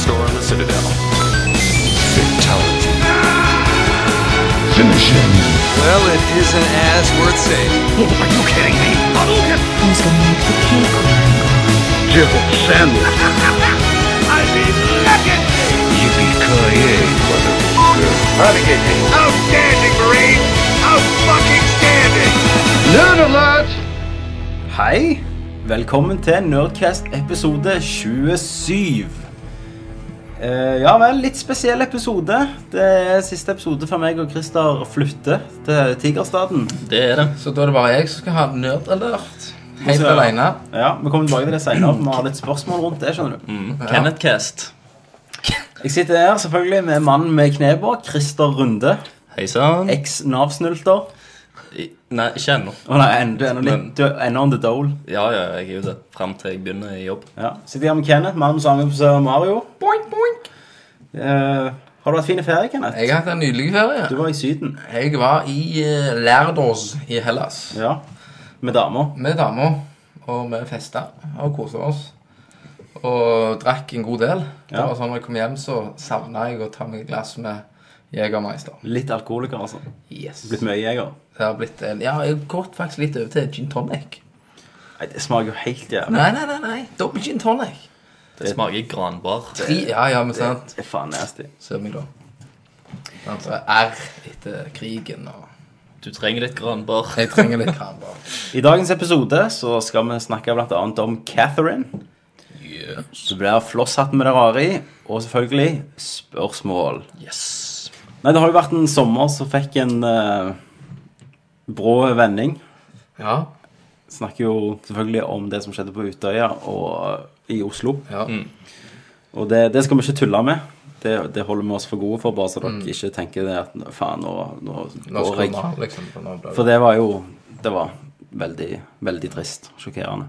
Citadel. Fatality. Finish him. Well, it isn't as worth saying. Oh, Are you kidding me? Who's gonna make the cake Jibble sandwich. Yippee-ki-yay, motherfucker. Nerd alert! Hei! Velkommen til Nerdcast episode 27. Eh, ja vel, litt spesiell episode. Det er siste episode før meg og Christer flytter til Tigerstaden. Det er det. Så da er det bare jeg som skal ha nerdalert. Helt Så- alene. Ja, Vi kommer tilbake til det senere. Vi har litt spørsmål rundt det. skjønner du Mm, Kenneth Cast. Jeg sitter her selvfølgelig med mannen med knebår, Christer Runde. Hei sann. Eks-Nav-snylter. I- Nei, ikke ennå. Å nei, en- du er ennå litt Du er ennå on the dole. Ja, ja, jeg er jo det. Fram til jeg begynner i jobb. Ja. Sitter her med Kenneth, mannen som angrepsører Mario. Eh, har du hatt fin ferie, Kenneth? Jeg har hatt en nydelig ferie. Du var i Syden. Jeg var i eh, Lerdos i Hellas Ja. Med dama. med dama. Og vi festa og kosa oss. Og drakk en god del. Det Ja. var sånn Når jeg kom hjem, så savna jeg å ta meg et glass med Jegermeister. Litt alkoholiker, altså. Yes. Blitt mye jeger. Det har blitt en Ja, jeg har gått faktisk litt over til gin tonic. Nei, det smaker jo helt jævlig. Nei, nei, nei. nei. Dobbel gin tonic. Det smaker granbar. Tre- Ja, ja, men sant. Det er faen nasty. Ser meg da. Altså, R etter krigen og Du trenger litt granbar. Jeg trenger litt kram, da. I dagens episode så skal vi snakke blant annet om Catherine. Så blir det flosshatten med det rare i, og selvfølgelig spørsmål. Yes. Nei, det har jo vært en sommer som fikk en eh, brå vending. Ja, Snakker jo selvfølgelig om det som skjedde på Utøya og eh, i Oslo. ja. Mm. Og det, det skal vi ikke tulle med. Det, det holder vi oss for gode for, bare så dere ikke tenker det at faen, nå, nå, Mm. Nå går skal jeg. vi ha liksom på noen For det var jo Det var veldig, veldig trist. Sjokkerende.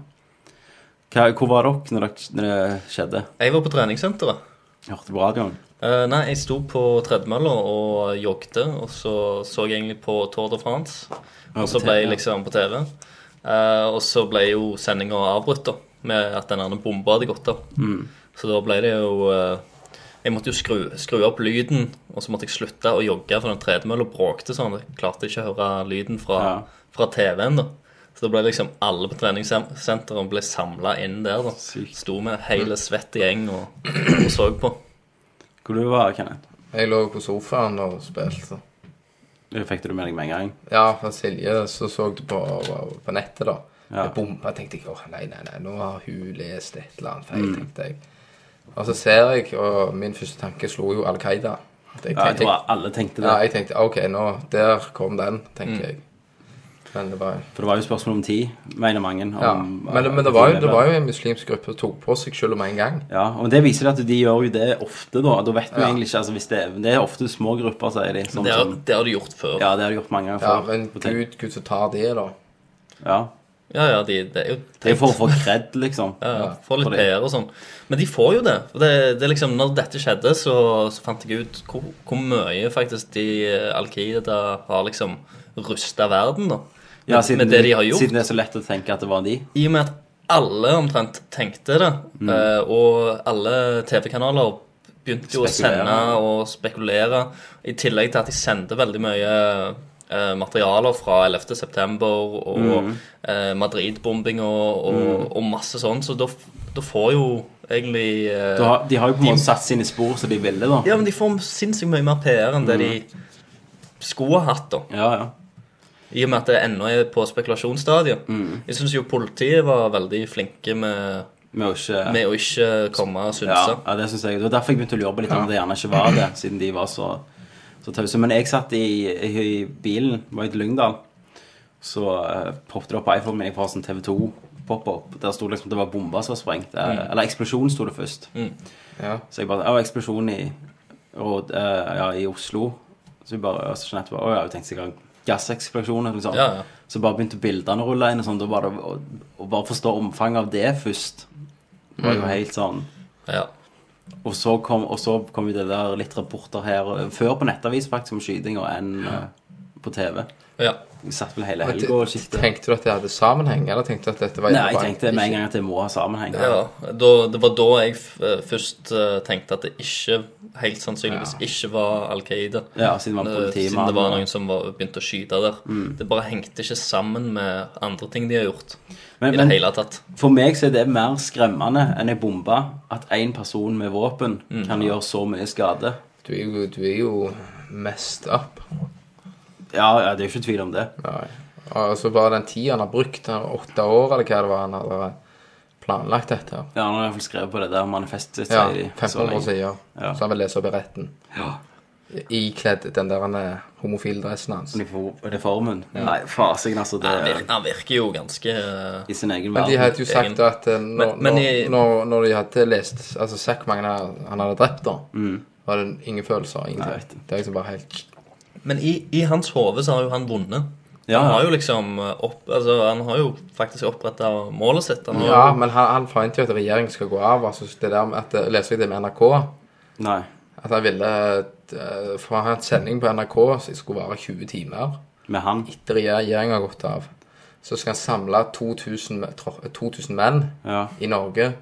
Hva, hvor var dere når dere- når det skjedde? Jeg var på treningssenteret. Hørte på radioen? Eh, nei, jeg sto på tredemølla og joggte, og så så jeg egentlig på Tour de France. Ja, Og så på ble TV, jeg ja. liksom på TV. Eh, og så ble jo sendinga avbrutt da, med at den andre bomba hadde gått av. Hmm. Så da ble det jo eh, Jeg måtte jo skru, skru opp lyden, og så måtte jeg slutte å jogge, for den tredemølla bråkte sånn. Jeg klarte ikke å høre lyden fra, Ja. fra TV-en, da. Så da ble liksom alle på treningssenteret ble samla inn der. da. Sykt. Sto med hele svett gjeng og, og så på. Hvor du var Kenneth? Jeg lå på sofaen og spilte. Det Fikk du det med deg med en gang? Ja, for Silje så så det på, på nettet, da. Ja. Jeg bomba, tenkte jeg. Åh, nei, nei, nei, nå har hun lest et eller annet Mm. feil, tenkte jeg. Og så ser jeg, og min første tanke slo jo Al Qaida. At Jeg, Ja, jeg tenkte- tror alle tenkte ja, det. jeg tenkte OK, nå Der kom den, tenkte Mm. jeg. Men det var For det var jo spørsmål om tid, mener mange. Om, Ja, men, det- men det var, jo, det var jo en muslimsk gruppe som tok på seg selv om en gang. Ja, og det viser at de gjør jo det ofte, da. Da vet vi Ja. egentlig ikke altså, hvis det, er- det er ofte små grupper, sier de. Sånn, Det har, som- det har du gjort før. Ja, ja, det har de gjort mange ganger Ja, før. men på tenk- Gud, Gud som tar det, da. ja. ja, de, det er jo Det er jo for å få kred, liksom. Ja, ja, får for litt det. PR og sånn. Men de får jo det. For det, det er liksom, når dette skjedde, så, så fant jeg ut hvor, hvor mye faktisk de eh, Al Qaida har liksom rusta verden, da. Med, Ja, siden, med det de har gjort. siden det er så lett å tenke at det var de. I og med at alle omtrent tenkte det, Mm. eh, og alle TV-kanaler begynte jo å Spekulere. sende og spekulere, i tillegg til at de sendte veldig mye eh, materialer fra 11. september og Mm. eh, Madrid-bombinga og, og, og masse sånn, så da f- da får jo egentlig eh, Da har- De har jo på en måte satt sine spor som de ville, da. Mm. Ja, men de får sinnssykt mye mer PR enn det de skulle ha hatt, da. Ja, ja. I og med at det ennå er på spekulasjonsstadiet. Mm. Jeg syns jo politiet var veldig flinke med Med å ikke med å ikke komme og ja, synse. ja, det synes jeg. Det var derfor jeg begynte å lure på litt om det gjerne ikke var det, siden de var så, så tause. Men jeg satt i, i, i bilen, var i Lyngdal, så uh, poppet det opp på iPhone min. Jeg får sånn TV2 pop-opp. Der sto liksom at det var bomber som var sprengt. eh, Mm. Eller eksplosjon sto det først. Ja. Så jeg bare Å, eksplosjon i, og, eh, ja, i Oslo. Så vi bare og så skjønte jeg bare, Å ja, jeg tenkte sikkert gasseksplosjoner. Liksom. Ja, ja. Så bare begynte bildene å rulle inn, og sånn. Da var det å, å bare forstå omfanget av det først. Det var Mm. jo helt sånn Ja. og så kom, og så kom jo det der litt rapporter her og- Før på nettavis faktisk om skyting og enn eh, på TV. Ja. Vi satt vel hele helga og skilte. Tenkte du at det hadde sammenheng, eller tenkte du at dette var Nei, jeg tenkte med en gang at det må ha sammenheng. ja. Da, det var da jeg f- eh, først eh, tenkte at det ikke, helt sannsynligvis ikke var Al Qaida. Ja, siden det var Eh, Siden politimann det var og- Mm. noen som var, begynte å skyte der. Det bare hengte ikke sammen med andre ting de har gjort. Men- I det men- hele tatt. For meg så er det mer skremmende enn ei bombe at én person med våpen kan gjøre så mye skade. Mm. Du er jo, du er jo messed up. Ja, ja, det er jo ikke tvil om det. Nei. Og så bare den tida han har brukt, den åtte år eller hva det var han hadde planlagt dette. Ja, han har i hvert fall skrevet på det der manifestet sitt, Ja, sier de. så 1500 lenge. sider. Ja. Så han vil lese opp i retten. Ja. Ikledd den der eh, homofile dressen hans. Unifor- Uniformen. Nei, fasingen, altså. Det Han virker, han virker jo ganske eh, i sin egen Men de verden. hadde jo sagt at eh, når, Men- men i- når, når, når de hadde lest Altså sagt hvor mange han han hadde drept, da, var det ingen følelser. Mm. Nei, jeg vet Ingenting. ikke. Det er liksom bare helt Men i, i hans hode så har jo han vunnet. Ja. Han har jo liksom eh, opp, altså, han har jo faktisk oppretta målet sitt. Han har, Ja, men han, han forventer jo at regjeringen skal gå av. Altså det der med at, jeg Leser jeg det med NRK? Nei. At han ville eh, For han har en sending på NRK som skulle vare 20 timer. Med han. Etter regjeringen har gått av. Så skal han samle 2000, me- tro- 2000 menn Ja. i Norge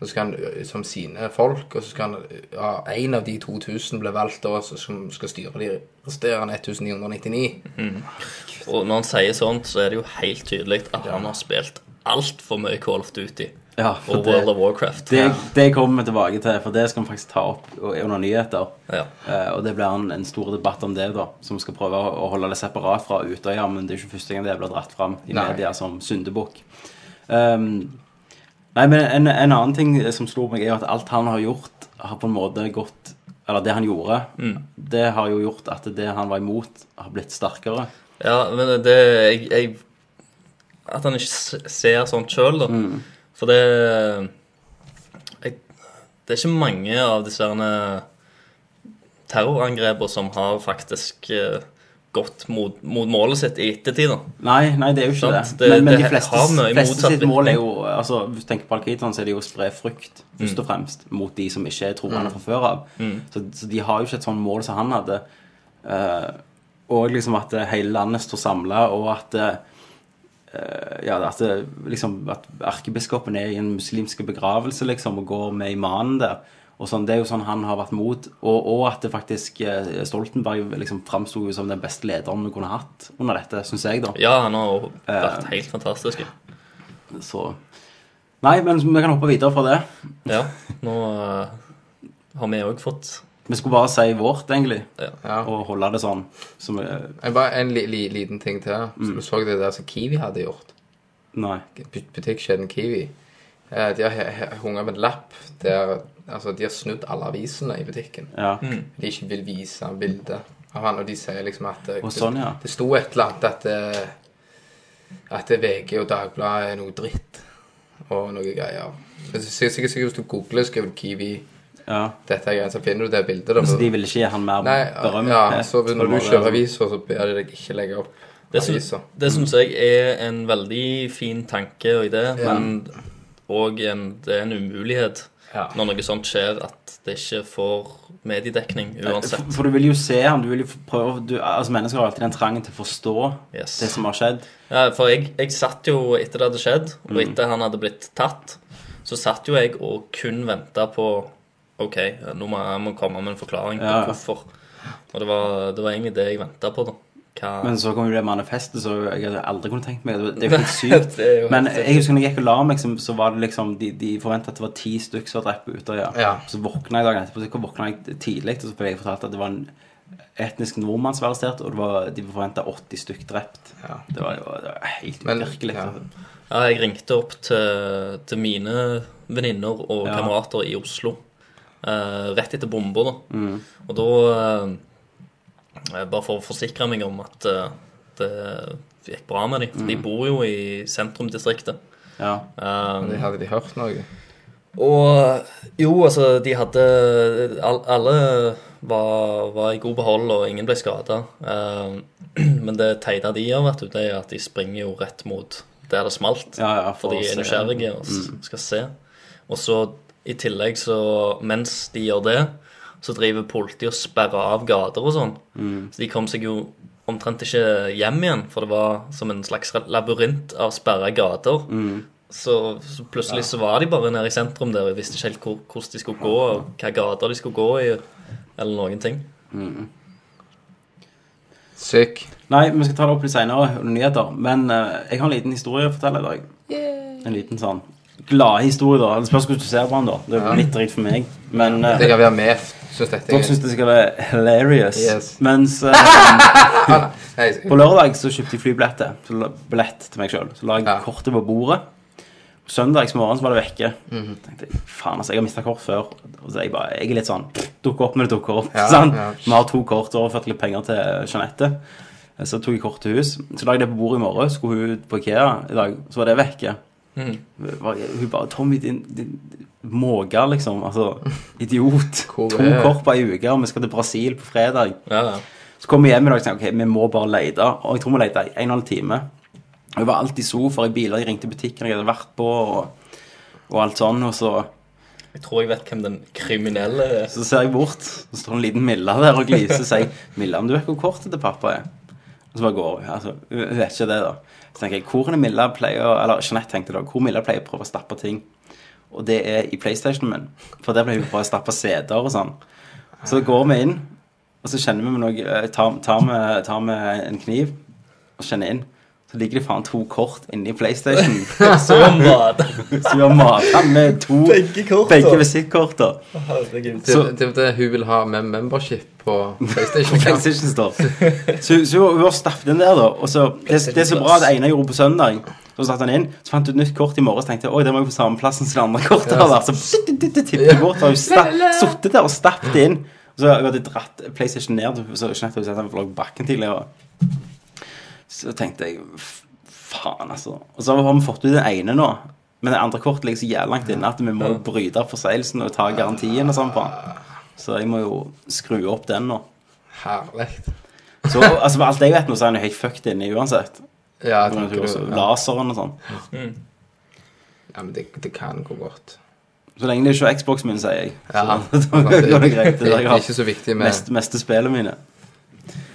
så skal han, ø, som sine folk. Og så skal han, ø, ja, en av de 2000 blir valgt da, så- som skal styre de resterende 1999. Og når han sier sånt, så er det jo helt tydelig at han har spilt altfor mye Call of Duty Ja, for og det, World of Warcraft. det, det kommer vi tilbake til, for det skal vi faktisk ta opp og- under nyheter. Ja. Eh, og det blir en, en stor debatt om det, da, som skal prøve å å holde det separat fra Utøya. Men det er ikke første gang det blir dratt fram i Nei. media som syndebukk. Um, nei, men en, en annen ting som slo meg, er jo at alt han har gjort, har på en måte gått Eller det han gjorde, Mm. det har jo gjort at det han var imot, har blitt sterkere. ja, men det jeg, jeg, At han ikke se- ser sånt sjøl, da. Mm. For det jeg, Det er ikke mange av disse herne terrorangrepene som har faktisk eh, gått mot, mot målet sitt i ettertid. da. Nei, nei, det er jo ikke Sant? det. Det- Men, men det de fleste, har mye fleste motsatt sitt mål er virkning. jo altså, Hvis du tenker på Al-Qaida, så er det jo å spre frykt Mm. først og fremst mot de som ikke er troende fra før av. Så, så de har jo ikke et sånt mål som han hadde. Eh, og liksom at eh, hele landet står samla, og at eh, eh, ja, at, det, liksom, at erkebiskopen er i en muslimsk begravelse liksom, og går med imanen der. Og sånn, det er jo sånn han har vært mot. Og, og at det faktisk eh, Stoltenberg liksom, framsto jo som den beste lederen vi kunne hatt under dette, syns jeg, da. Ja, han har jo vært helt fantastisk. Så Nei, men vi kan hoppe videre fra det. Ja, nå eh, har vi òg fått Vi skulle bare si vårt, egentlig, ja. Ja. og holde det sånn. Som eh, Jeg bare en li, li, liten ting til. Så du så det der som Kiwi hadde gjort. Nei. But- Butikkjeden Kiwi. Eh, De har he- he- hunget med en lapp der Altså, de har snudd alle avisene i butikken. Ja. De ikke vil vise bildet av han, og de sier liksom at eh, Og sånn, ja. det, det sto et eller annet at eh, At VG og Dagbladet er noe dritt og noe greier. Mm. Men så- Sikkert sikkert hvis du googler skriver Kiwi ja. dette er greia, så finner du det bildet. Da. Så de ville ikke gi han mer Nei, berøm? ja, så Tror når du du det- kjører aviser, så ber de deg ikke legge opp Det, sy aviser. det syns jeg er en veldig fin tanke og idé, men òg en, det er en umulighet Ja. når noe sånt skjer, at det ikke får mediedekning uansett. Eh, For, for du vil jo se han, du vil jo prøve du, Altså Mennesker har alltid den trangen til å forstå Yes. det som har skjedd. Ja, for jeg, jeg satt jo etter det hadde skjedd, Mm. og etter han hadde blitt tatt, så satt jo jeg og kun venta på OK, nå må jeg må komme med en forklaring på Ja, ja. hvorfor. Og det var, det var egentlig det jeg venta på, da. Hva Men så kom jo det manifestet, så jeg hadde aldri kunne tenkt meg det. Det er jo helt sykt. Det er jo helt Men sykt. jeg husker når jeg gikk og la meg, så, så var det liksom De, de forventa at det var ti stykker som var drept på Utøya. Ja. Så våkna jeg dagen etterpå, så våkna jeg tidlig, og så ble jeg fortalt at det var en etnisk nordmann som var arrestert, og det var, de forventa 80 stykker drept. Ja. Det var jo det var helt Men- uvirkelig. ja. Ja, jeg ringte opp til, til mine venninner og Ja. kamerater i Oslo eh, rett etter bomba. Da. Mm. Og da eh, Bare for å forsikre meg om at eh, det gikk bra med dem. For de bor jo i sentrumdistriktet. Mm. Ja. Eh, Men de hadde de hørt noe? og jo, altså, de hadde all, Alle var, var i god behold, og ingen ble skada. men det teite de gjør, vet du, det er at de springer jo rett mot der det smalt. Ja, ja, for for de å er se. Mm. nysgjerrige og s- skal se. Og så i tillegg, så mens Mm. de gjør det, så driver politiet og sperrer av gater og sånn. Så de kom seg jo omtrent ikke hjem igjen, for det var som en slags labyrint av sperra gater. Mm. Så, så plutselig så var de bare nede i sentrum der og visste ikke helt hvor, hvordan de skulle gå, og hvilke gater de skulle gå i, eller noen ting. Syk. Nei, vi skal ta det opp litt seinere under nyheter. Men eh, jeg har en liten historie å fortelle i dag. En liten sånn gladhistorie, da. Det spørs hvordan du ser på den, da. Det er jo litt dritt for meg. Men eh, Det kan være med, syns dette dere syns det skal være hilarious. Yes. Mens eh, Nei, På lørdag så kjøpte jeg flybilletter. Så la- Billett til meg sjøl. Så la jeg Ja. kortet på bordet. Søndagsmorgen så var det vekke. Mhm. tenkte jeg, Faen, altså, jeg har mista kort før. Og så er jeg bare, jeg er litt sånn Dukker opp når det dukker opp. Ja, sant? ja. Vi har to kort og overført litt penger til Jeanette. Så tok jeg kort til hus. Så la jeg det på bordet i morgen. Skulle hun ut på IKEA i dag, så var det vekke. Var- Hun bare 'Tommy, din, din måke, liksom. Altså, idiot. Hvor to er- kort på ei uke, og vi skal til Brasil på fredag. Ja, ja. Så kom jeg hjem i dag og tenkte ok, vi må bare lete. Og jeg tror vi lette i en og en halv time. Og jeg var alltid i sofaer i biler, jeg ringte butikken jeg hadde vært på, og, og alt sånn. Og så, Jeg tror jeg vet hvem den kriminelle er. så ser jeg bort, så står det en liten Milla der og gliser og sier 'Milla, men du vet hvor kortet til pappa er?' Og så bare går hun. Altså, hun vet ikke det, da. Så tenker jeg hvor er det Milla pleier å- Eller Jeanette tenkte da, hvor Milla pleier å prøve å stappe ting. Og det er i PlayStationen min. For der pleier hun å prøve å stappe CD-er og sånn. Så går vi inn, og så kjenner vi med noe eh, Tar, tar, vi, tar vi en kniv og kjenner inn. Så ligger det faen to kort inni PlayStation. Så mat. Så vi har mata med to Begge korta. begge visittkorta. Herregud. det, så- det, det hun vil ha med membership på PlayStation. PlayStation Store. Så, så hun har stappet den der, da. Og så, det, det er så bra at det ene gjorde på søndag. Så satte han inn, så fant du et nytt kort i morges. Tenkte jeg, oi, det var jo på samme plassen som det andre kortet. har vært. Så tippet jeg bort. Og sittet der og stappet det inn. Og så hadde jeg dratt PlayStation ned. Så skjønte jeg at den lå på bakken tidligere. Så tenkte jeg f- faen, altså. Og så har vi fått ut det ene nå. Men det andre kortet ligger så jævlig langt inne at vi må bryte opp forseelsen og ta garantien og sånn på den. Så jeg må jo skru opp den nå. Herlig. Så altså, for alt jeg vet nå, så er han jo helt fucked inni uansett. Ja, jeg tenker Også du, ja. Laseren og sånn. Mm. ja, men det, det kan gå godt. Så lenge det ikke er Xbox min, sier jeg. Så, Ja. da går det greit. Det Det er der jeg er ikke har så viktig med mest, meste spillet mine.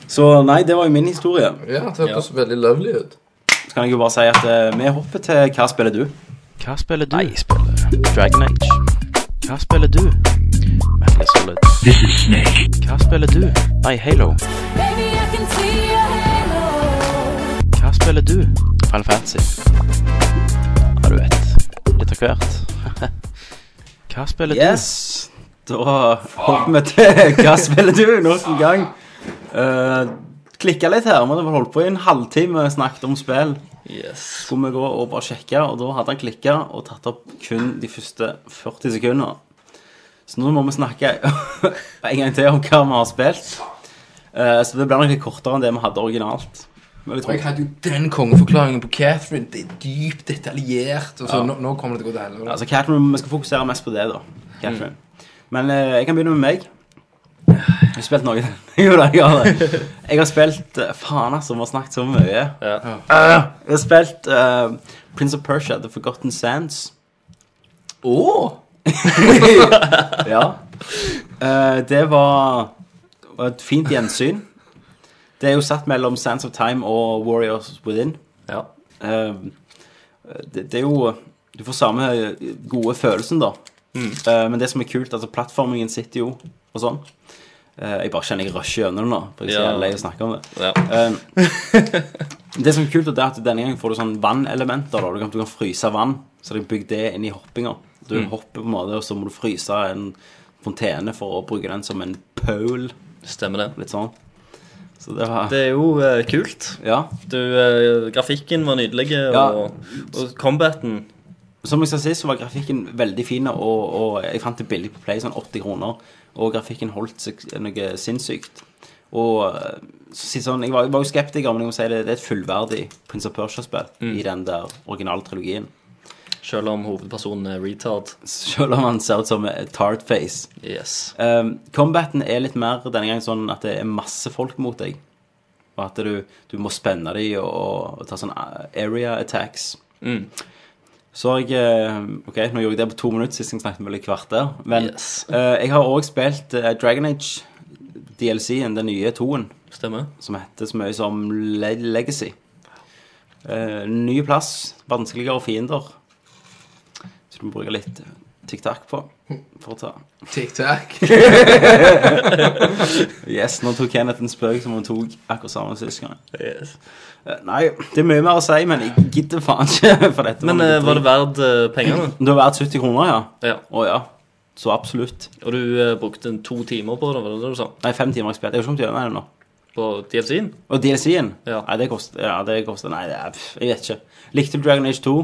Så nei, det var jo min historie. Ja, det hørtes veldig lovely ut. Så kan jeg jo bare si at eh, vi hopper til Hva spiller du? Hva spiller du? Jeg spiller Dragon Age. Hva spiller du? Metal Gear Solid. Hva spiller du? Nei, Halo. Baby, I can see your halo. Hva spiller du? Final Fantasy. Ja, du vet. Litt av hvert. Hva spiller Yes! Da hopper vi til Hva spiller du? nok en gang. Uh, Klikka litt her, men det var holdt på i en halvtime snakket om spill. Yes. skulle vi gå og bare sjekke, og da hadde han klikka og tatt opp kun de første 40 sekundene. Så nå må vi snakke en gang til om hva vi har spilt. Eh, Så det blir nok litt kortere enn det vi hadde originalt. Men jeg Og jeg tror, hadde jo den kongeforklaringen på Catherine. Det er dypt detaljert. Og så nå, nå kommer det til å gå til helvete. altså Catherine, Vi skal fokusere mest på det, da. Catherine. Mm. Men eh, jeg kan begynne med meg. Jeg har spilt noe. jo da, jeg har det. Jeg har spilt eh, Faen, altså, vi har snakket så mye. Ja. Jeg har spilt eh, Prince of Persia, The Forgotten Sands. Åh! Ja. Eh, det var var et fint gjensyn. Det er jo satt mellom Sands of Time og Warriors Within. ja. Eh, det, det er jo Du får samme gode følelsen, da. Mm. Eh, men det som er kult, altså plattformingen sitter jo og sånn. Eh, jeg bare kjenner jeg rusher gjennom det nå, for jeg er så Ja. jævlig lei av å snakke om det. ja. Um, det som er kult, det er at denne gangen får du sånn vannelementer. da. Du kan, du kan fryse vann. Så de har bygd det inn i hoppinga. Du Mm. hopper på en måte, og så må du fryse en fontene for å bruke den som en pøl. Stemmer det. Litt sånn. Så det var Det er jo eh, kult. Ja. Du, eh, grafikken var nydelig, og, og combaten Som jeg skal si, så var grafikken veldig fin, og, og jeg fant det billig på Play, sånn 80 kroner. Og grafikken holdt seg noe sinnssykt. Og eh, så si sånn, jeg var, jeg var jo skeptiker, men jeg må si det, det er et fullverdig Prince of Persia-spill i den der originale trilogien. Mm. Selv om hovedpersonen er retard. Selv om han ser ut som et tardface. Yes. Um, combaten er litt mer denne gangen sånn at det er masse folk mot deg. Og at du, du må spenne dem og, og ta sånn eh, area attacks. Mm. Så har jeg eh, Ok, nå gjorde jeg det på to minutter, sist jeg snakket med litt kvarter. Men Yes. eh, jeg har òg spilt eh, Dragon Age DLC-en, den nye toen, Stemmer. som heter så mye som Le Legacy. Eh, ny plass, vanskeligere fiender. Så du må bruke litt eh, tic-tac på Hm. for å ta Tic-tac. Yes, nå tok Kenneth en spøk som han tok akkurat samme sist gang. Yes. Eh, Nei, det er mye mer å si, men jeg gidder faen ikke for dette. Men eh, var det verdt eh, pengene? Det var verdt 70 kroner, ja. Ja. Å ja. Så absolutt. Og du eh, brukte en to timer på det, var det det du sa? Nei, fem timer jeg spilte. Jeg har ikke kommet gjennom det nå. På DLC-en? Og DLC-en? Ja. Nei, det koster ja, det koster, Nei, det er, pff, jeg vet ikke. Likte du Dragon Age 2?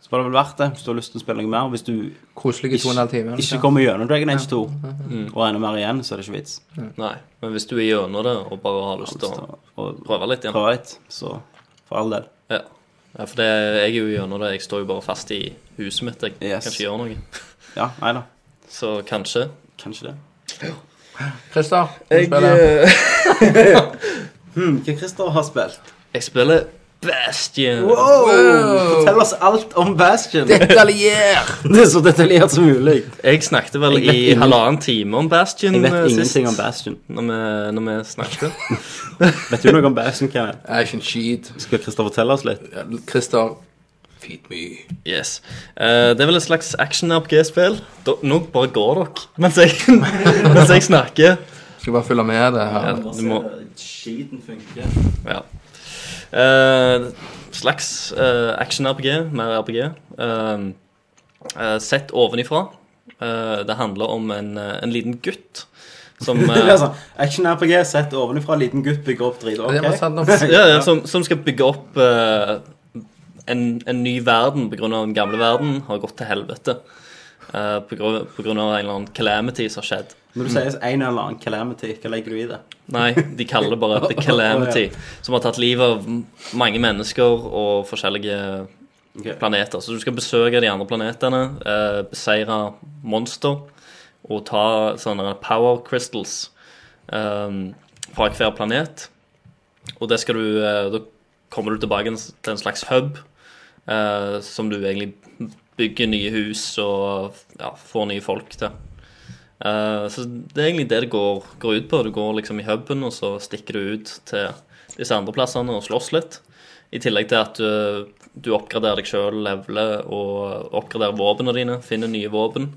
Så var det vel verdt det, hvis du har lyst til å spille noe mer. Hvis du Koselige to og en halv time. ikke kommer gjennom Dragon Age 2 og enda mer igjen, så er det ikke vits. Mm. Nei. Men hvis du er gjennom det og bare har lyst til å Så, og prøve litt igjen prøve litt, så for all del. Ja. ja for det, jeg er jo gjennom det. Jeg står jo bare fast i huset mitt. Jeg Yes. kan ikke gjøre noe. Ja, nei da. Så kanskje. Kanskje det. Christer, jeg, eh, spiller. Hmm, hva Christer har spilt? Jeg spiller Bastion. Fortell oss alt om Bastion! Detaljer! Det er så detaljert som mulig. Jeg snakket vel Jeg vet i ingen- halvannen time om Bastion Jeg vet eh, sist. ingenting om Bastion. Når vi, når vi snakket. Vet du noe om Bastion, Kenneth? Action sheet. Skal Christer fortelle oss litt? Christer, feed me. Yes. Eh, det er vel et slags action-RPG-spill. Da- Nå bare går dere mens jeg, mens jeg snakker. Skal bare følge med det her. Ja, du må, Skiten funker. ja. Eh, slags eh, action-RPG, mer RPG. Eh, eh, sett ovenifra. Eh, det handler om en, eh, en liten gutt som Det eh, er sånn, Action-RPG sett ovenfra, liten gutt bygger opp drit. Det var ok? altså. sant nok. ja, ja, som, som skal bygge opp eh, en, en ny verden pga. den gamle verden har gått til helvete. Uh, pga. en eller annen calamity som har skjedd. Når du sier en eller annen calamity, hva legger du i det? Nei, de kaller det bare the calamity. Som har tatt livet av mange mennesker og forskjellige Ok. planeter. Så du skal besøke de andre planetene, eh, beseire monster og ta sånne power crystals eh, fra hver planet. Og det skal du eh, Da kommer du tilbake til en slags hub eh, som du egentlig bygger nye hus og ja, får nye folk til. Eh, så det er egentlig det det går, går ut på. Du går liksom i huben, og så stikker du ut til disse andre plassene og slåss litt. I tillegg til at du, du oppgraderer deg sjøl, leveler og oppgraderer våpnene dine. Finner nye våpen.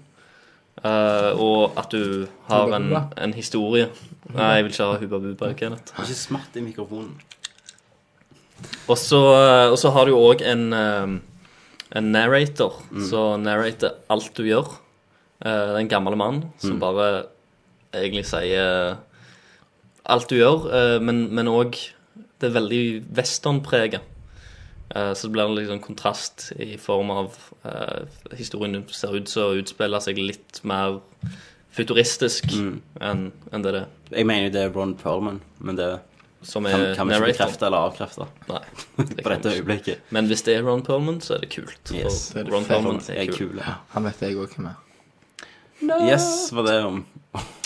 Eh, og at du har en, en historie. Nei, jeg vil ikke ha Hubba Bubba, Kenneth. Ikke smatt i mikrofonen. Og så, eh, og så har du jo òg en, eh, en narrator Mm. som narrater alt du gjør. Eh, Det er en gammel mann Mm. som bare egentlig sier alt du gjør, eh, men òg Det er veldig westernpreget. Eh, Så det blir en liksom kontrast i form av eh, Historien ser ut som å utspille seg litt mer futuristisk enn enn det det er, Mm. Jeg mener jo det er Ron Perlman, men det som kan, er kan vi ikke narrator. bekrefte eller avkrefte Nei, det på kan dette vi ikke. øyeblikket. Men hvis det er Ron Perlman, så er det kult. Yes. Og Ron Perlman er kul. kul. Han vet jeg òg hvem er. Yes, var det om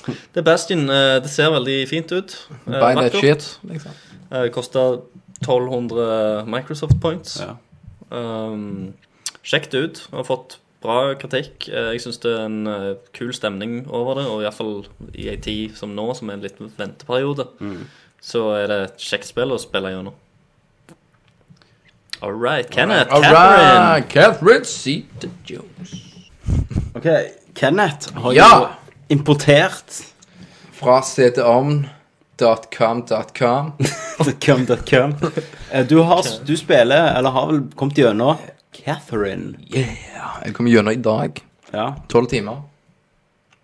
Det er Bastion. eh, Det ser veldig fint ut. Eh, Buy that vakkert. shit. Liksom. Eh, Koster 1200 Microsoft points. ja. Um, Sjekk det ut. Har fått bra kritikk. Eh, Jeg syns det er en eh, kul stemning over det, og iallfall i ei tid som nå, som er en liten venteperiode, Mm. så er det et kjekt spill å spille gjennom. All right, Kenneth. All Ah, Cameron. right, Catherine Zeta Jones. Ok, Kenneth har Ja! jo importert Fra cdomn.com.com. Come that come. Eh, Du, har, du spiller, eller har vel kommet gjennom Catherine. Yeah. Jeg kommer gjennom i dag. Ja, Tolv timer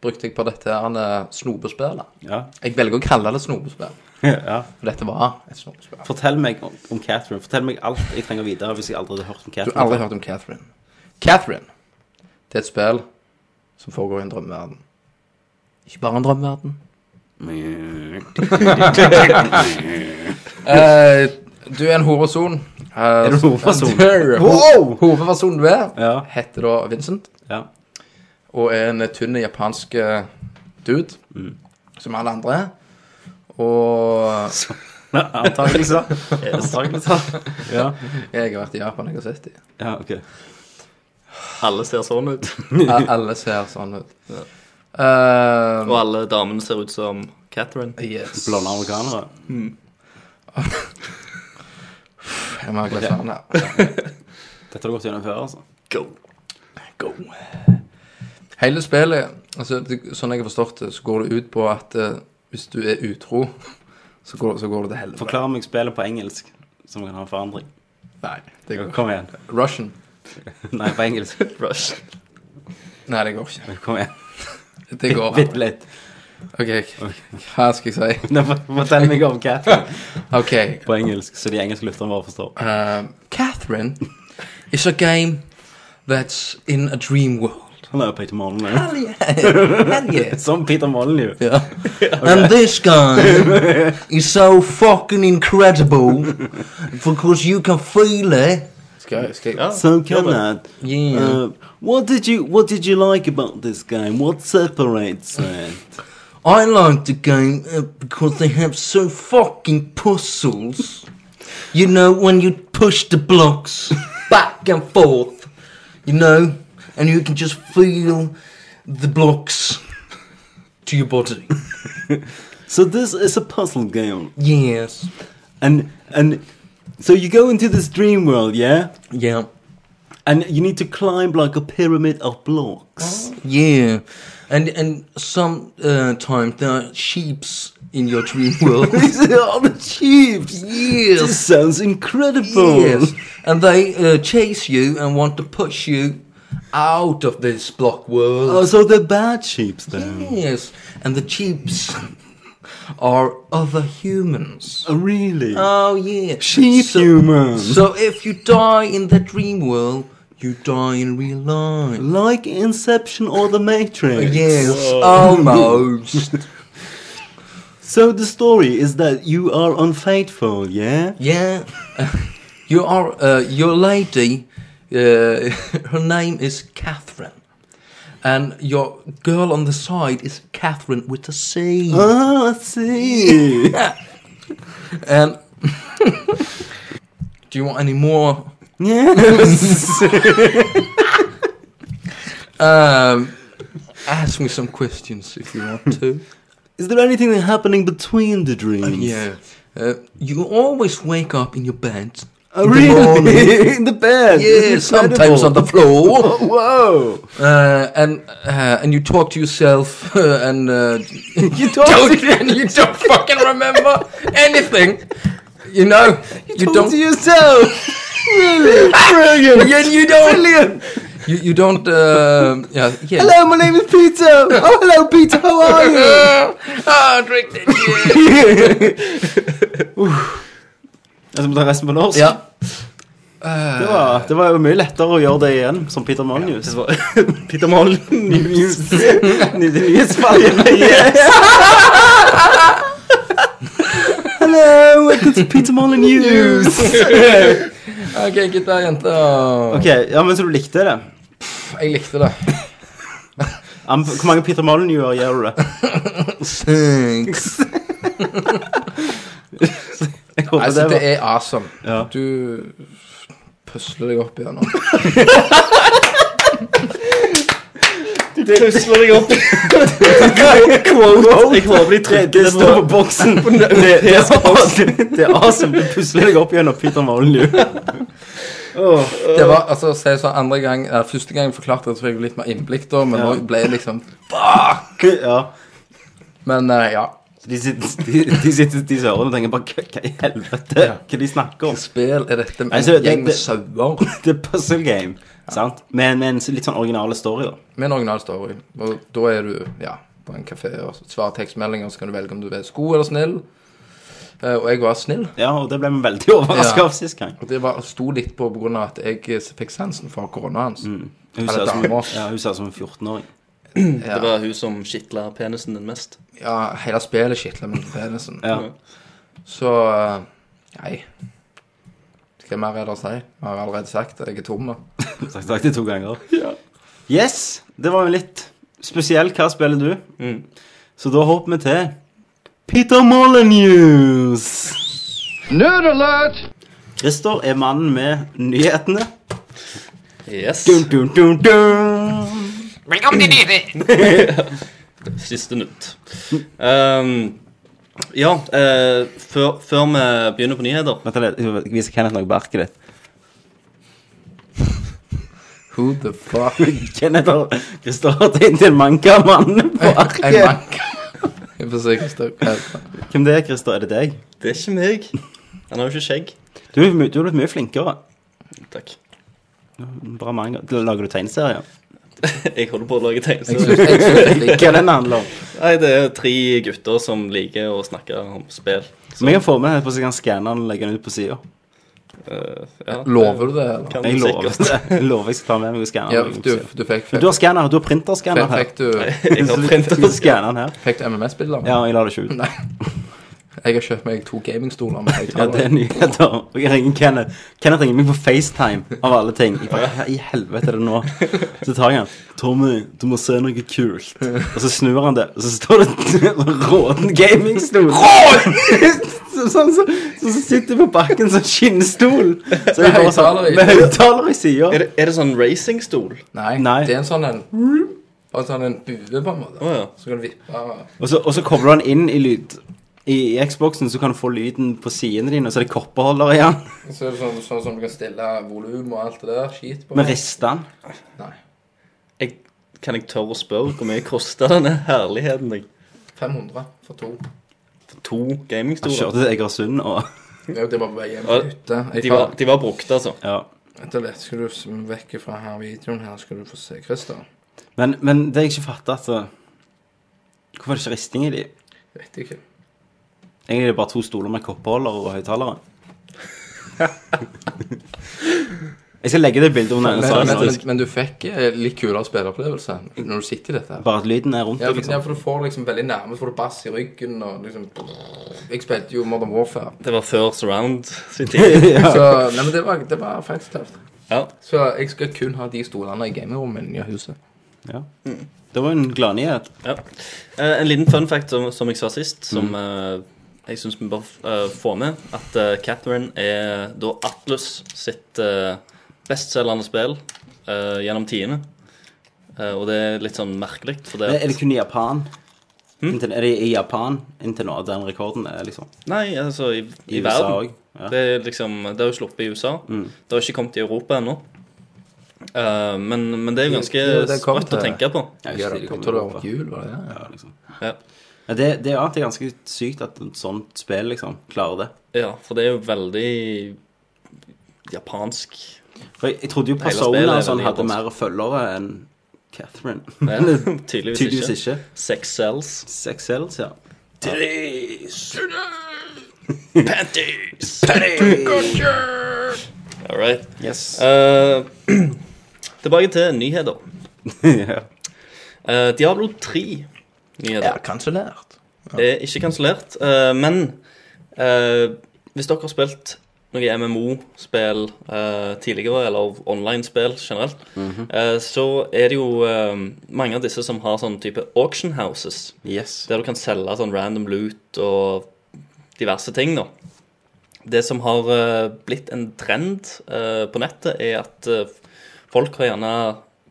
brukte jeg på dette her eh, snopespillet. ja, Jeg velger å kalle det snopespill. ja. For dette var et snopespill. Fortell meg om, om Catherine. Fortell meg alt jeg trenger videre hvis jeg aldri hadde hørt om Du Catherine. har aldri hørt om Catherine. Catherine. Det er et spill som foregår i en drømmeverden. Ikke bare en drømmeverden. Eh, du er en horeperson. er du en horeperson? Du er Wow! horeperson du er. Ja. Heter da Vincent. Ja. Og er en tynn japansk eh, dude. Mm. Som alle andre. Og Antakelser. Antakelser. Ja. jeg har vært i Japan, jeg har sett dem. ja, ok. Alle ser sånn ut. Alle ser sånn ut. Eh, Og alle damene ser ut som Catherine. Yes. Blonde amerikanere. Mm. Jeg må ha glemt navnet. Dette har du gått gjennom før, altså. Go. Go. Hele spillet, altså, det, sånn jeg har forstått det, så går det ut på at eh, hvis du er utro, så går, så går det til helvete. Forklar meg spillet på engelsk, så vi kan ha en forandring. Nei, det går Kom igjen. Russian. Nei, på engelsk. Rush. Nei, det går ikke. Kom igjen. Det går Bitte litt. OK, hva skal jeg si? Nå, Fortell meg om Catherine OK. på engelsk, så de engelske lytterne våre forstår. Um, Catherine is a game that's in a dream world. Han er jo Peter Mollen, jo. Hell yes. Som Peter Mollen, jo. Yeah. And this game is so fucking incredible because you can feel it. Skal jeg, skal jeg, Ja, So gjør can det. I, Yeah. uh, what did you What did you like about this game? What separates it? I like the game uh, because they have so fucking puzzles. You know, when you push the blocks back and forth, you know, and you can just feel the blocks to your body. So this is a puzzle game, Yes. and and so you go into this dream world, yeah, Yeah. and you need to climb like a pyramid of blocks. Yeah. And and sometimes there are sheeps in your dream world. All the chiefs. This yes. sounds incredible. Yes, and they uh, chase you and want to push you out of this block Oh, world. so they're bad sheeps then. yes, and the chiefs are other humans. Oh, really? Oh yeah, Sheep so, humans. So eh. if you die in the dream world, you die in real life. like Inception or The Matrix. Yes, almost. So the story is that you are unfaithful, yeah? yeah, you are. Uh, your lady, uh, her name is Catherine. And your girl on the side is Catherine with a C. Ah, I see. And do you want any more? yes. Um, ask me some questions if you want to. Is there anything happening between the dreams? Uh, you always wake up in your bed. Oh, in the morning. really? In the bed? Yeah, It's incredible. sometimes on the floor. Whoa! Uh, and uh, and you talk to yourself uh, and uh, you talk don't, and you don't fucking remember anything. You know, you, Talk don't to yourself. really? Brilliant. you, Ah! you don't Brilliant. you, you don't uh, yeah yeah. Hello, my name is Peter. Oh, hello, Peter. How are you? Ah, drink that. yeah. Jeg skal ta resten på norsk. Ja. Det var, det var jo mye lettere å gjøre det igjen, som Peter Molyneux. Peter Molyneux. Hello, welcome to Peter Molyneux. Ok, gutta, jenter. Ok, ja, men så du likte det. Jeg likte det. Anb- Hvor mange Peter Molyneux gjør du det? Thanks. Jeg håper Altså, det det var... er awesome. Ja. Du pusler deg opp igjen nå. Pusler deg opp. Jeg håper de tredje står på boksen. Det, det, er awesome. det er awesome. Du pusler deg opp gjennom Peter Molyneux. Det var, altså, å si sånn andre gang, eh, Første gang jeg forklarte det, så fikk jeg litt mer innblikk, da, men Ja. nå ble jeg liksom Ja. Men eh, ja. De sitter, de, de sitter de som hører det og tenker bare "Hva- Hva i helvete? Hva de snakker om? Spill er dette med Nei, så en det- gjeng med det- sauer. Det er puzzle game, sant? Men med en s- litt sånn originale story, da. Med en original story. Og da er du ja, på en kafé og svarer tekstmeldinger, så kan du velge om du er sko eller snill. Eh, og jeg var snill. Ja, og det ble vi veldig overraska Ja. av sist gang. Og det var, sto litt på pga. at jeg eh, fikk sansen for korona hans. Mm. Hun Eller ser ut som, damer. ja, hun ser ut som en 14-åring. Det var hun som skitla penisen din mest. Ja, hele spillet skitler med penisen. Ja. Så eh, Nei. Hva mer er det å si? Jeg har allerede sagt det. Jeg er tom. nå. Sagt, sagt det to ganger. Yes, det var jo litt spesielt. Hva spiller du? Så da håper vi til Peter Molyneux. Nerd alert! Christer er mannen med nyhetene. Yes. Dun, dun, dun, dun. Siste nytt. Ehm, Ja, eh, før, før vi begynner på nyheter Vent litt, jeg viser Kenneth noe på arket ditt. Who the fuck? Kenneth og Kristoffer tegnet til en mangamann på En arket. mank. Jeg får se hva som står Hvem det er, Christer? Er det deg? Det er ikke meg. Han har jo ikke skjegg. Du er, my- du er blitt mye flinkere. Takk. Bra manga. Lager du tegneserier? Jeg holder på å lage Jeg tegneserier. synes- jeg synes det er Hva er den handler om? Nei, det er tre gutter som liker å snakke om spill. Så jeg kan få med den på så jeg kan skanne den og legge den ut på sida. Eh, ja, litt- Lover du det, eller? kan Jeg du lover sikkert. det. Jeg lover jeg skal ta med meg og skanne Ja, den. og legge den ut du, på siden. du fikk, Men Du fikk, har skanner, du har printerskanner her. fikk, du, Jeg Så har du printet printer og skanner den her. fikk du MMS-bilder? Ja, jeg lar det ikke ut. Nei. Jeg har kjøpt meg to gamingstoler med Ja, det er høyttaler. nyheter. Og jeg ringer Kenneth. Kenneth ringer meg på FaceTime, av alle ting. Jeg bare, hva i helvete er det nå? Så tar jeg han. Tommy, du må se noe kult. Og så snur han det, og så står det råden gamingstol. Så- Sånn som så, så sitter på bakken som skinnstol. Så jeg bare høyttaler i. sånn, med høyttaler i sida. Er det, er det sånn racingstol? Nei, Nei. det er en sånn en Bare en sånn en bue, på en måte. Å, ja. Så kan du vippe Og så, og så kobler du den inn i lyd. I, I Xboxen så kan du få lyden på sidene dine, og så er det kopperholder igjen. Så er det sånn, sånn som du kan stille volum og alt det der. Skit på. Med ristene. Nei. Jeg, kan jeg tørre å spørre hvor mye kosta denne herligheten? Jeg? 500 for to. For to Han gamingstoler? kjørte til Egersund og Ja, det var på vei hjem Ja, ute. Jeg De var, de var brukt, altså. Ja. Vent litt, skal du s- vekk fra her videoen her, skal du få se Christer. Men, men det jeg ikke fatter, at uh, Hvorfor er det ikke risting i de? Vet ikke. Egentlig er det bare to stoler med kopperholder og høyttalere. jeg skal legge det bildet under Men, denne men, saken. men, faktisk. men du fikk eh, litt kulere spilleopplevelse når du sitter i dette. her. Bare at lyden er rundt Ja, deg, for, ja, liksom. for du får liksom veldig nærme, så får du bass i ryggen og liksom Jeg spilte jo Modern Warfare. Det var før surround sin tid. Så nei, men det var, det var faktisk tøft. Ja. Så jeg skal kun ha de stolene i gamingrommet i huset. Ja. Det var en gladnyhet. Ja. Eh, en liten fun fact som, som jeg sa sist, som Mm. eh, jeg syns vi bør eh, få med, at eh, Catherine er da Atlus sitt eh, bestselgende spill eh, gjennom tidene. Eh, og det er Hm? litt sånn merkelig, for det Er det kun i Japan? Inntil, er det i Japan inntil nå? Den rekorden er liksom Nei, altså i, i, I USA verden. også, ja. Mm. Det er liksom Det har jo sluppet i USA. Det har ikke kommet i Europa ennå. Eh, men, men det er jo ganske Jo, det kom sprøtt å til- tenke på. eh, Jeg Ja, husker det de kom tror i det var Europa. jul, var det det? Ja, liksom. Ja. Ja, det, det, ja, det er ganske sykt at et sånt spill liksom klarer det. ja, for det er jo veldig japansk. For jeg, jeg trodde jo spillet Persona er og sånn veldig hadde japansk. mer følgere enn Catherine. Ja, tydeligvis, Tydeligvis ikke. ikke. Sex cells. Sex sells, ja. Panties! All right. Yes. Eh, tilbake til nyheter. ja. Eh, Diablo 3 nyheter. Ja, kansellert. Det er ikke kansellert. eh, men eh, hvis dere har spilt noe MMO-spill eh, tidligere, eller online-spill generelt, Mhm. eh, så er det jo eh, mange av disse som har sånn type auction houses, Yes. der du kan selge sånn random loot og diverse ting, da. Det som har eh, blitt en trend eh, på nettet, er at eh, folk har gjerne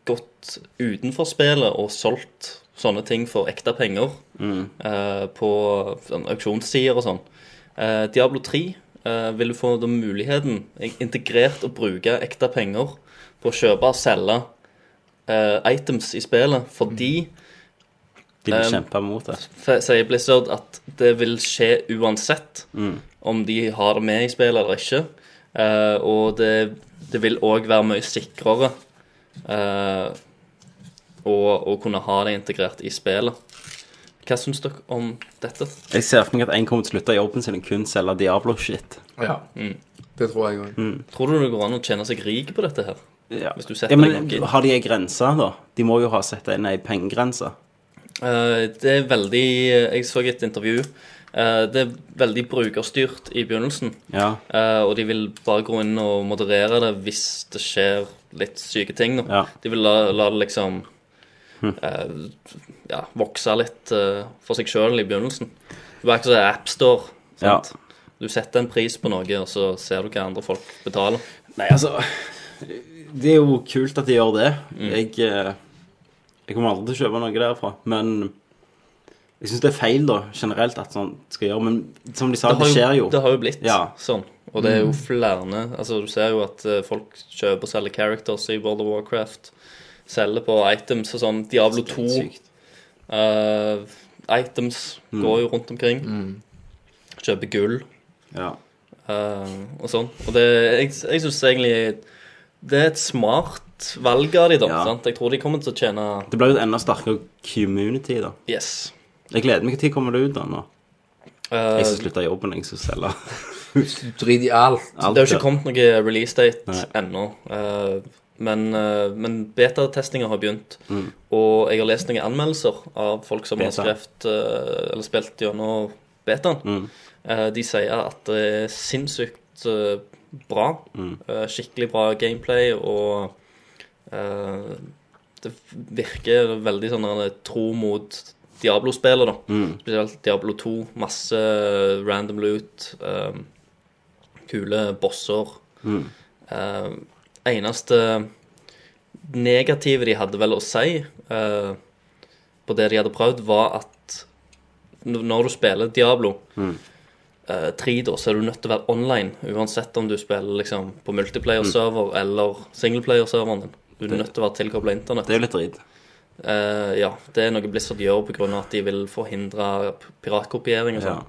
gått utenfor spillet og solgt sånne ting for ekte penger eh, på sånn, auksjonssider og sånn. Eh, Diablo 3 eh, vil du få da muligheten, in- integrert, å bruke ekte penger på å kjøpe og selge eh, items i spillet, fordi De vil Um, kjempe mot det. f- sier Blizzard at det vil skje uansett Mm. om de har det med i spillet eller ikke. Eh, og det, det vil òg være mye sikrere eh, å, å kunne ha det integrert i spillet. Hva syns dere om dette? Jeg ser for meg at en kommer til å slutte i jobben sin og kun selge Diablo-shit. Ja. Det tror jeg òg. Mm. Mm. Tror du det går an å tjene seg rik på dette her? Ja. Hvis du setter ja, deg men nok inn. har de ei grense, da? De må jo ha satt inn ei pengegrense. Eh, det er veldig Jeg så et intervju. Eh, det er veldig brukerstyrt i begynnelsen. Ja. Eh, og de vil bare gå inn og moderere det hvis det skjer litt syke ting. Da. Ja. Hm. De vil la, la det liksom eh, ja, vokse litt eh, for seg sjøl i begynnelsen. Det var ikke sånn AppStore. Ja. Du setter en pris på noe, og så ser du hva andre folk betaler. Nei, altså Det er jo kult at de Mm. gjør det. Jeg, eh, jeg kommer aldri til å kjøpe noe derfra, men Jeg syns det er feil, da, generelt, at sånn skal gjøre, men som de sa, Det har det, jo, skjer jo. det har jo blitt Ja. Mm. sånn. Og det er jo flere Altså, du ser jo at eh, folk kjøper og selger characters i World of Warcraft. Selger på items og sånn. Diablo 2 Sykt. eh, Items Mm. går jo rundt omkring. Kjøper gull Ja. eh, og sånn. Og det Jeg, jeg syns egentlig det er et smart valg av de, da. Ja. Sant? Jeg tror de kommer til å tjene Det blir jo et enda sterkere community, da. Yes. Jeg gleder meg. Når kommer det ut, da? nå? Eh, Jeg skal slutte i jobben, jeg skal selge Drit i alt. alt. Det har jo ikke kommet noe release date Nei. ennå. eh, men eh, men betatestinga har begynt. Mm. Og jeg har lest noen anmeldelser av folk som har Beta. skrevet eh, eller spilt gjennom betaen. Mm. Eh, de sier at det er sinnssykt eh, bra. Eh, skikkelig bra gameplay og eh, det virker veldig sånn der, tro mot Diablo-spillet, da. Spesielt Diablo 2. Masse random loot. eh, kule bosser. Eh, eneste negative de hadde vel å si eh, på det de hadde prøvd, var at n- når du spiller Diablo Mm. eh, 3, da, så er du nødt til å være online. Uansett om du spiller liksom, på Mm. multiplayer-server eller singleplayer-serveren din. Du er nødt til å være tilkobla internett. Det er jo litt dritt. Eh, ja, det er noe Blizzard gjør pga. at de vil forhindre p- piratkopiering og Ja. sånn.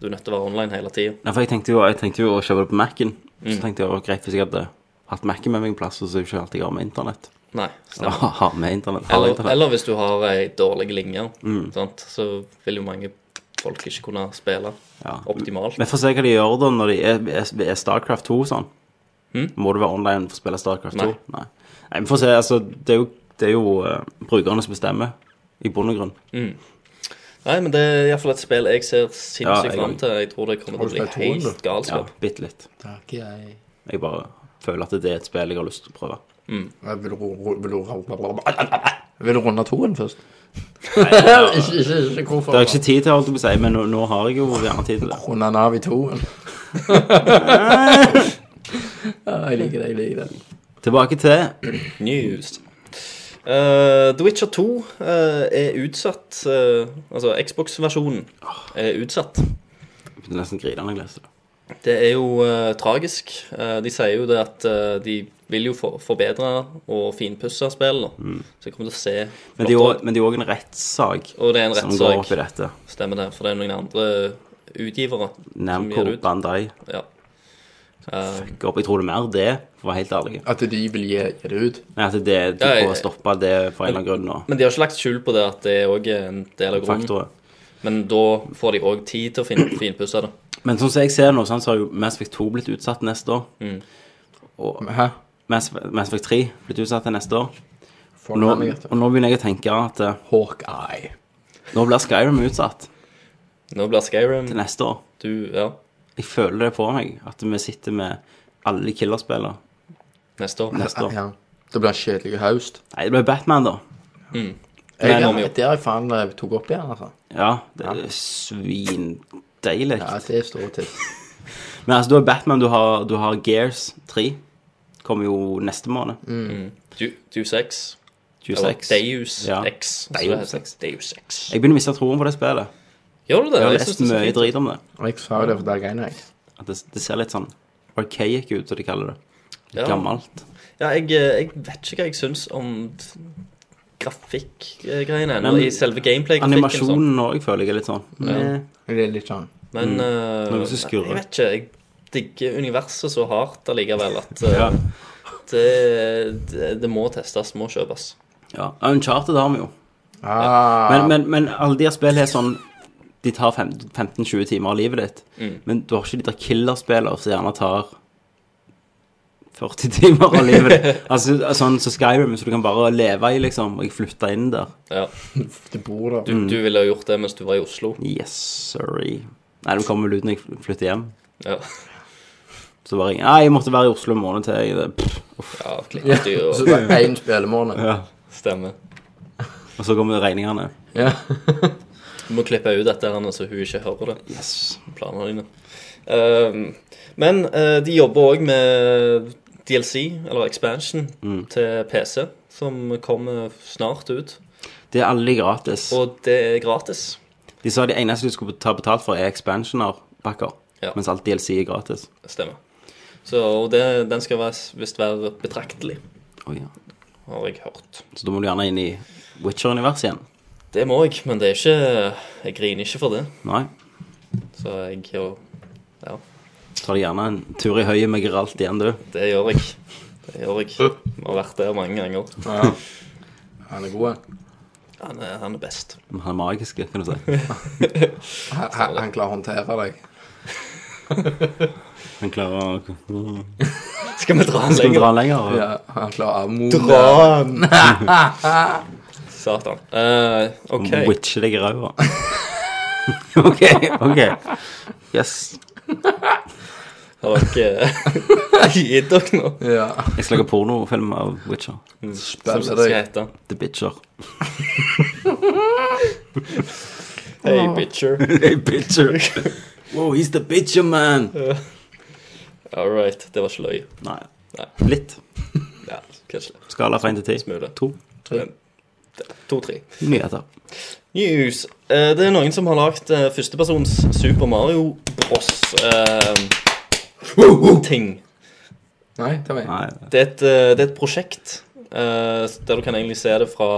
Du er nødt til å være online hele tida. Nei, for jeg tenkte, jo, jeg tenkte jo å kjøpe det på Mac-en. Mm. Så tenkte jeg å greit hvis jeg hadde hatt Mac-en med meg en plass, og så ikke alltid har med internett. Nei. Ja, har med internett. Har Eller, internett. eller hvis du har ei dårlig linje, Mm. sant? så vil jo mange folk ikke kunne spille Ja. optimalt. Vi får se hva de gjør da når de er, er, er Starcraft 2 og sånn. Må du være online for å spille Starcraft 2? Hm? Nei. Nei. Nei, vi får se. Altså, det er jo, det er jo eh, brukerne som bestemmer, i bunn og grunn. Mm, Nei, men det er iallfall et spill jeg ser Ja, sinnssykt jeg fram også. til. Jeg tror det kommer til å bli spilt toen, helt Ja, galskap. bitte litt. Takk, jeg. Jeg bare føler at det er et spill jeg har lyst til å prøve. Mm. Jeg vil, ro- ro- vil, ro- vil du runde toen først? ikke, ikke, ikke Det hvorfor. har jeg ikke tid til, holdt jeg på å si, men nå, nå har jeg jo gjerne tid til det. Runde Nav i toen. ja, jeg liker det, jeg liker det. Tilbake til News. Eh, The Witcher 2 eh, er utsatt. eh, altså Xbox-versjonen er utsatt. Jeg begynte nesten å grine når jeg leste det. Det er jo eh, tragisk. Eh, de sier jo det at eh, de vil jo for forbedre og finpusse spillet. Så jeg kommer til å se Mm. Men det er jo- men det er jo òg en rettssak Og det er en som går rettssak. opp i dette. Stemmer det, for det er noen andre utgivere som gir Namco det ut. Bandai Ja. Eh, går opp. Jeg tror det er mer det, for å være helt ærlig. At de vil gi, gi det ut. Nei, at det er Ja, jeg- å stoppe det for en eller annen grunn og men de har ikke lagt skjul på det at det òg er en del av grunnen. faktorer. Men da får de òg tid til å fin finpusse det. Men sånn som jeg ser nå, sånn, så har jo Mass Effect 2 blitt utsatt neste år. Mm. Hæ? Mass, Mass Effect 3 blitt utsatt til neste år. For Og nå, meg, vet du. og nå begynner jeg å tenke at eh, Hawkeye. nå blir Skyrim utsatt Nå blir Skyrim til neste år. du, ja, Jeg føler det på meg, at vi sitter med alle killerspillene neste år. neste år. Ja. Det blir en kjedelig høst. Nei, det ble Batman, da. Mm. Jeg, Men- det har jeg faen eh, tok opp igjen, altså. Ja, det er svindeilig. Ja, det står til. Men altså, du har Batman, du har, du har Gears 3. Kommer jo neste måned. Du, Mm. Deus Ex. Eller 26. Deus Ja. Ex. som det Deus heter. Ex. Deus Ex. Jeg begynner å miste troen på det spillet. Gjør du det? Jeg har Jeg synes lest det er så mye fint. drit om det. Og jeg sa jo det for der greiene, jeg. At det, det ser litt sånn archaic ut, som de kaller det. Ja. Gammelt. Ja, jeg, eh, jeg vet ikke hva jeg syns om grafikkgreiene. Nei, men I selve gameplay-grafikken. sånn. Animasjonen òg føler jeg er litt sånn. Meh. Det er litt sånn Men Mm. eh, Noe som skurrer. Jeg vet ikke. Jeg digger universet så hardt allikevel at eh, Ja. det, det, det må testes, må kjøpes. ja. Uncharted har vi jo. ah, Men, men, men alle de her spillene er sånn De tar fem- 15-20 timer av livet ditt. Mm. Men du har ikke de der killerspillene som gjerne tar 40 timer av livet ditt. Altså Sånn som Skyrim, så du kan bare leve i, liksom. Og jeg flytta inn der. Mm. Ja. Du bor der. Du, du ville ha gjort det mens du var i Oslo. Yes, sorry. Nei, du kommer vel ut når jeg fl- flytter hjem. Ja, Så bare ringer jeg. Nei, jeg måtte være i Oslo en måned til. Jeg, pff, ja klikker du Så og det er én spillemåned. ja. stemmer. Og så kommer regningene. Ja. Du må klippe ut dette her nå, så hun ikke hører det. Yes. planene dine. Ehm, men eh, de jobber òg med DLC, eller expansion, Mm. til PC, som kommer snart ut. Det er alle gratis. Og det er gratis. De sa de eneste du skulle ta betalt for, er expansioner-pakker. Ja. Mens alt DLC er gratis. Stemmer. Så, og det, den skal være- visst være betraktelig, Å, ja. har jeg hørt. Så da må du gjerne inn i Witcher-universet igjen. Det må jeg, men det er ikke Jeg griner ikke for det. Nei. Så jeg jo Ja, Tar du gjerne en tur i høyet med Geralt igjen, du. det gjør jeg. Det gjør jeg. Vi har vært der mange ganger. Ja. Han er god, han. Han er, han er best. Men Han er magisk, kan du si. han. han- Han klarer å håndtere deg. Han klarer å Skal vi dra han Skal vi lenger? dra lenger? Ja, han klarer å avmode. Dra han! Satan. Eh, OK. Witche deg i ræva. OK. ok Yes. Har dere gitt dere nå? Ja. Jeg skal lage pornofilm av Witcher. Mm. Som Spiller det skal deg. hete. The Bitcher. Hey, bitcher. Hey, bitcher. Wow, he's the bitcher, man. All right. Det var ikke løye. Nei. Nei. Litt. Ja, kanskje litt. Skala fra 1 til 10. Smule. To. To-tre. Nyheter. News. Eh, det er noen som har lagd eh, førstepersons Super Mario Bros. Eh, ting. Nei, det var jeg. Nei. Det er et, eh, det er et prosjekt eh, der du kan egentlig se det fra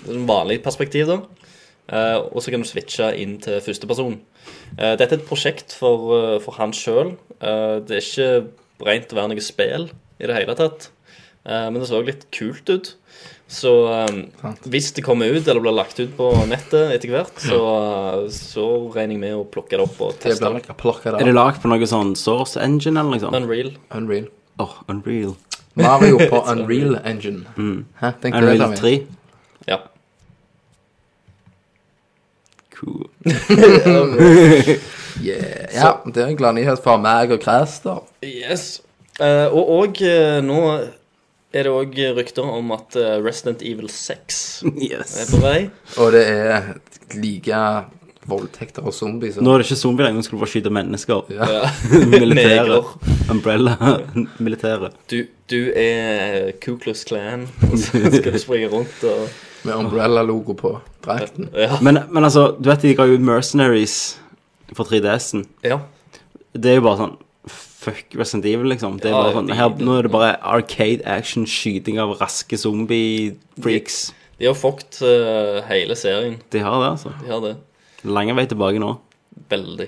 et vanlig perspektiv. da. Eh, og så kan du switche inn til førsteperson. Eh, dette er et prosjekt for, eh, for han sjøl. det er ikke rent å være noe spill i det hele tatt. Eh, men det så litt kult ut. Så eh, hvis det kommer ut eller blir lagt ut på nettet etter hvert, så, eh, så regner jeg med å plukke det opp og Det teste blir det. nok plukket Er det der. lagd på noe sånn source engine eller noe sånt? Unreal. Unreal. Åh, Unreal. Mario på Unreal Engine. Hæ, Mm. tenk det, Unreal Tommy. 3. Ja. Cool. Yeah. Ja, det er en glad nyhet for meg og Christer. Yes. Eh, og og eh, nå er det òg rykter om at eh, Resident Evil 6 er Yes. på vei. Og det er like voldtekter og zombies. Nå er det ikke zombie lenger, nå skal du bare skyte mennesker. Ja. Militære. Neger. Umbrella. Militære. Du, du er eh, Ku Klux Klan, og så skal du springe rundt og Med Umbrella-logo på drakten. Ja. Men, men altså, du vet de ga jo ut Mercenaries for 3DS-en. ja. Det er jo bare sånn Fuck Resident Evil, liksom. Det er Ja, bare sånn, det- her, nå er det bare arcade action, skyting av raske zombie-freaks. De har fucked eh, hele serien. De har det, altså. De har det. Lange vei tilbake nå. Veldig.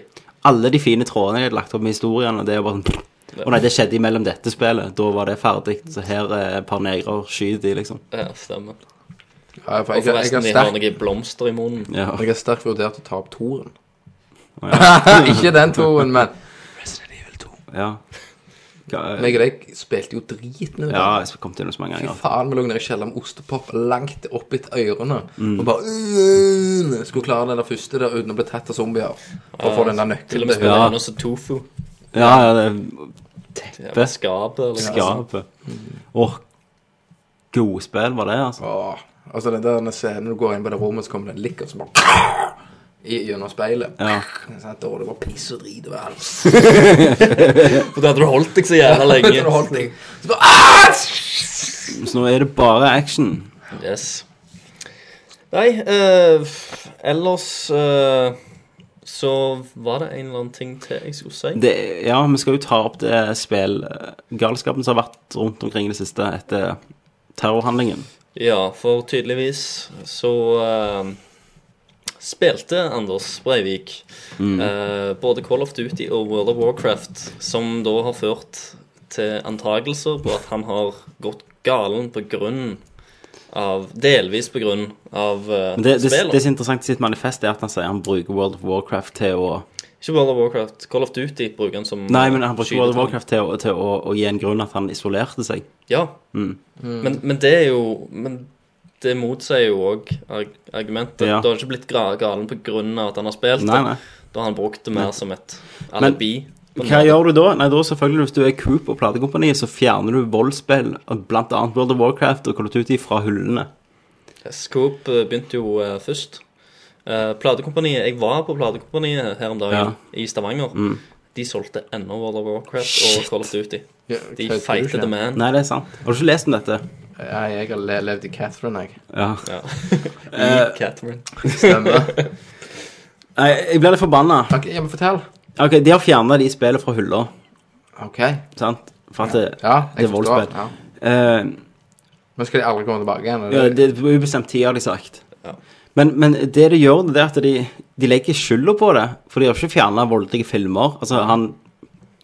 Alle de fine trådene jeg hadde lagt opp med historien, og det er jo bare sånn Å nei, det skjedde imellom dette spillet. Da var det ferdig. Så her er et par negrer, skyt de, liksom. Ja, stemmer. Ja, for Og jeg, jeg, forresten, har de har sterk, noen blomster i munnen. Ja. jeg har sterkt vurdert å ta opp toren. Ja. Ikke den toren, men ja. Ga- meg og deg spilte jo driten ut. ja, av den. jeg kom til noe så mange Fy ganger. faen, vi lå nede i kjelleren med ostepop langt opp etter ørene. Mm. Og bare øh, Skulle klare det der første der uten å bli tatt av zombier. For å få den der Til og nøkkelen med til spiller Ja. han også Tofu. Ja, ja, det er Ja, skapet eller noe sånt. skapet. Mm. Åh, godspill var det, altså. Åh, altså den der scenen du går inn på det rommet, så kommer det en likk, og så bare i, Gjennom speilet. Ja. Sånn, da er det var piss og drit over alt. For da hadde du holdt deg så jævla Så du lenge. holdt deg. Så bare, ah! Så nå er det bare action. Yes. Nei, eh, f- ellers eh, så var det en eller annen ting til jeg skulle si. det, ja, vi skal jo ta opp det spillgalskapen som har vært rundt omkring i det siste etter terrorhandlingen. Ja, for tydeligvis så eh, spilte Anders Breivik Mm. eh, både Call of Duty og World of Warcraft, som da har ført til antagelser på at han har gått galen på grunn av Delvis på grunn av uh, Men det, det, spillet. det som er interessant i sitt manifest, er at han sier han bruker World of Warcraft til å Ikke World of Warcraft. Call of Duty bruker han som eh, Nei, men han bruker World skytetang. of Warcraft til, å, til å, å gi en grunn at han isolerte seg. Mm. Ja. Men, men det er jo Men det motsier jo òg argumentet. Ja. Det har ikke blitt gra- galen på grunn av at han har spilt. Nei, det. nei. Da har han brukt det mer som et Men- alibi. på en Hva måte. gjør du da? Nei, da selvfølgelig Hvis du er Coop og platekompaniet, så fjerner du voldsspill, og blant annet World of Warcraft og Call of Duty, fra hyllene. Scoop eh, begynte jo eh, først. Eh, platekompaniet Jeg var på platekompaniet her om dagen Ja. Mm. i Stavanger. De solgte ennå World of Warcraft og Call of Duty. Ja, De kødder du feite ikke? the man. Nei, det er sant. Har du ikke lest om dette? Ja, jeg har le- levd i Catherine, jeg. Ja. Ja. I Catherine. Stemmer. Eh, Nei, jeg blir litt forbanna. Ok, ja, men fortell. Ok, de har fjerna de spillene fra hylla, Ok. sant? For at det, Ja, det jeg er forstår. voldsspill. Ja. Eh, Men skal de aldri komme tilbake igjen? Ja, eller? det er på ubestemt tid, har de sagt. Men, men det de gjør, det er at de, de legger skylda på det. For de har ikke fjerna voldelige filmer. Altså, han,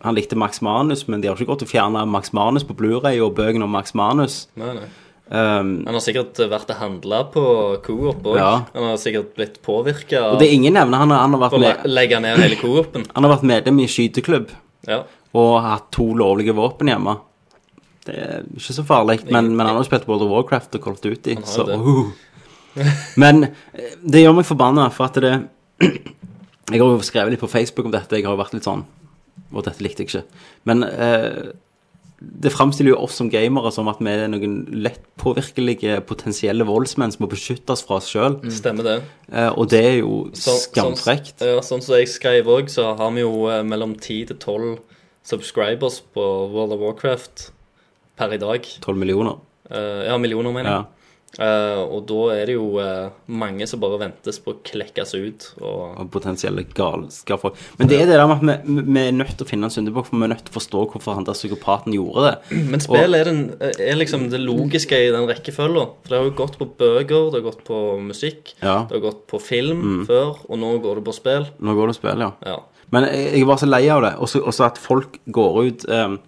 han likte Max Manus, men de har ikke gått og fjerna Max Manus på Blu-ray og bøkene om Max Manus. Nei, nei. Um, Han har sikkert eh, vært og handla på Coop òg. Ja. Han har sikkert blitt påvirka og det er ingen nevner han, han har vært for å le- med. legge ned hele Coop-en. Han har vært medlem i skyteklubb Ja. og hatt to lovlige våpen hjemme. Det er ikke så farlig, men, men han har jo spilt World of Warcraft og Colt Duty, Han har så jo det. uh. Men eh, det gjør meg forbanna, for at det Jeg har jo skrevet litt på Facebook om dette, jeg har jo vært litt sånn Og dette likte jeg ikke. Men eh, det framstiller jo oss som gamere som at vi er noen lett påvirkelige potensielle voldsmenn som må beskytte oss fra oss sjøl, Mm. Stemmer det. Eh, og det er jo Så- sånn- skamfrekt. ja, sånn som jeg skrev òg, så har vi jo eh, mellom 10 til 12 subscribers på World of Warcraft per i dag. 12 millioner. Eh, ja, millioner, mener jeg. Ja. Eh, og da er det jo eh, mange som bare ventes på å klekkes ut. Og, og potensielle galskap. Men det er det der med at vi, vi er nødt til å finne en syndebukk, for vi er nødt til å forstå hvorfor han der psykopaten gjorde det. men spillet er, den, er liksom det logiske i den rekkefølga. For det har jo gått på bøker, det har gått på musikk, Ja. Mm. det har gått på film før, og nå går det på spill. Nå går det å spille, ja. Ja. Men jeg, jeg var så lei av det, og så- og så at folk går ut um,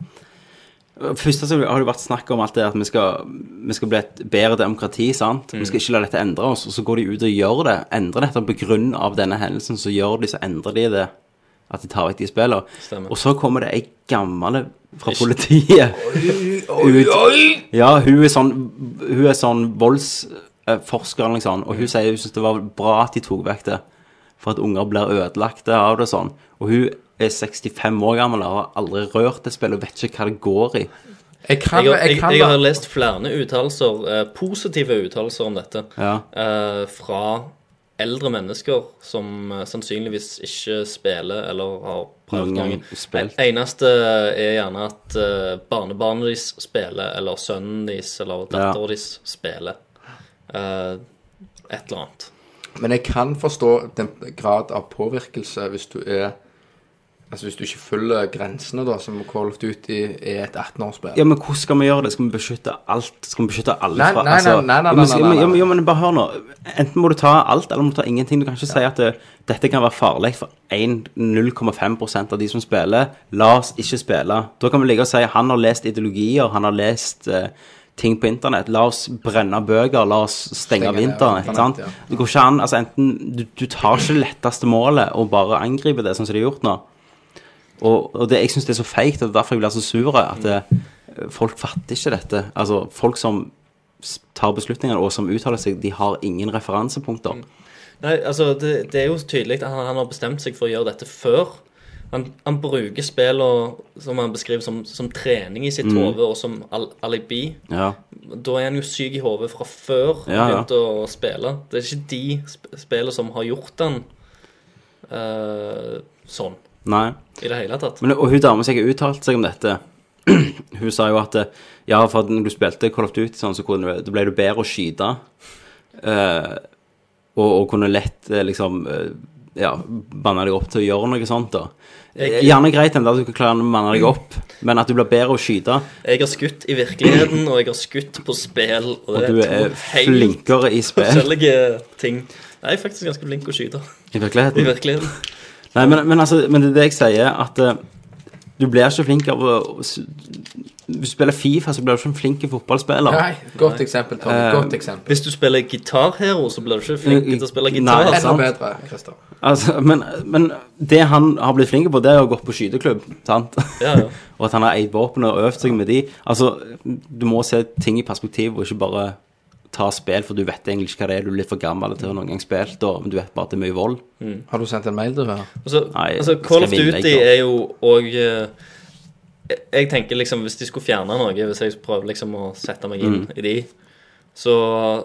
Først så har det vært snakk om alt det at vi skal, vi skal bli et bedre demokrati, sant? Vi skal Mm. ikke la dette endre oss, og så går de ut og gjør det. Endrer dette på grunn av denne hendelsen, så gjør de, så endrer de det. At de tar vekk de spillene. Stemmer. Og så kommer det ei gammel fra politiet ut. Ja, hun er sånn, hun er sånn voldsforsker eller noe sånt, og hun sier hun synes det var bra at de tok vekk det, for at unger blir ødelagte av det og sånn. Og hun er 65 år gammel og har aldri rørt det spillet og vet ikke hva det går i. Jeg kan, Jeg, har- jeg jeg, kan jeg har da. lest flere uttalelser, eh, positive uttalelser om dette, Ja. eh, fra eldre mennesker som eh, sannsynligvis ikke spiller eller har prøvd Noen gang noen spilt. Eneste er gjerne at eh, barnebarnet deres spiller, eller sønnen deres eller Ja. datteren deres spiller. Eh, et eller annet. Men jeg kan forstå den grad av påvirkelse hvis du er Altså hvis du ikke følger grensene, da, som Call of Duty er et 18-årsspill. Ja, men hvordan skal vi gjøre det? Skal vi beskytte alt? Skal vi beskytte alle Nei, fra altså, nei, nei, nei, ja, nei, men, nei, nei, nei. ja, men- Ja, men bare hør nå. Enten må du ta alt, eller må du ta ingenting. Du kan ikke si at eh, dette kan være farlig for 1 0,5 av de som spiller. La oss ikke spille. Da kan vi ligge og si han har lest ideologier, han har lest eh, ting på internett. La oss brenne bøker, la oss stenge Stenge av ned internett. internett, sant? ja. Det går ikke an. Altså, enten du, du tar ikke det letteste målet og bare angriper det, sånn som de har gjort nå. Og, og det, jeg syns det er så feigt, og det er derfor jeg blir så sur. At det, folk fatter ikke dette. Altså, folk som s- tar beslutninger, og som uttaler seg, de har ingen referansepunkter. Mm. Nei, altså, det, det er jo tydelig at han, han har bestemt seg for å gjøre dette før. Han, han bruker spillene som han beskriver som, som trening i sitt hode, og som al alibi. Mm. Ja. Da er han jo syk i hodet fra før han Ja, ja. begynte å spille. Det er ikke de sp spillene som har gjort han eh, sånn Nei. i det hele tatt. Men, og hun dama som jeg har uttalt seg om dette, hun sa jo at eh, ja, for at når du spilte Call of Duty sånn, så kunne, du- da ble du bedre å skyte. eh, og, og kunne lett eh, liksom eh, ja, banne deg opp til å gjøre noe sånt, da. Jeg- Gjerne greit enda at du kan klare å banne deg opp, men at du blir bedre å skyte. Jeg har skutt i virkeligheten, og jeg har skutt på spill. Og, Og det du to er helt flinkere i spill Forskjellige ting. Jeg er faktisk ganske flink å skyte i i virkeligheten. virkeligheten. Nei, men, men, altså, men det er det jeg sier, at eh, du blir ikke flink av å å s- Hvis du spiller Fifa, så blir du ikke en flink fotballspiller. Nei, godt eksempel, Tom. Godt eksempel. Hvis du spiller Guitar Hero, så blir du ikke flink til å spille gitar. Eh, Nei, Enda sant. bedre, Christer. Altså, men, men det han har blitt flink på, det er å gå på skyteklubb, sant? Ja, ja. og at han har eid våpen og øvd seg med de. Altså, du må se ting i perspektiv, og ikke bare ta spill, for du vet egentlig ikke hva det er. Du er litt for gammel til å ha noen gang spilt, og men du vet bare at det er mye vold. Har du sendt en mail, du? her? Mm. Altså, Nei, altså skal Call of vinne, Duty jeg, da. er jo òg Jeg jeg tenker liksom, hvis de skulle fjerne noe, hvis jeg prøver liksom å sette meg inn Mm. i de, så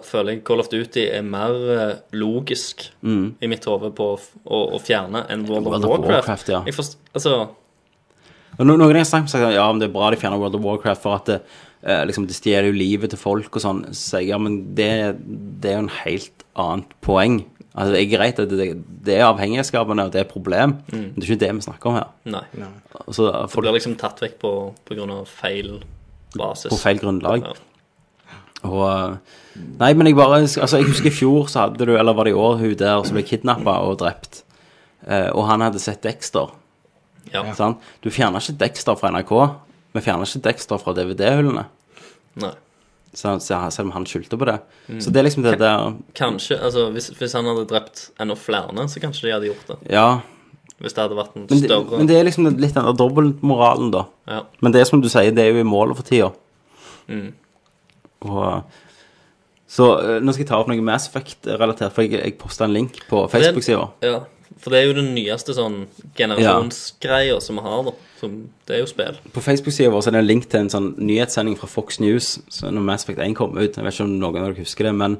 føler jeg Call of Duty er mer eh, logisk i mitt hode på å, f- å, å fjerne enn World of Mm. World of Warcraft. Warcraft, ja. Jeg forst, altså, Og no, noen har sagt sagt at ja, men det er bra de fjerner World of Warcraft for at det, eh, liksom, det stjeler jo livet til folk og sånn. Så sier jeg ja, men det, det er jo en helt annet poeng. Altså, det er greit at det, det er avhengighetsskapende, og det er et problem, men det er ikke det vi snakker om her. Mm. Nei. Altså, Det folk blir liksom tatt vekk på, på grunn av feil basis. på feil grunnlag. Ja. Og eh, Nei, men jeg bare Altså, jeg husker i fjor så hadde du, eller var det i år, hun der som ble kidnappa og drept. Eh, og han hadde sett Dexter. Ja. Sant? Du fjerner ikke Dexter fra NRK. Vi fjerner ikke Dexter fra DVD-hullene. Nei. Mm. Så- så- Selv om han skyldte på det. Så det er liksom det der Kanskje, altså hvis, hvis han hadde drept enda flere, så kanskje de hadde gjort det. Ja. Hvis det hadde vært en Men det, større men det er liksom litt den der dobbeltmoralen, da. Ja. Mm. Men det er som du sier, det er jo i målet for tida. Og eh, Så eh, nå skal jeg ta opp noe Mass Effect-relatert, for jeg, jeg posta en link på Det- Facebook-sida. Ja, for det er jo den nyeste sånn generasjonsgreia som vi har, da. Som, det er jo spill. På Facebook-sida vår så er det en link til en sånn nyhetssending fra Fox News så når Mass Effect 1 kom ut. Jeg vet ikke om noen av dere husker det, men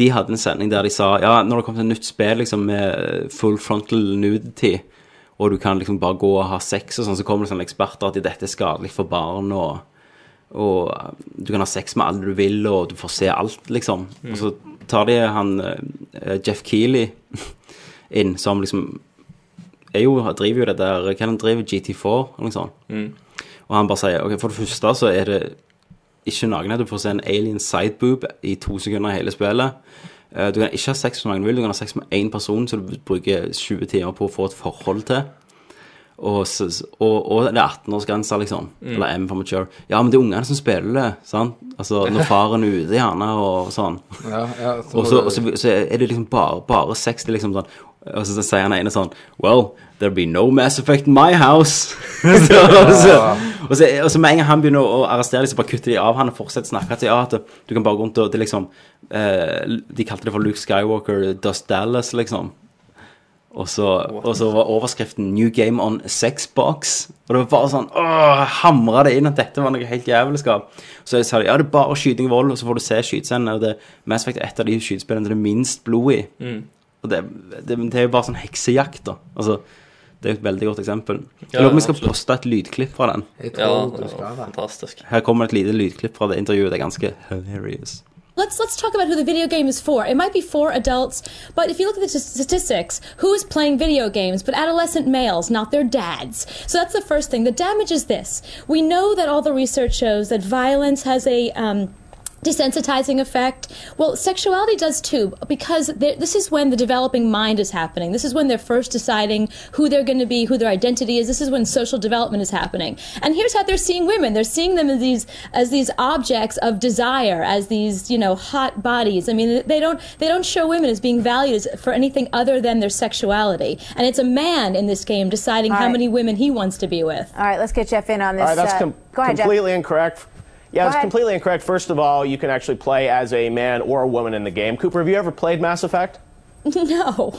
de hadde en sending der de sa ja, når det kom til et nytt spill liksom, med full frontal nudity, og du kan liksom bare gå og ha sex og sånn, så kommer det sånne eksperter at dette er skadelig for barn, og, og eh, du kan ha sex med alle du vil, og du får se alt, liksom. Og så tar de han eh, Jeff Keeley inn, som liksom er jo, driver jo det der Hva er det han driver? GT4, eller noe sånt? Og han bare sier ok, for det første så er det ikke noen at du får se en alien sideboob i to sekunder i hele spillet. Eh, Du kan ikke ha sex med noen du vil, du kan ha sex med én person som du bruker 20 timer på å få et forhold til. Og, s- og, og det er 18-årsgrense, liksom. Mm. Eller M for mature. Ja, men det er ungene som spiller det. sant? Altså, Når faren er ute, gjerne, og sånn. Ja, ja, så Og så, og så, så er det liksom bare, bare sex. Det er liksom sånn Og så, så sier han ene sånn Well, there'll be no Mass Effect in my house. så, og, så, og, så, og så med en gang han begynner å arrestere dem, så bare kutter de av han og fortsetter å snakke. Til, ja, at du, du kan bare gå rundt og det er liksom eh, De kalte det for Luke Skywalker, Dust Dallas, liksom. Og så, og så var overskriften 'New Game on Sexbox'. Og det var bare sånn åh, Hamra det inn at dette var noe helt jævelskap. Så sa de ja, det er bare skyting og vold, og så får du se skytescenene. Og det Mass Effect er et av de skytespillene det er minst blod i. Og det, det, det er jo bare sånn heksejakt, da. Altså, det er jo et veldig godt eksempel. Jeg lurer på om jeg skal absolutt. poste et lydklipp fra den. jeg Ja, tror det du var skal det. fantastisk. Her kommer et lite lydklipp fra det intervjuet. Det er ganske hilarious. Let's let's talk about who the video game is for. It might be for adults, but if you look at the t- statistics, who is playing video games but adolescent males, not their dads. So that's the first thing. The damage is this. We know that all the research shows that violence has a um, desensitizing effect. Well, sexuality does too, because there- this is when the developing mind is happening. This is when they're first deciding who they're going to be, who their identity is. This is when social development is happening. And here's how they're seeing women: they're seeing them as these as these objects of desire, as these you know hot bodies. I mean, they don't they don't show women as being valued as, for anything other than their sexuality. And it's a man in this game deciding how right. many women he wants to be with. All right, let's get Jeff in on this. All right, that's uh, com- go ahead, Jeff. completely incorrect. Yeah, that's ahead. completely incorrect. First of all, you can actually play as a man or a woman in the game. Cooper, have you ever played Mass Effect? no.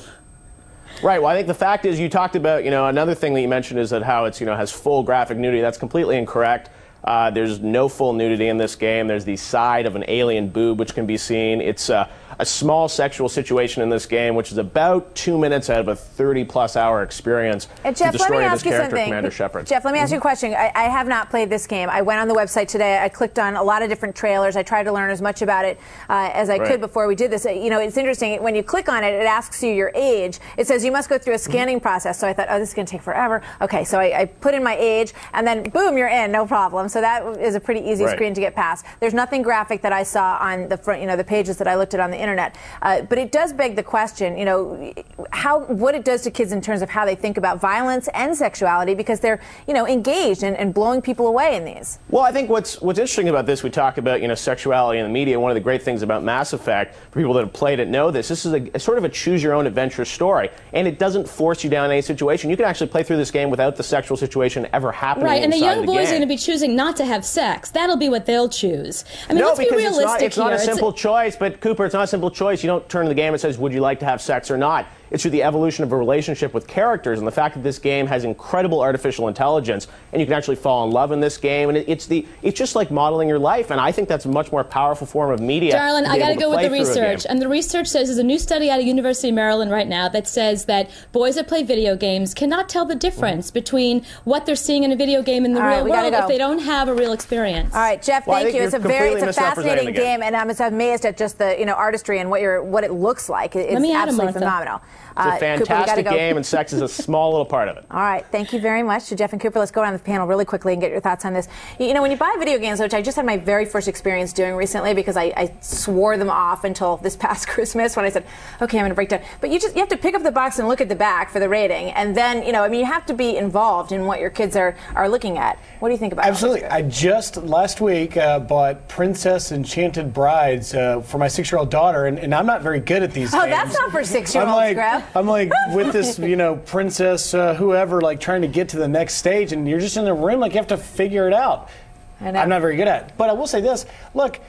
Right. Well, I think the fact is you talked about, you know, another thing that you mentioned is that how it's, you know, has full graphic nudity. That's completely incorrect. Uh, there's no full nudity in this game. There's the side of an alien boob which can be seen. It's uh, a small sexual situation in this game, which is about two minutes out of a 30-plus hour experience. Uh, Jeff, to let me destroy ask this you character, something. Commander Shepard. Mm-hmm. Jeff, let me ask you a question. I, I have not played this game. I went on the website today. I clicked on a lot of different trailers. I tried to learn as much about it uh, as I Right. could before we did this. Uh, You know, it's interesting. When you click on it, it asks you your age. It says you must go through Mm-hmm. a scanning process. So I thought, oh, this is going to take forever. Okay, so I, I put in my age, and then boom, you're in, no problem. So that is a pretty easy Right. screen to get past. There's nothing graphic that I saw on the front, you know, the pages that I looked at on the internet. Uh, but it does beg the question, you know, how what it does to kids in terms of how they think about violence and sexuality because they're, you know, engaged and, and blowing people away in these. Well, I think what's what's interesting about this, we talk about you know sexuality in the media. One of the great things about Mass Effect, for people that have played it, know this. This is a, a sort of a choose-your-own-adventure story, and it doesn't force you down any situation. You can actually play through this game without the sexual situation ever happening. Right, and the inside young of the boys are game. going to be choosing not to have sex. That'll be what they'll choose. I mean, no, let's be because it's realistic not, it's here. not a It's- simple choice. But Cooper, it's not a simple choice. You don't turn to the game and says, "Would you like to have sex or not?" It's through the evolution of a relationship with characters and the fact that this game has incredible artificial intelligence and you can actually fall in love in this game. And it, it's the it's just like modeling your life. And I think that's a much more powerful form of media. Darling, to be I got to able go with play the through a game. research. Uh, And the research says there's a new study out of University of Maryland right now that says that boys that play video games cannot tell the difference between what they're seeing in a video game in the All right, real we gotta world go. if they don't have a real experience. All right, Jeff. Well, I thank think you. It's a you're very, it's completely a fascinating misrepresenting the game. game, and I'm just amazed at just the you know artistry and what your what it looks like. It- It's me at it, absolutely Martha. phenomenal. It's Uh, a Cooper, we gotta fantastic go. game, and sex is a small little part of it. All right, thank you very much to Jeff and Cooper. Let's go down the panel really quickly and get your thoughts on this. You you know, when you buy video games, which I just had my very first experience doing recently because I, I swore them off until this past Christmas when I said, okay, I'm going to break down. But you just you have to pick up the box and look at the back for the rating, and then you know, I mean, you have to be involved in what your kids are are looking at. What do you think about? all this? Absolutely. I just last week uh, bought Princess Enchanted Brides uh, for my six-year-old daughter, and, and I'm not very good at these. Oh, games. that's not for six-year-olds, I'm like, Graham. I'm like with this, you know, princess, uh, whoever, like trying to get to the next stage, and you're just in the room, like you have to figure it out. I know. I'm not very good at. it. But I will say this: look.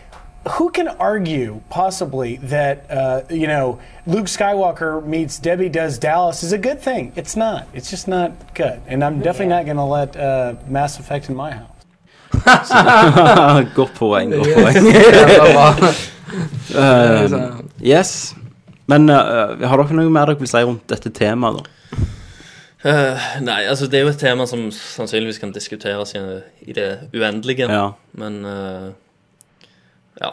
Who can argue possibly that uh, you know Luke Skywalker meets Debbie Does Dallas is a good thing? It's not. It's just not good, and I'm definitely not going to let uh, Mass Effect in my house. godt poeng, godt Yes. poeng. Jævla Um, bra. Eh, sånn. yes. Men eh, har dere noe mer dere vil si rundt dette temaet? da? Eh, nei, altså det er jo et tema som sannsynligvis kan diskuteres i, i det uendelige. Ja. Men eh, ja.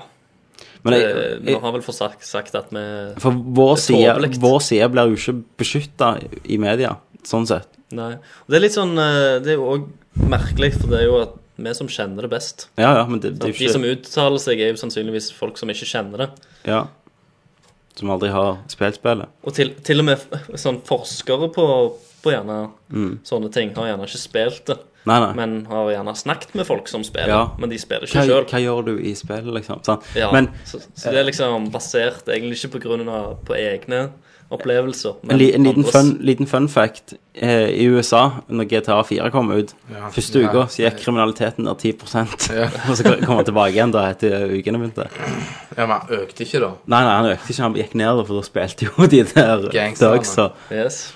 Men jeg- Eh, vi jeg- har vel for sagt, sagt at vi For vår det er side, tåpelig. vår side blir jo ikke beskytta i media, sånn sett. Nei. Og det er litt sånn eh, Det er jo òg merkelig, for det er jo at vi som kjenner det best. Ja, ja, men det- det er Sant? jo De ikke- som uttaler seg, er jo sannsynligvis folk som ikke kjenner det. Ja. Som aldri har spilt spillet. Og til, til og med f- sånn forskere på, på gjerne Mm. sånne ting har gjerne ikke spilt det. Nei, nei. Men har gjerne snakket med folk som spiller, Ja. men de spiller Hva- ikke sjøl. Hva gjør du i spillet, liksom? Sant? Ja, Men så, så det er liksom basert egentlig ikke på grunn av på egne opplevelser. En, li, en liten, andres. fun, liten fun fact. Eh, I USA, når GTA 4 kom ut, Ja. første Ja. uka, så gikk kriminaliteten ned 10 Og så kom han tilbake igjen da etter ukene begynte. Ja, men han økte ikke, da. Nei, nei, han økte ikke, han gikk ned, for da spilte jo de der Gangsterne. dogsa. Yes.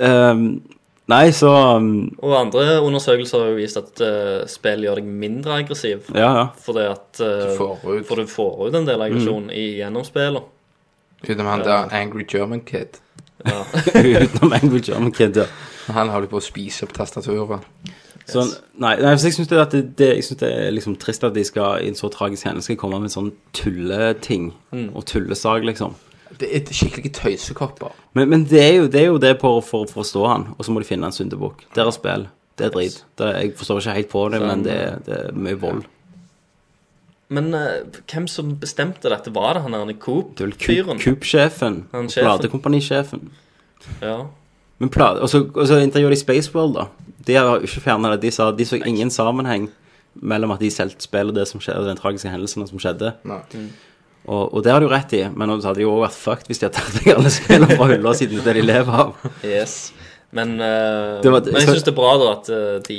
Um, nei, så um, Og andre undersøkelser har jo vist at eh, spill gjør deg mindre aggressiv. Ja, ja. Fordi at eh, Du får For du får ut en del aggresjon Mm. i gjennom spillet. Utenom han der Angry German Kid. Ja. Utenom Angry German Kid, ja. Han holder på å spise opp tastaturet. Sånn, nei, nei, for jeg syns det, at det, det, jeg synes det er liksom trist at de skal i en så tragisk hendelse komme med sånn tulleting Mm. og tullesak, liksom. Det er skikkelige tøysekopper. Men, men det, er jo, det er jo det for, for å forstå han, og så må de finne en syndebukk. Der er spill. Det er drit. Det, er- jeg forstår ikke helt på det, Sånn. men det, er- det er mye vold. Men eh, hvem som bestemte dette? Var det han der Coop-fyren? Coop-sjefen. Han sjefen. Platekompanisjefen. Ja. Men pla- altså, og, så, og så intervjuer de Space World, da. De har jo ikke fjerna det. De sa de så ingen sammenheng mellom at de solgte spillet og det som skjedde, den tragiske hendelsen som skjedde. Mm. Og, og det har du rett i, men så hadde de jo også vært fucked hvis de hadde tatt vekk alle spillene fra hylla siden det er det de lever av. Yes. Men, eh, Det var- men jeg så- syns det er bra da at eh, de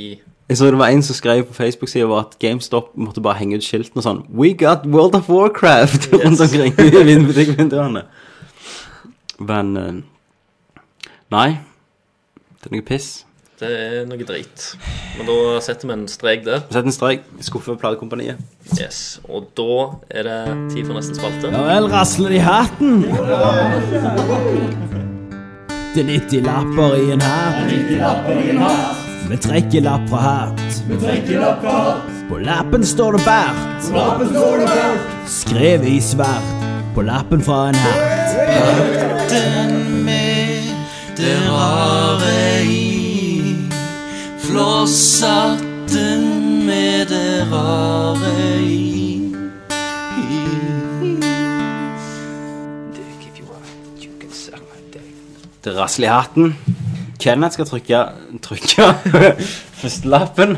Jeg så det var en som skrev på Facebook-sida vår at GameStop måtte bare henge ut skiltene og sånn We got World of Warcraft rundt omkring i vin- butikkvinduene. Men eh, Nei. Det er noe piss. Det er noe drit. Men da setter vi en strek der. Sett en strek. Skuffe platekompaniet. Yes. Og da er det tid for neste spalte. Ja vel, rasler det i hatten. Det er 90 lapper i en hatt. Vi trekker lapp fra hatt. På lappen står det bært. Skrevet i svart. På lappen fra en hatt. Det rare i Flosshatten med det rare i Det rasler i hatten. Kenneth skal trykke trykke førstelappen.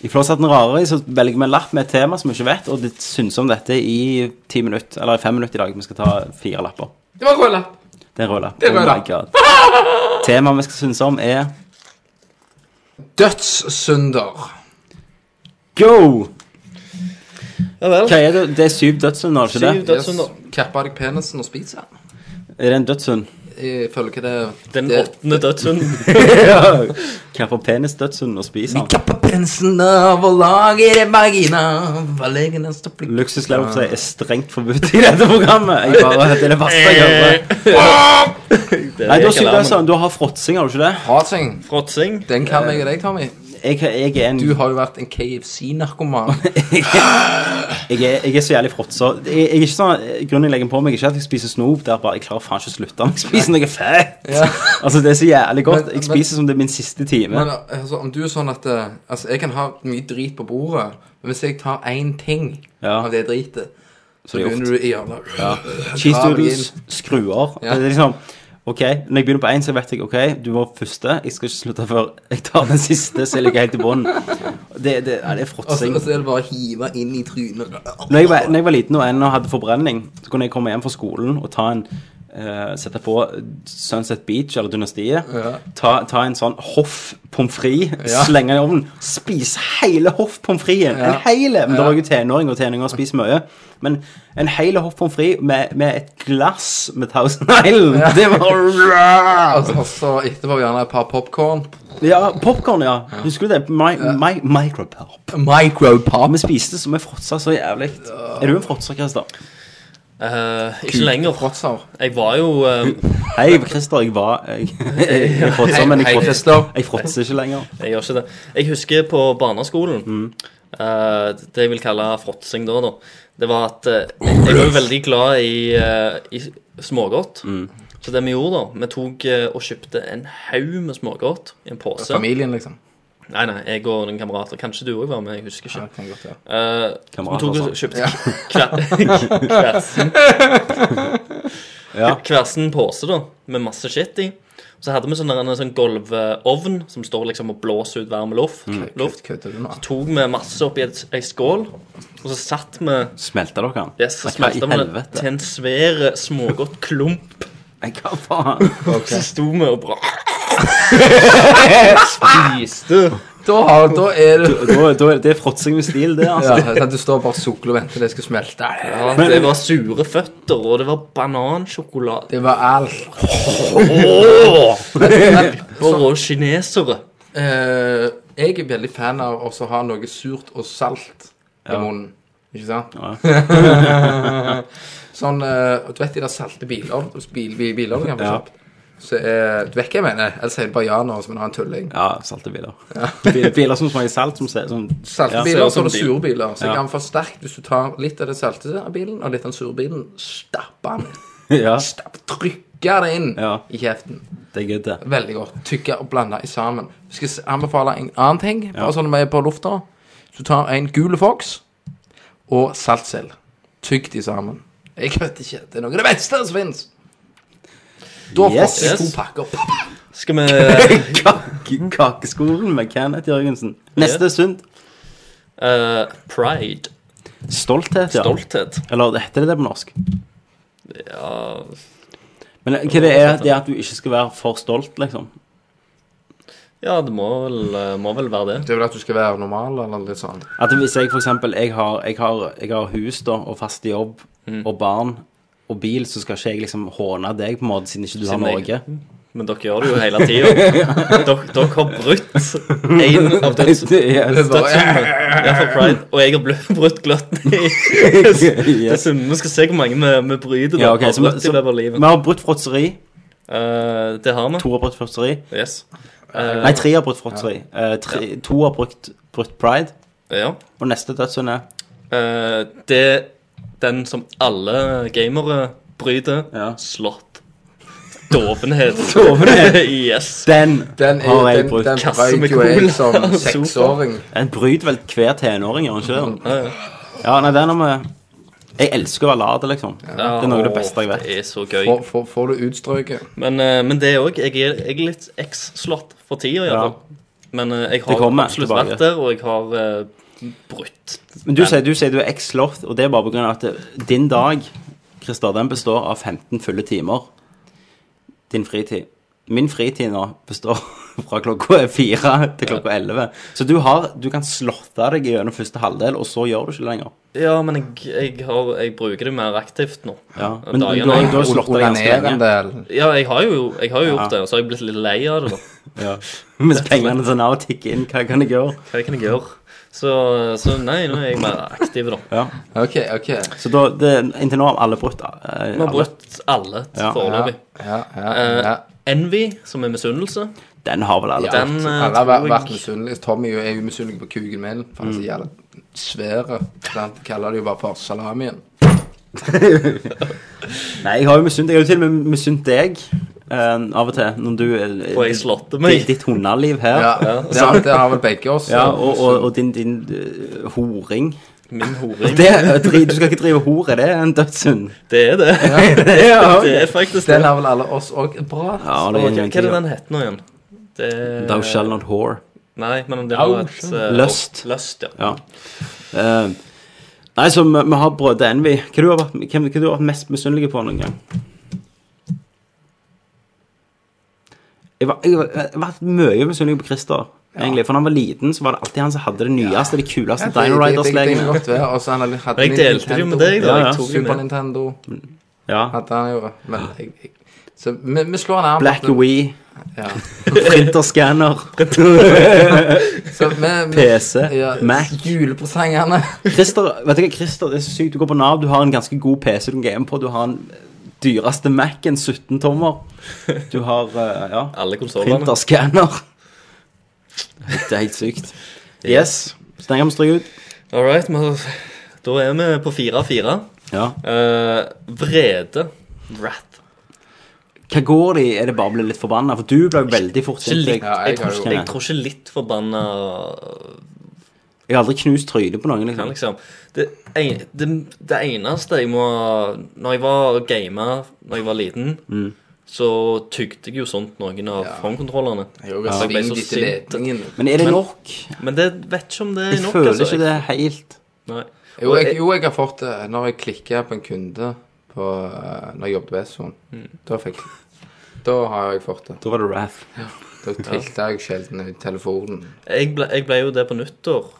I Flosshatten Rarøy så velger vi en lapp med et tema som vi ikke vet, og det syns om dette i ti minutter, eller i fem minutter i dag. Vi skal ta fire lapper. Det var rød lapp. Det er rød lapp. Det er rød lapp. my God. Temaet vi skal synes om, er Dødssynder. Go! Hva er det? Det er syv dødssynder, ikke det? Yes. Kapper deg penisen og spiser den. Er det en dødshund? Ifølge det Den det- åttende dødshunden. ja. Kapper penis dødshund og spiser den. Pensen av å lage det vagina Valegen den stopper Luksuslevelse er strengt forbudt i dette programmet. Jeg bare, det er det verste jeg Eh. hører. Nei, da synger jeg sånn. Du har fråtsing, har du ikke det? Fråtsing. Fråtsing. Den kan jeg deg, Tommy. Jeg, jeg er en Du har jo vært en KFC-narkoman. jeg, er, jeg er så jævlig fråtser. Jeg, jeg er ikke sånn, grunnen jeg legger på meg, er ikke at jeg spiser snop. Det er bare, Jeg klarer faen ikke å slutte. om Jeg spiser noe fett. Altså, Det er så jævlig godt. Men- Jeg spiser som det er min siste time. Men altså, om du er sånn at eh, Altså, jeg kan ha mye drit på bordet, men hvis jeg tar én ting Ja. av det dritet, så Det er begynner gjort. du i hjørnet. Ja. Cheese doodles, skruer. Ja. Det er liksom, ok, Når jeg begynner på én, så vet jeg ok, du var første. Jeg skal ikke slutte før jeg tar den siste, så jeg ligger helt i bånn. Det, det, ja, det er Og så fråtsing. og så er det bare å hive inn i trynet. Når jeg, var, når jeg var liten og ennå hadde forbrenning, så kunne jeg komme hjem fra skolen og ta en eh, sette på Sunset Beach eller Dynastiet. Ja. Ta, ta en sånn hoff pommes frites, Ja. slenge den i ovnen. Spise hele hoff pommes fritesen. Ja. En hele! Men Ja. da var jeg jo tenåring, og tenåringer spiser mye. Men en hele hoff pommes frites med, med et glass med Thousand Island, Ja. det var Altså, altså, etterpå gjerne et par popkorn. Ja, popkorn, ja. Husker du det? My, my, micropop. Micropop. Vi spiste som vi fråtsa så jævlig. Er du en fråtser, Christer? Eh, ikke lenger. Jeg var jo eh, Hei, Christer, jeg var Jeg, jeg, jeg fråtser, men jeg fråtser, jeg fråtser ikke lenger. Mm. Jeg gjør ikke det. Jeg husker på barneskolen eh, Det jeg vil kalle fråtsing da, da. Det var at eh, jeg var jo veldig glad i, eh, i smågodt. Mm. Så det vi gjorde, da Vi tok eh, og kjøpte en haug med smågodt i en pose. Familien, liksom. Nei, nei, jeg og noen kamerater. Kanskje du òg var med, jeg husker ikke. Ja, det kan godt være. Eh, så vi Kamerater tok og og sånn. kjøpte Ja. kve- kversen. Ja. Kversen pose, da, med masse shit i. Så hadde vi sånn der en sånn gulvovn som står liksom og blåser ut varm luft. Mm. luft. Kødder du nå? Så tok vi masse oppi et- ei skål, og så satt vi Smelta dere den? Yes, så Nei, hva i smelta vi den helvete? til en svær eh, smågodt klump. Nei, hva faen? Så sto vi og bra Spiste. Da, har, da er du da, da, er- Det er fråtsing med stil, det, altså. ja, sånn at Du står bare og sukler og venter det skal smelte. Ja, det var sure føtter, og det var banansjokolade. Det var alt. Og kinesere. Eh, jeg er veldig fan av også å ha noe surt og salt i munnen. Ikke sant? sånn eh, Du vet de der salte biler bil, bil, biler du kan få Ja. kjøpt? Så eh, Du vet hva jeg mener? Ellers sier jeg bare ja nå, som en annen tulling. Ja, salte biler. Bil- Biler som smaker salt, som ser som, Salte ja. biler, så er det sure biler. Så ja. jeg kan få sterkt hvis du tar litt av den salte av bilen og litt av den sure bilen. Stappe den. ja. Trykke det inn ja. i kjeften. Det er good, det. Veldig godt. Tykke og blande i sammen. Jeg skal s- anbefale en annen ting, bare Ja. sånn vi er på lufta. Så tar en gule fox og saltsild. Tygg de sammen. Jeg vet ikke. Det er noe av det beste som fins. Da får Yes. yes. to Yes. pakker. Skal vi Kake- Kakeskolen med Kenneth Jørgensen. Neste Ja. sunt. eh, Pride. Stolthet, ja. Stolthet. Eller heter det det på norsk? Ja Men hva det er det er at du ikke skal være for stolt, liksom? Ja, det må vel, eh, må vel være det. Det er vel at du skal være normal, eller litt sånn. At hvis jeg for eksempel jeg har, jeg har, jeg har hus da, og fast jobb Mm. og barn og bil, så skal ikke jeg liksom håne deg på en måte, siden ikke du har Siden Norge. jeg- Men dere gjør det jo hele tida. Dere, dere har brutt én av døds, Ja, det er dødssyndene. bare- sånn- Ja, for pride. Og jeg har bl- brutt gløtten i Ja. det synd. Vi skal se hvor mange vi, vi bryter. Ja, da, ok, har så, vi- brutt i så, løpet av livet. vi har brutt fråtseri. Eh, det har vi. To har brutt fråtseri. Yes. Nei, tre har brutt fråtseri. Eh, tre- to har brukt, brutt pride. Ja. Og neste dødssynd er Eh, det er den som alle gamere bryter. Slått. Dovenhet. Dovenhet. yes. Den, Den er- har jeg den- brukt. den Kasse med brøt jo jeg cola som og sofa. seksåring. Den bryter vel hver tenåring, gjør den ikke det? Ja, nei, den har vi Jeg elsker å være lat, liksom. det er noe av det beste jeg vet. Det er så gøy. Får- Får får du utstrøket. Men, eh, men det òg. Jeg, er- jeg er litt X-slått for tida, iallfall. Men eh, jeg har Det kommer absolutt tilbake. vært der, og jeg har eh, brutt. Men du sier, du sier du er X-slått, og det er bare på grunn av at det- din dag, Christer, den består av 15 fulle timer. Din fritid. Min fritid nå består fra klokka fire til klokka elleve. Så du, har, du kan slåtte deg gjennom første halvdel, og så gjør du ikke lenger. Ja, men jeg, jeg, har, jeg bruker det mer aktivt nå. Ja, Og men du dagene- har- du har slått det ganske Onanerer en lenge. del. Ja, jeg har jo, jeg har jo gjort Ja. det, og så har jeg blitt litt lei av det, da. Ja. Mens pengene til Nav tikker inn, hva kan jeg gjøre? Hva kan jeg gjøre? Så, så nei, nå er jeg mer aktiv, da. Ja. Ok, ok. Så da, det, inntil nå har alle brutt eh, Vi har brutt alle Ja. foreløpig. Ja, ja, Eh, ja. Envy, som er misunnelse. Den har vel alle Den, brukt. eh, altså, Alle har vært, tror jeg- Mm. vært misunnelige. Tommy er jo misunnelig på kuken min. For han er så jævla svære. Han kaller det jo bare for salamien. Nei, jeg har jo misunt Jeg har jo til og med misunt deg eh, av og til. Når du eh, For jeg ditt- slåtte meg. ditt- Ditt hundeliv her. Ja, Ja. det har- det har vel begge oss. Ja, og, og, og din, din eh, horing. Min horing. Det, er- dri- du skal ikke drive hore, det er en dødssynd. Det er det. Ja. Det er faktisk det. Den har vel alle oss òg bra. Ja, Åh, det er hva, ingenting hva er det å- den heter nå igjen? Det... Thou shall not whore. Nei, men det har Thou et shall- eh, Løst. Løst, ja. Ja. Eh, nei, så vi, vi har brødet Envy. Hva du har vært, hvem, hva du har vært mest misunnelig på noen gang? Jeg var- jeg var- jeg har vært mye misunnelig på Christer. Egentlig, For da han var liten, så var det alltid han som hadde det nyeste, det kuleste Ja, det- Dino det- det- det kan Riders-legene. godt være. Og så han hadde- hadde Men jeg delte det jo med Nintendo. deg, da. Jeg tok det Super med. Nintendo. Mm. Ja. Hadde han jo. Men jeg, jeg, så vi, vi slår nærmere. Black Wii. Ja. Printerskanner. Så vi- vi- PC. ja, Mac. Julepresangene. Christer, vet du hva, Christer, det er så sykt. Du går på Nav, du har en ganske god PC du kan game på. Du har den dyreste Mac-en, 17 tommer. Du har eh, ja, Alle konsollene. printerskanner. Det er helt sykt. Yes. Steinar må stryke ut. All right, men da er vi på fire av fire. Ja. Eh, vrede. Wrath. Hva går det i? Er det bare å bli litt forbanna? For du ble jo veldig fort Ikke sint. litt, jeg, tror ikke, jeg jeg, tror ikke litt forbanna jeg har aldri knust trynet på noen, kan, liksom. liksom. Det, en, det, det eneste jeg må Når jeg var gama Når jeg var liten, Mm. så tygde jeg jo sånt noen av håndkontrollene. jo Så jeg ble svingt så etter sint. ledningen. Men er det nok? Men det vet ikke om det er Jeg nok. føler altså. ikke det helt. Nei. Jo, Og jeg, jo, jeg har fått det når jeg klikker på en kunde på, eh, når jeg jobbet ved Son. Mm. Da fikk Da har jeg fått det. Da var det wrath. Da trilta jeg sjelden ut telefonen. Jeg ble, jeg ble jo det på nyttår.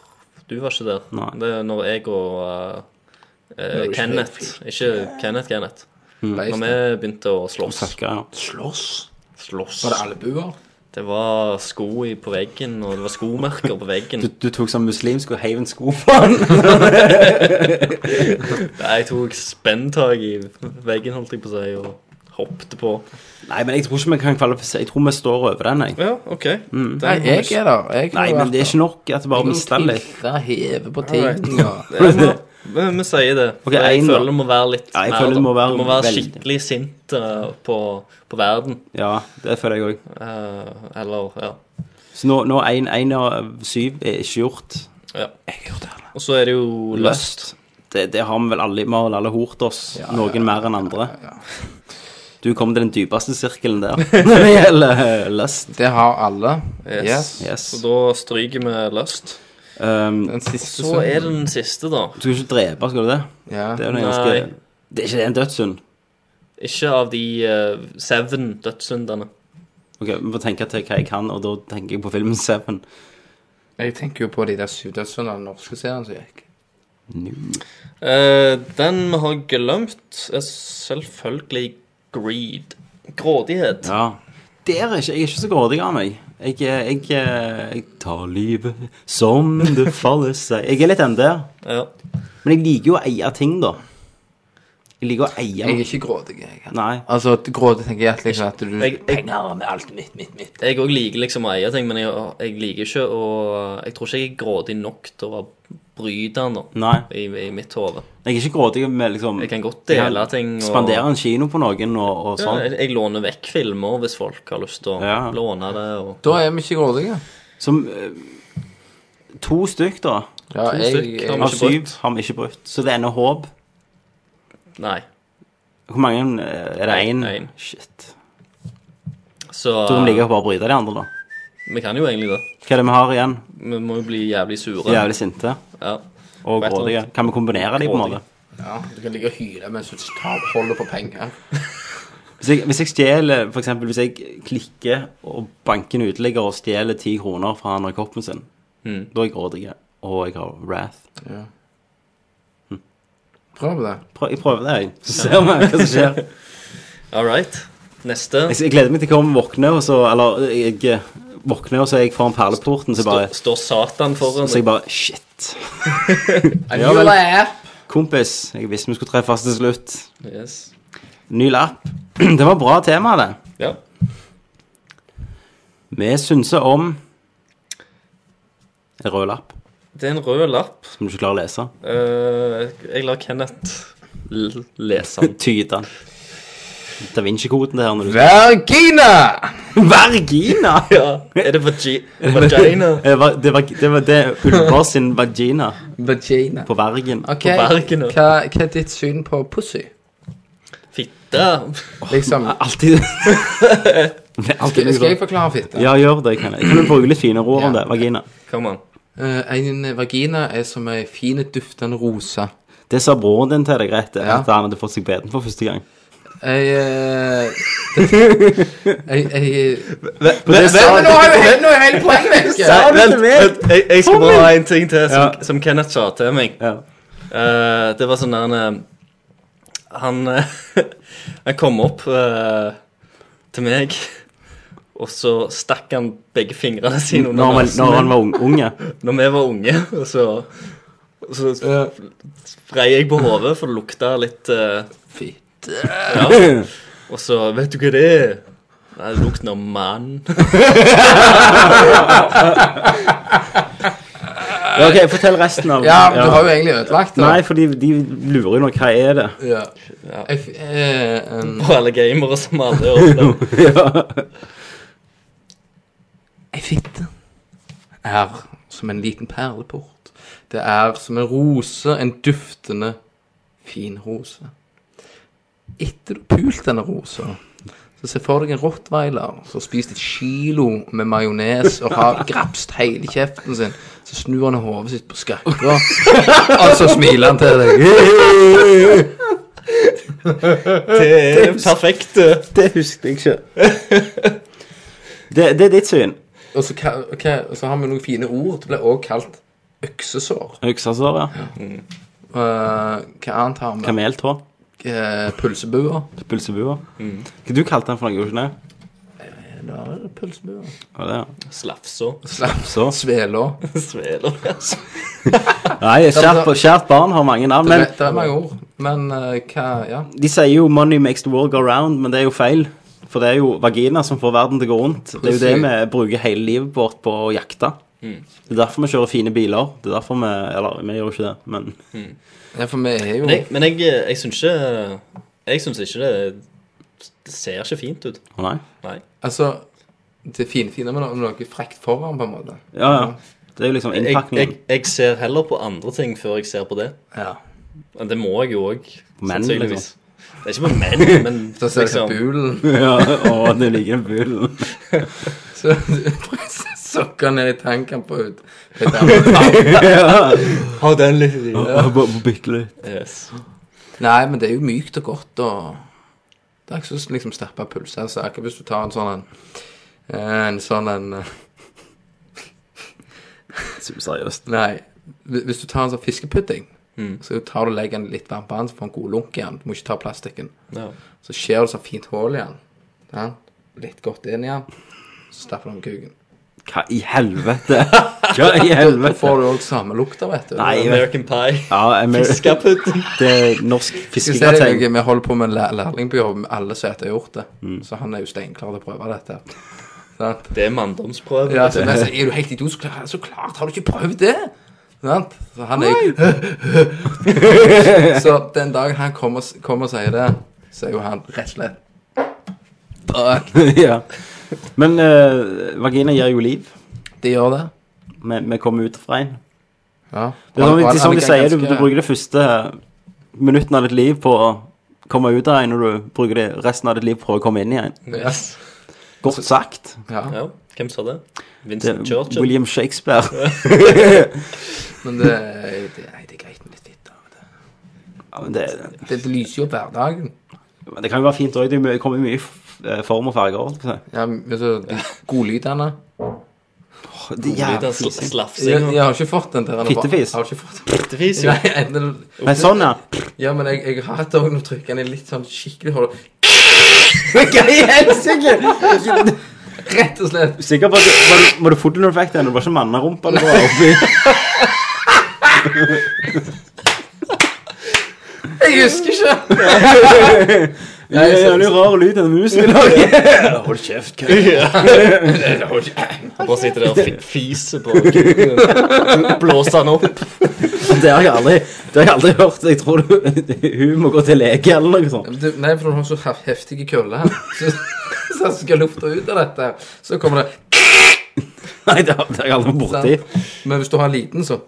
Du var ikke der. Det er når jeg og eh, eh, Når du ikke Kenneth Ikke Kenneth, Kenneth. Mm. Når vi begynte å slåss. Slåss? Slåss. Var det albuer? Det var sko i, på veggen, og det var skomerker på veggen. Du, du tok sånn muslimsk og heiv en sko på han. Nei, jeg tok spenntak i veggen, holdt jeg på å si, og hoppet på. Nei, men jeg tror ikke vi kan kvalifisere. Jeg tror vi står over den, jeg. Ja, OK. Mm. Nei, jeg er der. Jeg kunne Nei, men vært det er ikke nok at du bare Jeg må mister litt. heve på Alright. ting og Ja, men- men vi sier det. Ok, For jeg en da. føler det må være litt Ja, jeg mer, føler det da. må være Du må være veldig. skikkelig sint eh, på, på verden. Ja, det føler jeg òg. Eh, eller, ja. Så nå, nå en, en av syv er ikke gjort. ja. Og så er det jo løst. Løst. Det, det har vi vel alle Vi har vel alle hort oss, noen mer enn andre. Du kom til den dypeste sirkelen der når det gjelder eh, løst. Det har alle. Yes. Så da stryker vi løst. den siste Så er det den siste, da. Du skal ikke drepe, skal du det? Det er jo en ganske Nei. Det er ikke det er en dødssynd. Ikke av de uh, seven dødssyndene. Ok, Vi får tenke til hva jeg kan, og da tenker jeg på filmen Seven. Jeg tenker jo på de der sydøstene av den norske serien som gikk. Eh, den vi har glemt, er selvfølgelig greed. Grådighet. Ja. Der er ikke, jeg er ikke så grådig av meg. Jeg, jeg, jeg, jeg tar livet som det faller seg. Jeg er litt den der. Ja. Men jeg liker jo å eie ting, da. Jeg liker å eie Jeg er ikke grådig, jeg. Nei. Altså, grådig tenker jeg at liksom at du Jeg- jeg- Penger med alt mitt, mitt, mitt. Jeg òg liker liksom å eie ting, men jeg, jeg liker ikke å Jeg tror ikke jeg er grådig nok til å være brytende Nei. i, i mitt hode. Jeg er ikke grådig med liksom Jeg kan godt dele jeg ting og- Spandere en kino på noen og, og Ja, sånn. jeg, jeg låner vekk filmer hvis folk har lyst til å Ja. låne det. Og... Da er vi ikke grådige. Som eh, To stykk, da. Ja, to jeg- stykk jeg- av ikke syv har vi ikke brukt. Så det ender håp. Nei. Hvor mange eh, er det? Nei, Én? en. Shit. Så Da kan vi like godt bare bryte de andre, da. vi kan jo egentlig det. Hva er det vi har igjen? Vi må jo bli jævlig sure. Jævlig sinte. Ja. Og Vet du grådige. hva? Kan vi kombinere de på en måte? Ja, du kan ligge og hyle mens du tar, holder på penger. Hvis jeg, hvis jeg stjeler, for eksempel hvis jeg klikker og banker en uteligger og stjeler ti kroner fra han har koppen sin, Mm. da er jeg grådig, og jeg har wrath. Ja. Mm. Prøv det. Prøv, jeg prøver det, jeg. Så ser vi hva som skjer. All right. Neste. Jeg, jeg gleder meg til Kom våkner, og så Eller jeg eh, våkner, og så er jeg foran perleporten, så bare Står Satan foran Så jeg bare Shit. Ja, new vel. lap. Kompis, jeg visste vi skulle treffes til slutt. Yes. Ny lapp. Det var bra tema, det. Ja. Vi synser om En rød lapp Det er en rød lapp. som du ikke klarer å lese. Eh, jeg lar Kenneth l- lese den. Tyde den. Da Vinci-koden, det her. Når du Vergina! Vergina? Ja. Er det vagi vagina? Det var, det var, det var det Ulvås sin vagina. Vagina. På vergen. Ok, hva, hva er ditt syn på pussy? Fitte. Liksom. Alltid. Skal, skal jeg forklare fitte? Ja, gjør det. Kan jeg. Kan du bruke litt finere ord om det? Vagina. Kom an. Eh, en vagina also er som ei fin, duftende rose. Det sa broren din til deg, Grete, Ja. at han hadde fått seg beten for første gang. Ei eh, Ei ei- Men Men- sa- men nå har jo hele- nå er hele poenget vekk. Nei, vent, vent, jeg, jeg skal bare ha en ting til som, Ja. som Kenneth sa til meg. Eh, det var sånn der han eh, Han, eh, han kom opp eh, til meg, og så stakk han begge fingrene sine under Når man- halsen når han min. var ung- unge. Når vi var unge, og så, og så sprei jeg på hodet, for det lukta litt eh, Ja. Og så Vet du hva det er? Nei, det lukter av mann. Ja, ok, Fortell resten av Ja, men du har jo egentlig ødelagt det. Nei, for de, de lurer jo nå. Hva er det? Ja. Jeg f- eh, um, Og alle gamere som aldri har opplevd Ei fitte er som en liten perleport. Det er som en rose, en duftende, fin rose. Etter du har pult denne rosa, så se for deg en rottweiler som har spist et kilo med majones og har grapst hele kjeften sin. Så snur han hodet sitt på skakka, og så smiler han til deg. Det er perfekt. Det husker jeg ikke. Det, det er ditt syn. Og så, ka- ok, og så har vi noen fine ord. Det ble også kalt øksesår. Øksasår, ja. Eh, hva annet har vi? Kameltå. Eh, pølsebuer. Pølsebuer. Mm. Hva du kalte den for noe? gjorde du ikke det? Da er det pølsebuer. Hva var det? Slafsa. Slafsa. Svela. Svela. Nei, kjært, kjært barn har mange navn. det, Men er- det er mange ord, men eh, hva Ja. de sier jo 'money makes the world go round', men det er jo feil. For det er jo vagina som får verden til å gå rundt. Det er jo det vi bruker hele livet vårt på å jakte. Mm. Det er derfor vi kjører fine biler. Det er derfor vi Eller, vi gjør jo ikke det, men Mm. Ja, for vi er jo Men jeg, men jeg, eh, jeg syns ikke Jeg syns ikke det Det ser ikke fint ut. Å nei. Nei. Altså, det fine fine med noe, noe frekt foran, på en måte. Ja, ja. Det er jo liksom Jeg, jeg, innpakningen. jeg ser heller på andre ting før jeg ser på det. Ja. Men det må jeg jo òg, Menn, sannsynligvis. liksom. Det er ikke på menn, men liksom- Da ser jeg på bulen. ja, å, du liker bulen. Så du sokker ned i tanken på ut. Ja. Ha den litt i Ja, bare bitte litt. Yes. Nei, men det er jo mykt og godt og Det er ikke så liksom stappa puls. Altså, akkurat hvis du tar en sånn en, en sånn en eh, Superseriøst. Nei. hvi- Hvis du tar en sånn fiskepudding, Mm. så tar du og legger den litt varm på den, så får den god lunk i den. Du må ikke ta plastikken. Ja. Så skjærer du sånn fint hull i den. Ja. Litt godt inn i den. Så stapper du den med kuken. Hva i helvete? Hva i Da helvete? får du òg samme lukta, vet du. Nei, American Pie. Ja, Amer- Fiskepudding. Det er norsk Skal jeg si deg, fiskegratin. Vi holder på med en læ- lærling på jobb, med alle som har gjort det. Så han er jo steinklar til å prøve dette. Sant? Mm. Det er manndomsprøve. Ja, så jeg sier, er du helt idiot, så klart, så klart har du ikke prøvd det. Sant? Så han er jo Så den dagen han kommer kom og sier det, så er jo han rett og slett Fuck. ja. Men eh, vagina gir jo liv. Det gjør det. Vi, vi kommer ut fra en. Ja. Det er sånn, Og han- det er sånn han de er sier, du, ganske- du bruker det første minutten av ditt liv på å komme ut av en, og du bruker det resten av ditt liv på å komme inn i en. Yes. Godt sagt. Ja. Hvem sa det? Det Vincent er Churchill. William Shakespeare. Men det, det, nei, det er greit med litt fitte. Ja, men det, Det lyser jo opp hverdagen. men det kan jo være fint òg. Det er mye- kommer mye f- eh, form og farger. holdt jeg på å si. Ja, men så, de godlydene. det er jævlig fising. jeg, jeg har ikke fått den der. Fittefis? Jeg har ikke fått Fittefis, jo. Nei, enten, Nei, sånn, ja. Ja, men jeg, jeg har hatt det også når trykken er litt sånn skikkelig hold. Hva i helsike? Rett og slett. Sikker på at det- Var det, var det foto når du fikk den? Det var ikke mannerumpa det var oppi? Jeg husker ikke. Det er en jævlig rar lyd denne musen lager. Hold kjeft, Kai. Ja. Hold kjeft. Han bare sitter der og fi- fiser på Blåser han opp. Det har jeg aldri, det har jeg aldri hørt. Jeg tror du, hun må gå til lege eller noe sånt. Du, nei, for du har så hef- heftige køller her. Så, så jeg skal lufte ut av dette. Så kommer det Nei, det har det har jeg aldri vært borti. Men hvis du har en liten, så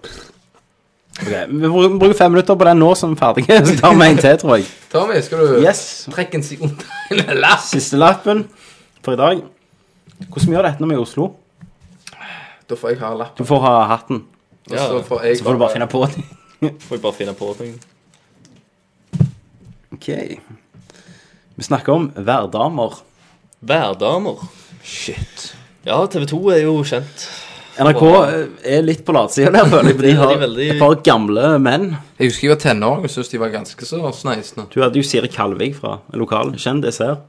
Ok, Vi bru- bruker fem minutter på den nå som er ferdig. Så tar vi en til, tror jeg. Tommy, skal du Yes. trekke en side under en lapp? Siste lappen for i dag. Hvordan vi gjør dette når vi er i Oslo? Da får jeg ha lapp. Du får ha hatten. Og så får jeg så får du bare finne på ting. Får jeg bare finne på ting. Ok. Vi snakker om værdamer. Værdamer. Shit. Ja, TV2 er jo kjent. NRK er litt på latsida der, føler jeg. for Det De er de har veldig. et par gamle menn. Jeg husker jeg var tenåring og syntes de var ganske så sneisende. Du hadde jo Siri Kalvig fra en lokal kjendis her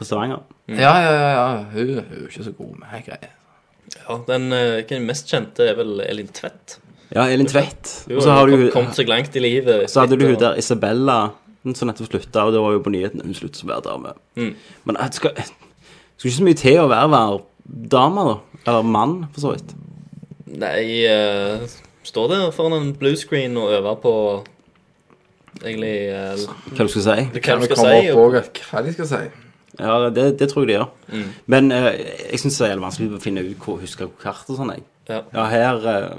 på Stavanger. Mm. Ja, ja, ja. ja. Hun, hun er jo ikke så god med her greier. Ja, den, eh, den mest kjente er vel Elin Tvedt. Ja, Elin Tvedt. Hun Og så har har du jo kommet seg langt i livet. Så hadde du hun etter- der Isabella hun som nettopp slutta, og det var jo på nyhetene hun sluttet som værdame. Mm. Men det skal, det skal ikke så mye til å være værdame, da. Eller mann, for så vidt. Nei, eh, står der foran en bluescreen og øver på egentlig eh, Hva du skal si. Det Hva du skal si. og- hva de skal si. Ja, det, det tror jeg de gjør. Mm. Men eh, jeg syns det er jævlig vanskelig å finne ut hvor huske hvor kart og sånn, jeg. Ja. her eh,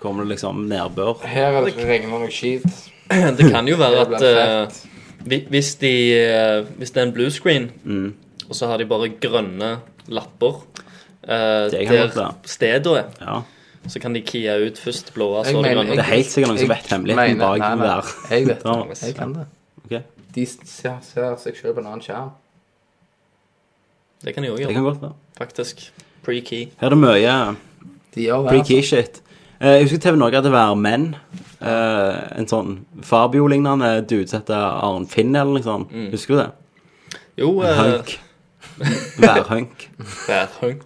kommer det liksom nedbør. Her er det som regner noe skit. Det kan jo være Det at blir eh, hvi- hvis, de, eh, hvis det er en bluescreen, Mm. og så har de bare grønne lapper eh, Det kan godt der være. stedet er, Ja. så kan de kie ut først blåa, Jeg så det mener- grønne. Det er helt sikkert noen som Jeg vet hemmeligheten mener- bak nei, nei, hver. Jeg vet dame. det. Jeg kan det. Ok. De ser, ser seg selv på en annen skjerm. Det kan de òg Det gjøre. kan godt være. Faktisk. Pre-key. Her er det mye gjør det, altså. pre-key shit. Eh, jeg husker TV Norge hadde Vær menn. Eh, en sånn Fabio-lignende dude som heter Arn Finn eller noe sånt. Mm. Husker du det? Jo En eh, hunk. Værhunk. Værhunk.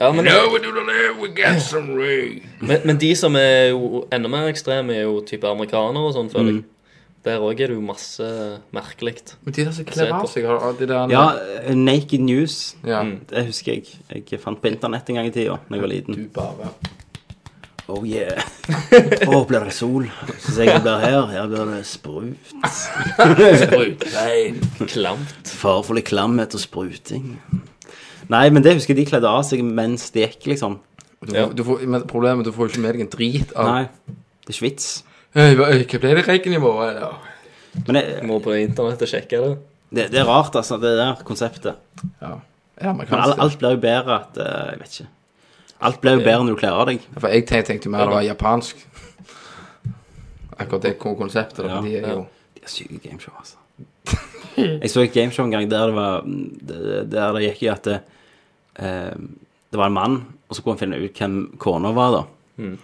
Ja, men, Now we do the live, we got some rain. men, men de som er jo enda mer ekstreme, er jo type amerikanere og sånn, føler Mm. jeg. Der òg er det jo masse merkelig. Men de der som kler av seg, har de der Ja, eh, Naked News. Ja. Mm. Det husker jeg. Jeg fant på internett en gang i tida da jeg var liten. Du bare. Oh yeah. Å, blir det sol? Så ser jeg det blir her. Her blir det sprut. Sprutregn. Klamt. Farefulle klamhet og spruting. Nei, men det husker jeg de kledde av seg mens de gikk, liksom. Du, du får, men problemet er at du får ikke med deg en drit av Nei. Det er ikke vits. Hei, hva- Hva ble det regn i morgen? Ja. Men jeg, Må på internett og sjekke det. Det, det er rart, altså, det der konseptet. Ja. men amerikansk, alt, det. alt blir jo bedre at eh, Jeg vet ikke. Alt blir jo bedre når du kler av deg. For jeg tenkte, tenkte jo mer det var japansk. Akkurat det kon- konseptet. Ja. da, De er Ja. jo De er syke gameshow, altså. Jeg så et gameshow en gang der det var det- Der det gikk i at det, eh, det var en mann, og så kunne han finne ut hvem kona var, da. Mm.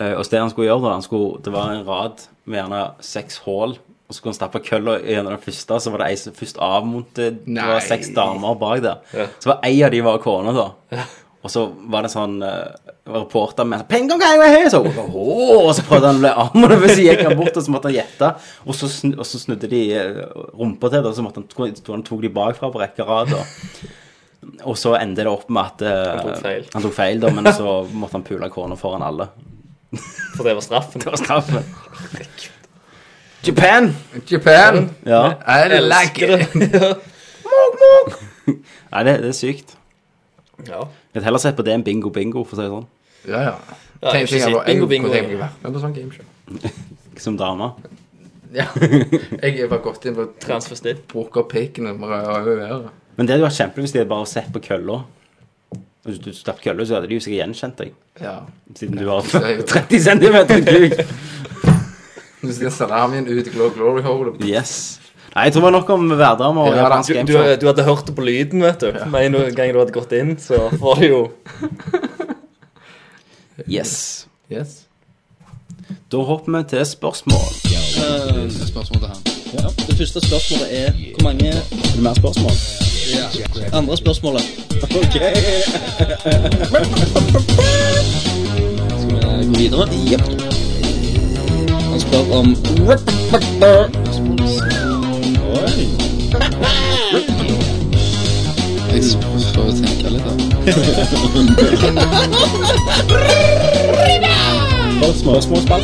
Eh, og så det han skulle gjøre, da han skulle, Det var en rad med gjerne seks hull, og så skulle han stappe kølla gjennom den første, så var det ei som først avmontet Det var Nei. seks damer bak der. Ja. Så var ei av de var kona, da. Og så var det sånn eh, reporter med Pengon greier jeg Så, «Åh!» og så prøvde han å bli av med det, men så gikk han bort, og så måtte han gjette. Og så, snu, og så snudde de eh, rumpa til det, og så måtte han, tok- han tok de bakfra på rekke og rad. da. Og så endte det opp med at eh, Han tok feil. Han tok feil da, men så måtte han pule kona foran alle. For det var straffen. Det var straffen. Japan! Japan! Ja. I like it! Nei, det, det er sykt. Ja. Jeg vil heller sett på det enn bingo-bingo, for å si det sånn. Ja, ja. Ja, Tenk- jeg har ikke sett tenk- jeg- jeg- Bingo Bingo. tenk- jeg- jeg- Men på sånn gameshow. Som dame. Ja. Jeg var godt inn på transvestitt. Bruker pekene med røde ører. Men det hadde vært kjempelig hvis de hadde bare sett på kølla. Hvis du slapp kølla, så hadde de jo sikkert gjenkjent deg. Ja. Siden du har Det er jo- 30 cm kuk. Du skal salamien ut i Glow Glory Hole. Yes. Nei, jeg tror det var nok om hverdamer og Ja, da. japansk du, du, gameshow. du hadde hørt det på lyden, vet du. Med en gang du hadde gått inn, så var det jo Yes. Yes. Da hopper vi til spørsmål. Eh, Spørsmål til han. Det første spørsmålet er hvor mange Er det mer spørsmål? Andre spørsmålet. Ok. Skal vi gå videre? Jepp. Han spør om Oi. Jeg får jo tenke litt, Spørsmål, spørsmål,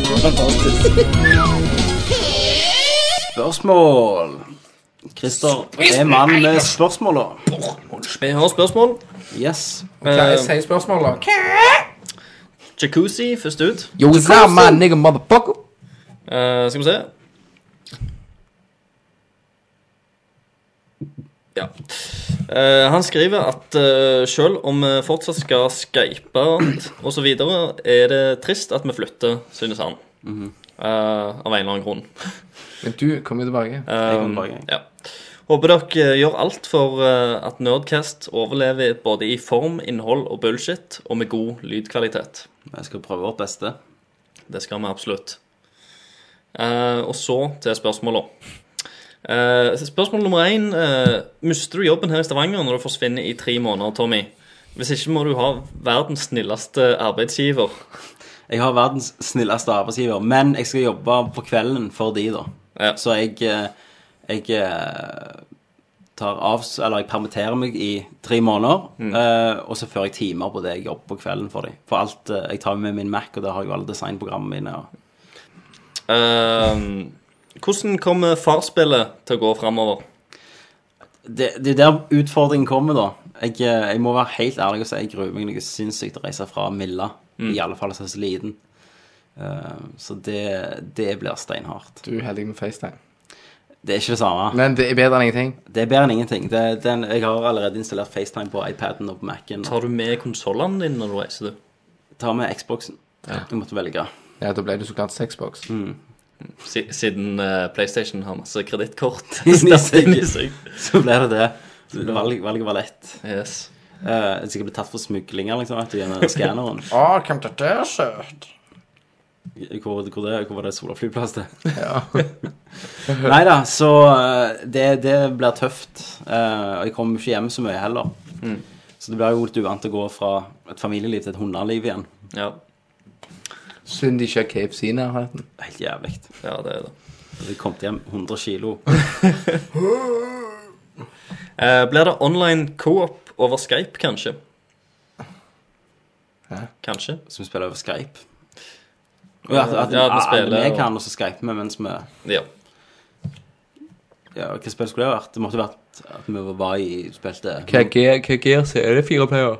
Spørsmål. Christer er mannen med spørsmåla. Vi har spørsmål. Yes. Eh, jeg sier spørsmål, da. Jacuzzi først ut. Yo, what's up, my nou, nigga, motherfucker? Eh, skal vi se. Ja. Eh, han skriver at eh, selv om vi fortsatt skal skype og så videre, er det trist at vi flytter, synes han. Mhm. Eh, av en eller annen grunn. Men du kommer jo tilbake. Um, ja. Håper dere gjør alt for eh, at Nerdcast overlever både i form, innhold og bullshit, og med god lydkvalitet. Vi skal prøve vårt beste. Det skal vi absolutt. Eh, og så til spørsmåla. Eh, spørsmål nummer én. eh, mister du jobben her i Stavanger når du forsvinner i tre måneder, Tommy? Hvis ikke må du ha verdens snilleste arbeidsgiver. Jeg har verdens snilleste arbeidsgiver, men jeg skal jobbe på kvelden for de, da. Så jeg, eh, jeg eh, tar av, eller jeg permitterer meg i tre måneder, Mm. eh, og så fører jeg timer på det jeg jobber på kvelden for de. For alt eh, jeg tar med min Mac, og der har jeg jo alle designprogrammene mine. Og... Eh, hvordan kommer farspillet til å gå framover? Det, det er der utfordringen kommer, da. Jeg, eh, jeg må være helt ærlig og si jeg gruer meg noe sinnssykt til å reise fra Milla. Mm. I alle fall så jeg er så liten. Eh, så det, det blir steinhardt. Du er heldig med FaceTime. Det er ikke det samme. Men det er bedre enn ingenting. Det er bedre enn ingenting. Det, den, jeg har allerede installert FaceTime på iPaden og på Mac-en. Tar du med konsollene dine når du reiser, du? Tar med Xboxen. Du måtte velge. Ja, dus da ble det så klart sexbox. Si- Siden eh, PlayStation har masse kredittkort I stappet inn i seg. seg. Så ble det det. Så Valg, valget var lett. Yes. Uh, sikkert blitt tatt for smuglinger, liksom, vet du, gjennom skanneren. Å, hvem det der, søt? Hvor, hvor, det, hvor var det Sola flyplass, det? Ja. Nei da, så eh, det, det blir tøft. Eh, Og jeg kommer jo ikke hjem så mye heller. Mm. Så det blir jo litt uvant å gå fra et familieliv til et hundeliv igjen. Ja. Synd de ikke har KFC i nærheten. Helt jævlig. Ja, det er det. Jeg kom hjem 100 kilo. Eh, blir det online co-op over Skype, kanskje? Hæ? Kanskje? Som spiller over Skype? Og at, at, Ja, at vi alle spiller vi og- kan, og så Skype vi mens vi Ja. Ja, Hva spill skulle det vært? Det måtte vært at vi var i spilte Hva gear- hva gear så er det fire player?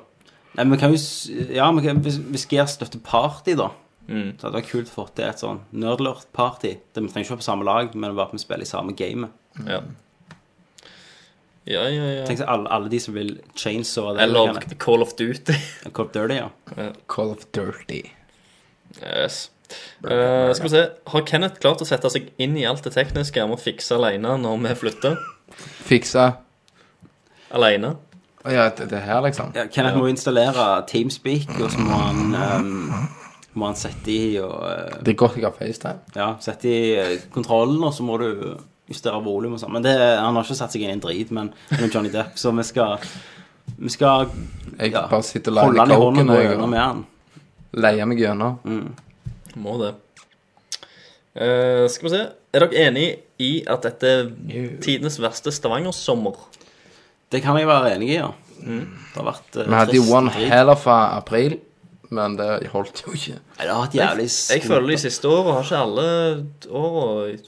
Nei, men kan jo s- Ja, men kan, hvis, hvis Gear støtter party, da Mm. Så hadde det vært kult å få til et sånn nerdlurt-party. Det- Vi trenger ikke være på samme lag, men bare at vi spiller i samme game. Ja. Ja, ja, ja. Tenk seg alle, alle de som vil chainsaw det. Eller kan jeg. Call of Duty. Call of Duty, ja. Call of Dirty. Yes. Eh, skal vi se. Har Kenneth klart å sette seg inn i alt det tekniske han må fikse alene når vi flytter? Fiksa. Alene? Å ja, det, det her, liksom. Ja, Kenneth må jo installere Teamspeak, og så må han ehm, Må han sette i og eh, Mm. Det er godt jeg har FaceTime. Ja, sett i eh, kontrollen, og så må du justere volum og sånn. Men det, han har ikke satt seg inn i en drit, men han er Johnny Depp, så vi skal Vi skal Jeg ja, bare sitter og lager holde han i coke hånden og når gå jeg- gjennom med han. Leie meg gjennom. Må det. Eh, skal vi se. Er dere enig i at dette er tidenes verste Stavanger-sommer? Mm. Det kan jeg være enig i, ja. Det har vært eh, Vi hadde jo trist one drit. hell of a april, eh, men det holdt jo ikke. Nei, det har vært Jeg, jævlig jeg skummelt. føler de siste åra har ikke alle åra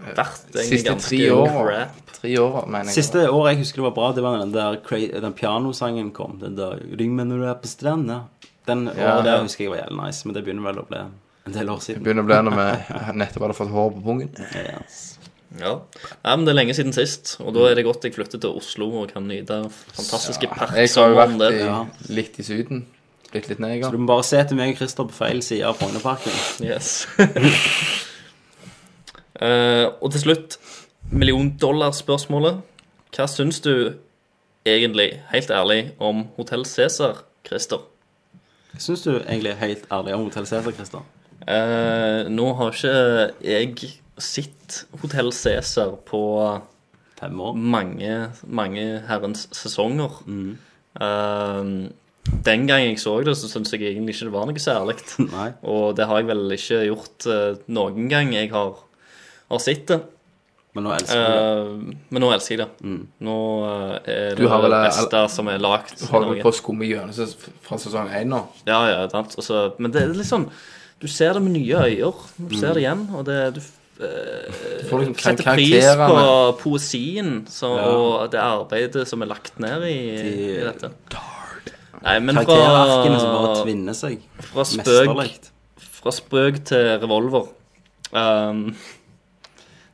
vært egentlig Siste ganske tre åra. crap. Tre åra, mener jeg. Siste året jeg husker det var bra, det var den der cra- den pianosangen kom. Den der 'Ring meg når du er på stranda'. Den Ja. året der husker jeg var jævlig nice, men det begynner vel å bli en del år Det siden. begynner å bli når vi nettopp hadde fått hår på pungen. Ja. Nei, men Det er lenge siden sist, og da er det godt jeg flytter til Oslo og kan nyte fantastiske Jeg har jo parksommeren vært der. i, litt i Syden. Blitt litt Så neger. du må bare se til meg og Christer på feil side av Frognerparken. Yes. Eh, og til slutt milliondollarspørsmålet. Hva syns du egentlig, helt ærlig, om Hotell Cæsar, Christer? syns du egentlig helt ærlig om Hotell Cæsar, Christer? Eh, nå har ikke jeg sett Hotell Cæsar på mange, mange herrens sesonger. Mm. Eh, den gang jeg så det, så syns jeg egentlig ikke det var noe særlig. Og det har jeg vel ikke gjort eh, noen gang jeg har, har sett det. Men nå elsker du Mm. det. men nå elsker jeg det. Nå eh, er Du det har vel- det beste som er lagd. Du har i vel Norge. på skum i hjørnet ses- fra sesong 1 nå. Ja, ja, sant. Altså, men det er litt sånn Du ser det med nye øyne. Du ser det igjen, og det du eh, Du får liksom setter karakterene. pris på poesien så, Ja. og det arbeidet som er lagt ned i, i De- dette. Nei, men Karakterarkene som bare tvinner seg. Fra Mesterlig. spøk, fra spøk til revolver. Ehm,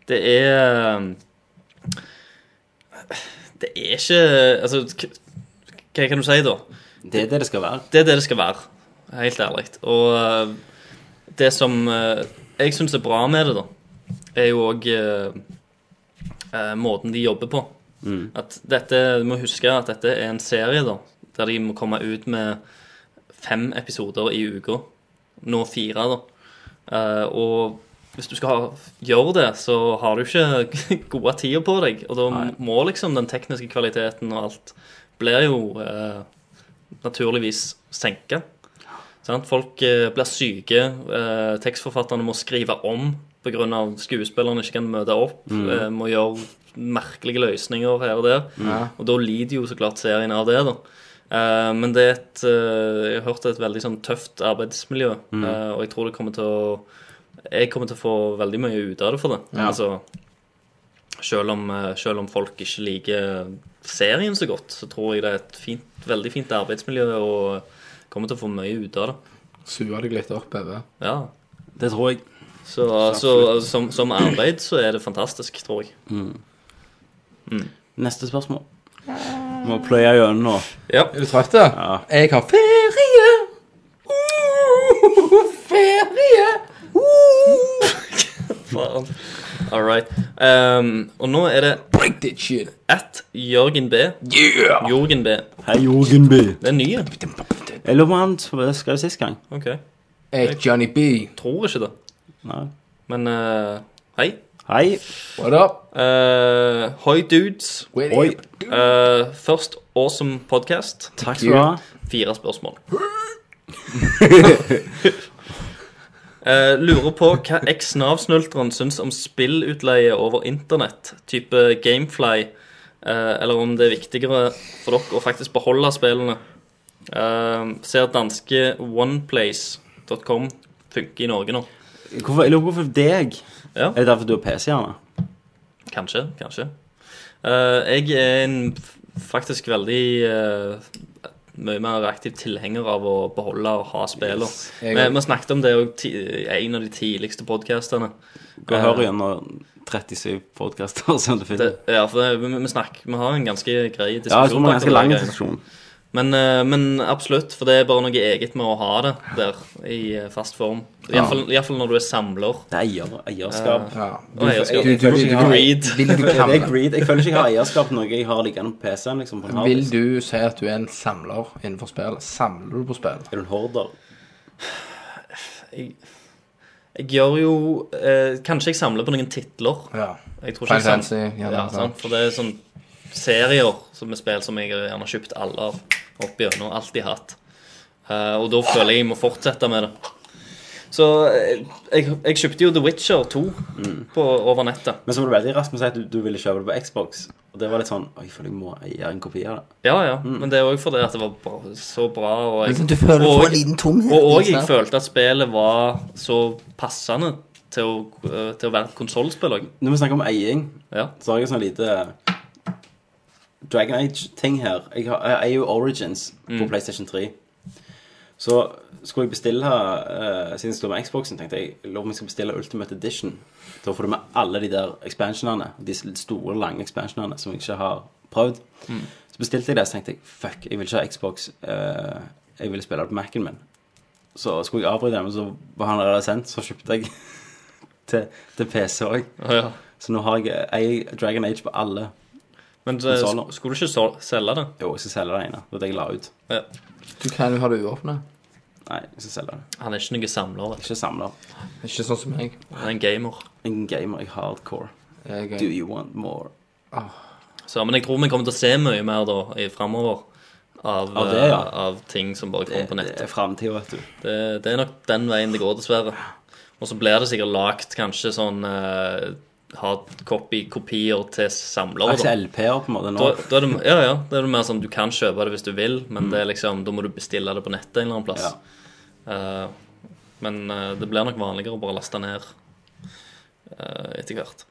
det er um, Det er ikke Altså, k- hva kan du si, da? Det er det det skal være. Det er det det skal være. Helt ærlig. Og eh, det som eh, jeg syns er bra med det, da, er jo uh, òg eh, måten de jobber på. Mm. At dette, Du må huske at dette er en serie da, der de må komme ut med fem episoder i uka. Nå fire, da. Eh, og hvis du skal ha, gjøre det, så har du ikke gode tider på deg. Og da må liksom den tekniske kvaliteten og alt blir jo eh, naturligvis senke. Sant? Folk eh, blir syke, eh, tekstforfatterne må skrive om pga. skuespillerne ikke kan møte opp, Mm. eh, må gjøre merkelige løsninger her og der. Ja. Og da lider jo så klart serien av det, da. Eh, men det er et eh, Jeg har hørt det er et veldig sånn tøft arbeidsmiljø, Mm. eh, og jeg tror det kommer til å Jeg kommer til å få veldig mye ut av det for det. Ja. Altså selv om, eh, selv om folk ikke liker serien så godt, så tror jeg det er et fint, veldig fint arbeidsmiljø og kommer til å få mye ut av det. Suger deg litt opp, Eve. Ja. Det tror jeg. Så, så absolutt. som, som arbeid så er det fantastisk, tror jeg. Mm. Mm. Neste spørsmål. Må pløye gjennom nå. Ja. Er du trøtt, da? Ja. Jeg har ferie! Uh, ferie! Uh. Faen. All right. Um, og nå er det Break that shit. At Jørgen B. Yeah! Jorgen B. Hei, Jorgen B. Det er nye. Jeg lurer på om han skrev sist gang. OK. Jeg, Johnny B. tror ikke det. Nei. Men eh, hei. Hei. What up? Eh, hoi, dudes. What Oi. up, Eh, først awesome podcast. Takk skal du ha. Fire spørsmål. Eh, lurer på hva eks-Nav-snulteren syns om spillutleie over internett, type Gamefly, eh, eller om det er viktigere for dere å faktisk beholde spillene. Eh, ser danske oneplace.com funker i Norge nå. Hvorfor, jeg lurer på hvorfor deg. Ja. Er det derfor du har PC-hjerne? Kanskje, kanskje. Eh, jeg er en f- faktisk veldig eh, mye mer aktiv tilhenger av å beholde og ha spiller. Yes. Vi Jeg vi også. snakket om det også ti- i en av de tidligste podkastene. Gå og hør gjennom 37 podkaster som du finner. Ja, for det, vi, vi, snakker, vi har en ganske grei diskusjon. Ja, jeg tror det er en bak ganske det lang greiene. diskusjon. Men, eh, men absolutt, for det er bare noe eget med å ha det der i eh, fast form. Ja. Iallfall fall når du er samler. Det er eier, eierskap. Eh, Du- Og eierskap. jeg- jeg føler ikke jeg har- greed. Det er greed. Jeg føler ikke jeg har eierskap til noe jeg har liggende på PC-en. liksom på en hard Vil disk. du si at du er en samler innenfor spill? Samler du på spill? Er du en horder? jeg, jeg gjør jo eh, Kanskje jeg samler på noen titler. Ja. Jeg tror Final ikke jeg sam- Fantasy, ja, gjerne, sant. sant? For det er sånn serier som er spill som jeg gjerne har kjøpt alle av opp gjennom, alltid hatt. Eh, og da føler jeg jeg må fortsette med det. Så eh, jeg, jeg kjøpte jo The Witcher 2 på, over nettet. Mm. Men så var det veldig raskt med å si at du, du ville kjøpe det på Xbox. Og det var litt sånn «Oi, Jeg føler jeg må eie en kopi av det. Ja, ja, Mm. men det er òg fordi at det var bra, så bra. Og Men du føler du får en liten tomhet, Og, og ikke jeg sant? følte at spillet var så passende til å, Eh, til å være et konsollspill òg. Når vi snakker om eiing, Ja. så har jeg en sånn lite Dragon Age-ting her. Jeg, har, jeg eier jo Origins på Mm. PlayStation 3. Så skulle jeg bestille eh, Siden jeg står med Xboxen, tenkte jeg jeg lurer på om jeg skal bestille Ultimate Edition. Da får du med alle de der expansionene. De store, lange expansionene som jeg ikke har prøvd. Mm. Så bestilte jeg det, så tenkte jeg fuck, jeg vil ikke ha Xbox. eh, jeg vil spille det på Mac-en min. Så skulle jeg avbryte den, men så var han allerede sendt, så kjøpte jeg til, til PC òg. ja. Så nå har jeg, jeg eier Dragon Age på alle Men eh, konsoller. sk- skulle du ikke sol- selge det? Jo, jeg skal selge det ene. Det var det jeg la ut. Ja. Du kan jo ha det uåpna. Nei, ikke selger det. Han er ikke noen samler. Vet. Ikke samler. Ikke sånn som meg. Han er en gamer. En gamer i hardcore. Jeg er- Ah. Do you want more? Så, men jeg tror vi kommer til å se mye mer da i framover. Av, Av det, ja. eh, av ting som bare kommer Det- på nettet. det er fremtiden, vet du. Det, det er nok den veien det går, dessverre. Og så blir det sikkert lagt kanskje sånn eh, hard copy-kopier til samlere. Akkurat LP-er på en måte nå. Da, da er det, ja, ja. Da er det mer sånn du kan kjøpe det hvis du vil, Mm. men det er liksom, da må du bestille det på nettet en eller annen plass. Eh, men eh, det blir nok vanligere å bare laste ned eh, etter hvert.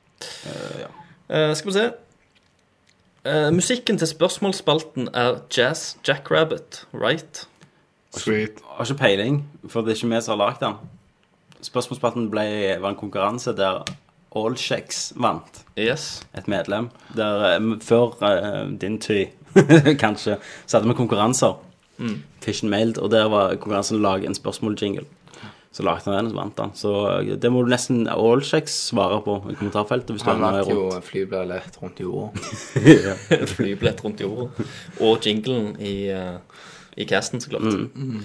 Eh, skal vi se. Eh, musikken til spørsmålsspalten er Jazz Jackrabbit, right? Sweet. Har ikke peiling, for det er ikke vi som har lagd den. Spørsmålsspalten ble, var en konkurranse der All Checks vant. Yes. Et medlem. Der, eh, m- før eh, din tid, kanskje, så hadde vi konkurranser. Mm. Fish and Mailed, og der var konkurransen å lage en spørsmåljingle. Så lagde han den, og så vant han. Så eh, det må du nesten All Checks svare på i kommentarfeltet. hvis du Han har noe vant jo rundt. flybillett rundt jorda. Ja. Flybillett rundt jorda. Og jinglen i, eh, i casten, så klart. Mm. Mm.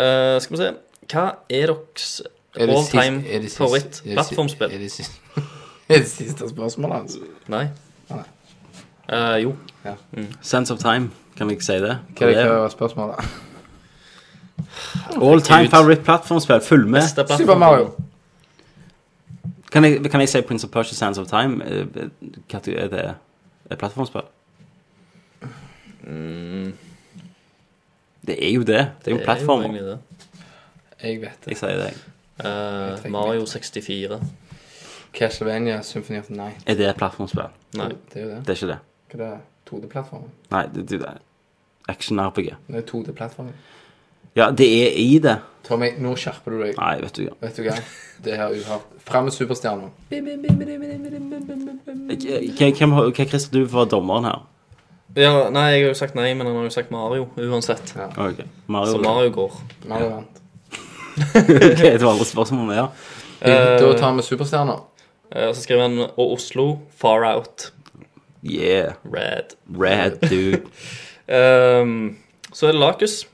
Eh, skal vi se Hva er deres Er det all sist- time er det sist- er det si- favoritt-plattformspill? er det sist- Er det siste spørsmålet hans? Nei. Nei. Eh, jo. Ja. Mm. Sense of Time, kan vi ikke si det? Hva er det hva er spørsmålet? All time favorite platformspill. Følg med. Beste plattform. Super Mario. Kan jeg, kan jeg si Prince of Persia Sands of Time? Eh, Hva er det- er det et plattformspill? Det er jo det. Det er jo en plattform. egentlig det. Jeg vet Jeg sier det. jeg. Eh, Mario 64. Castlevania Symphony of the Night. Er det et plattformspill? Nei. Det er jo det. Det er ikke det. Hva er det? 2D-plattformen? Nei, det, det er action-RPG. Det er 2D-plattformen. Ja, det er i det. Tommy, nå skjerper du deg. Nei, vet du hva. Vet du hva? Det her er uhørt. Frem med superstjernen. Hvem, hvem, har- hva, Christer, du var dommeren her? Ja, nei, jeg har jo sagt nei, men han har jo sagt Mario uansett. Ah, Ok, Mario Så da. Mario går. Mario vant. ok, det var alle spørsmål med, ja. Eh, Da tar vi superstjerner. Eh, og så skriver han Og Oslo, Far Out. Eh, Yeah. Red. Red, dude. Ehm, så er det Lakus.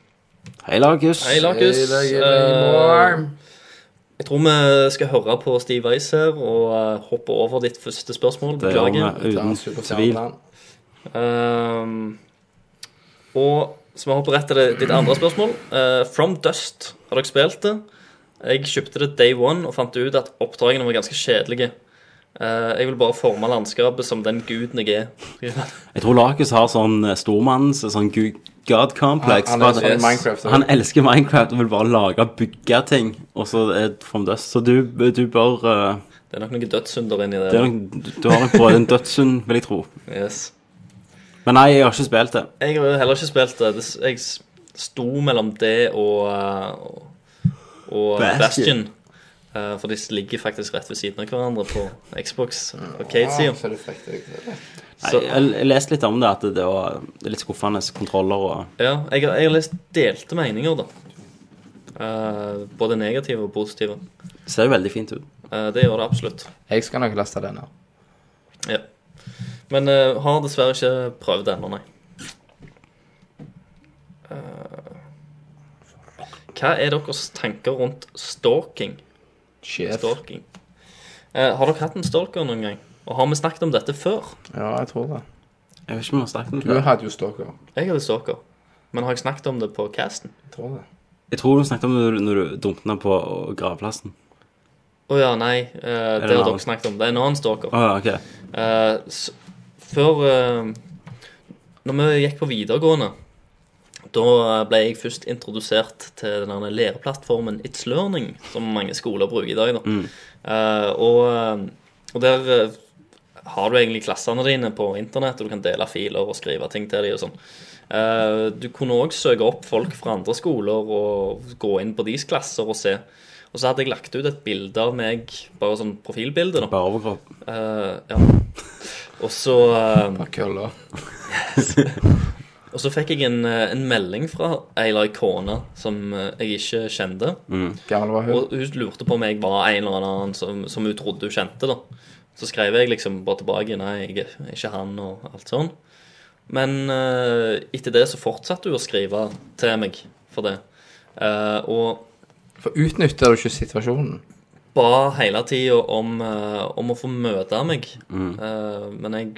Hei, Lakus. Hei, Lakus. Hei, Lakus. Ehm, jeg tror vi skal høre på Steve Weiss her og eh, hoppe over ditt første spørsmål. Det gjør vi, uten tvil. Ehm, og så vi hopper rett til det- ditt andre spørsmål. Eh, From Dust, har dere spilt det? Jeg kjøpte det day one og fant ut at oppdragene var ganske kjedelige. Eh, jeg vil bare forme landskapet som den guden jeg er. Jeg tror Lakus har sånn eh, stormanns sånn gu- god complex. Han- han er for at- sånn Minecraft, altså. eller? han elsker Minecraft og vil bare lage og bygge ting. Og så er det from dust. Så du, du bør eh, Det er nok noen dødssynder inni det. det er nok, Du har nok både en dødssund, vil jeg tro. Yes. Men nei, jeg har ikke spilt det. Jeg har heller ikke spilt det. Det s- Jeg s- sto mellom det og eh, og Bastion. Bastion. Eh, For de ligger faktisk rett ved siden av hverandre på Xbox Ah, så Arcade-sida. det frekte jeg til det. Nei, Så- jeg, jeg leste litt om det, at det var litt skuffende kontroller og Ja, jeg, har- jeg har lest delte meninger, da. Eh, både negative og positive. Ser jo veldig fint ut. Eh, det gjør det absolutt. Jeg skal nok laste den her. Ja. Men eh, har dessverre ikke prøvd det ennå, nei. Eh, hva er deres tanker rundt stalking? Sjef. Stalking. Eh, har dere hatt en stalker noen gang? Og har vi snakket om dette før? Ja, jeg tror det. Jeg vet ikke om vi har snakket om Du hadde jo stalker. Jeg hadde stalker. Men har jeg snakket om det på casten? Jeg tror det. Jeg tror du snakket om det når du dumpet den på gravplassen. Å ja, nei. eh, det det har en annen? dere snakket om. Det er en annen stalker. Å, ja, ok. Eh, s- før eh, Når vi gikk på videregående, da eh, ble jeg først introdusert til den der læreplattformen It's Learning, som mange skoler bruker i dag. da. Mm. Eh, og, eh, og der eh, har du egentlig klassene dine på internett, og du kan dele filer og skrive ting til dem og sånn. Eh, du kunne òg søke opp folk fra andre skoler og gå inn på deres klasser og se. Og så hadde jeg lagt ut et bilde av meg, bare sånn profilbilde, da. Eh, Bare overkropp. ja. Og så eh, Bare køller. og så fikk jeg en, eh, en melding fra ei eller annen kone som eh, jeg ikke kjente. Mm. Gammel var hun. Og hun lurte på om jeg var en eller annen som, som hun trodde hun kjente. da. Så skrev jeg liksom bare tilbake nei, jeg er ikke han, og alt sånn. Men eh, etter det så fortsatte hun å skrive til meg for det. Eh, og For utnytter du ikke situasjonen? ba hele tida om, eh, om å få møte meg. Mm. Eh, men jeg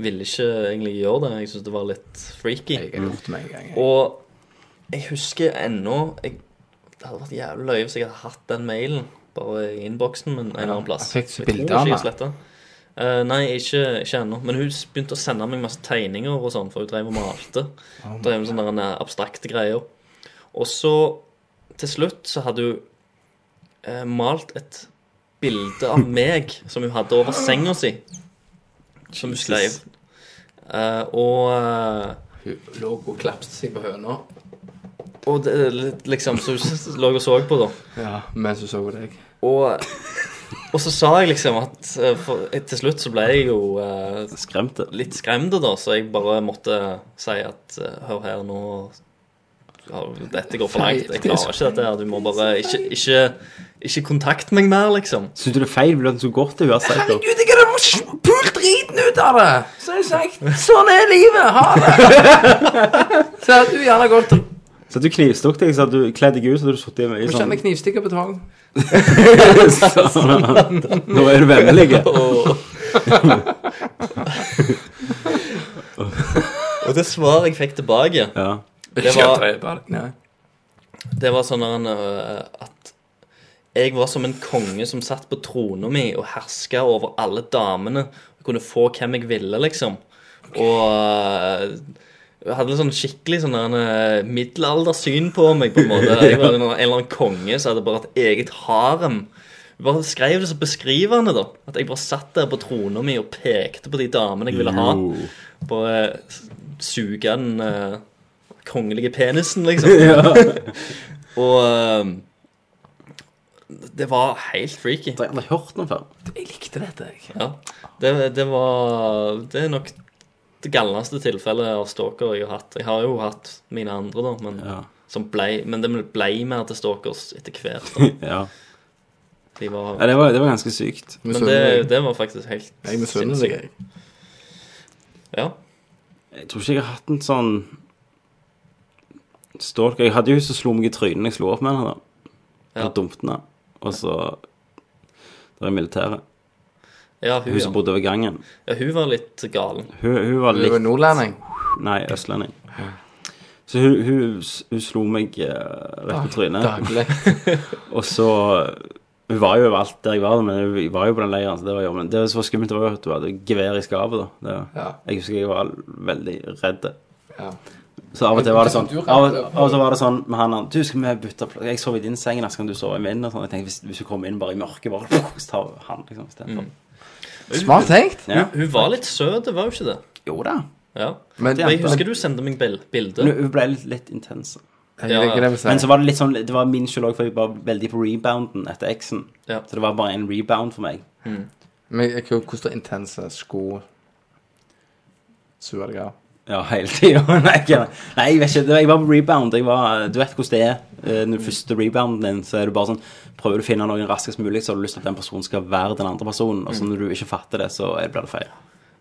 ville ikke egentlig gjøre det. Jeg syntes det var litt freaky. Og jeg husker ennå jeg, Det hadde vært jævlig løye hvis jeg hadde hatt den mailen bare i innboksen min en eller annen plass. Jeg fikk så tror bilder ikke av jeg meg. slettet. Eh, nei, ikke, ikke ennå. Men hun s- begynte å sende meg masse tegninger og sånn, for hun drev og malte. Oh my drev med sånne der abstrakte greier. Og så, til slutt, så hadde hun eh, malt et bilde av meg som hun hadde over senga si, som hun skrev. Eh, og eh, Hun lå og klapset seg på høna. og det er litt liksom Så hun s- lå og så på, da. Ja, mens hun så på deg. Og, og så sa jeg liksom at eh, for, eh, Til slutt så ble jeg jo eh, litt skremt, da, så jeg bare måtte si at eh, hør her, nå ja, Dette går for langt. Jeg klarer ikke dette her. Du må bare ikke, ikke, ikke kontakt meg mer, liksom. Syns du det er feil? Vil du at hun skal gå til henne? Herregud, jeg hadde pult driten ut av det! Så har jeg sagt sånn er livet! Ha det! så hadde du gjerne gått og Så at du knivstukket deg, så at du kledde deg ut, så hadde du sittet i- i Hun sånn kjenner knivstikker på tang. Sånn. Nå er du vennlig. Og det svaret jeg fikk tilbake Ja. Det Ikke å drepe var, deg, nei. det var sånn der en, øh, at jeg var som en konge som satt på trona mi og herska over alle damene. Jeg kunne få hvem jeg ville, liksom. Og øh, jeg hadde sånn skikkelig sånn der en, øh, middelaldersyn på meg, på en måte. Jeg var en, en eller annen konge som hadde bare et eget harem. Jeg bare skrev det så beskrivende, da. At jeg bare satt der på trona mi og pekte på de damene jeg ville ha. Jo. Bare s- suge den eh, kongelige penisen, liksom. Ja. og eh, det var helt freaky. Jeg hadde hørt noe før. Jeg likte dette, jeg. Ja. Det, det var Det er nok det galneste tilfellet av stalker jeg har hatt. Jeg har jo hatt mine andre, da, men, som blei- men det ble mer til stalkers etter hvert. Da. Ja. De var, Ja, det var, det var ganske sykt. Men det, det var faktisk helt Jeg misunner deg, jeg. Ja. Jeg tror ikke jeg har hatt en sånn stalker. Jeg hadde jo hun som slo meg i trynet når jeg slo opp med henne. da. Ja. På dumpene. Og så Det er militæret. Ja, hun, Hun som ja. bodde over gangen. Ja, hun var litt galen. Hun, hun var Hun litt var nordlending? Nei, østlending. Så hun, hun, hun slo meg eh, rett på Dag- trynet. Ah, daglig. og så Hun var jo overalt der jeg var, men hun var jo på den leiren. Så det var jo, men det som var skummelt, var jo at hun hadde gevær i skapet. da. Det, Ja. Jeg husker jeg var veldig redd. Ja. Så av og til var det sånn Du er redd, Av, ja. av og til var det sånn med han han Du, skal vi bytte plass? Jeg sover i din seng, da skal du sove i min. Og sånn. Jeg tenkte, hvis, hvis du kommer inn bare i mørket, bare så tar han liksom istedenfor. Mm. Smart tenkt. Ja. Hun, hun var litt søt, var hun ikke det? Jo da. Ja. Men- jeg husker du sendte meg bil- bilde. Hun ble litt, litt intens. Jeg Ja, liker det vi sier. Men så var det litt sånn Det var min skyld òg, for jeg var veldig på rebounden etter eksen. Ja. Så det var bare en rebound for meg. Men jeg, jeg, hvordan er intense sko Sure deg av? Ja, hele tida. Nei, ikke- nei, jeg vet ikke. Det var- Jeg var på rebound. Jeg var, du vet hvordan det er. eh, Når du første rebounden din, så er du bare sånn Prøver du å finne noen raskest mulig, så har du lyst til at den personen skal være den andre personen. Og så Mm. når du ikke fatter det, så er- blir det feil.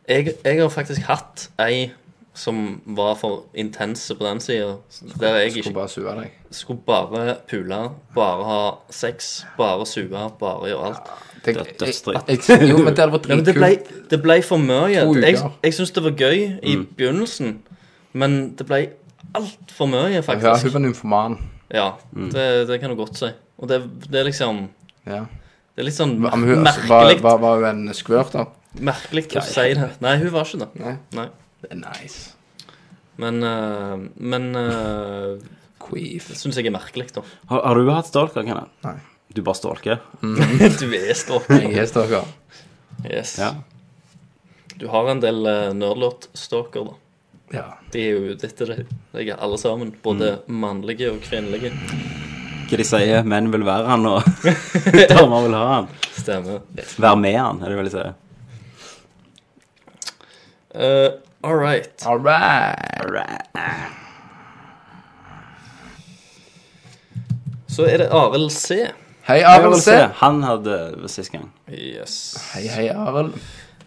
Jeg, jeg har faktisk hatt ei som var for intense på den sida. Der jeg ikke Skulle bare sue deg. Skulle bare pule, bare ha sex, bare sue, bare gjøre alt. det er dødsdritt. Jeg- jo, men det hadde vært Ja, men det ble, det ble for mye. To uker. Jeg, jeg syns det var gøy i Mm. begynnelsen, men det ble altfor mye, faktisk. Ja, hun var en informan. Ja, Mm. det, det kan du godt si. Og det, det er liksom Ja. Det er litt sånn Men hun, altså, merkelig Var, var, var hun en skvørt, da? Merkelig å Nei. si det. Nei, hun var ikke det. Nei. Det er nice. Men eh, Men Queef. Det syns jeg er merkelig, da. Har, har du hatt stalker, Kenneth? Nei. Du bare stalker? Mm. du er stalker. Jeg er stalker. Yes. Ja. Du har en del uh, nerdlort-stalker, da. Ja. Mm. De er jo ute etter deg, deg alle sammen. Både mannlige og kvinnelige. Hva de sier, menn vil være han, og damer vil ha han. Stemmer. Være med han, er det vel de sier. Uh, all right. All right. Så er det Arild C. Hei, Arild C. Han hadde det sist gang. Yes. Hei, hei, Arild.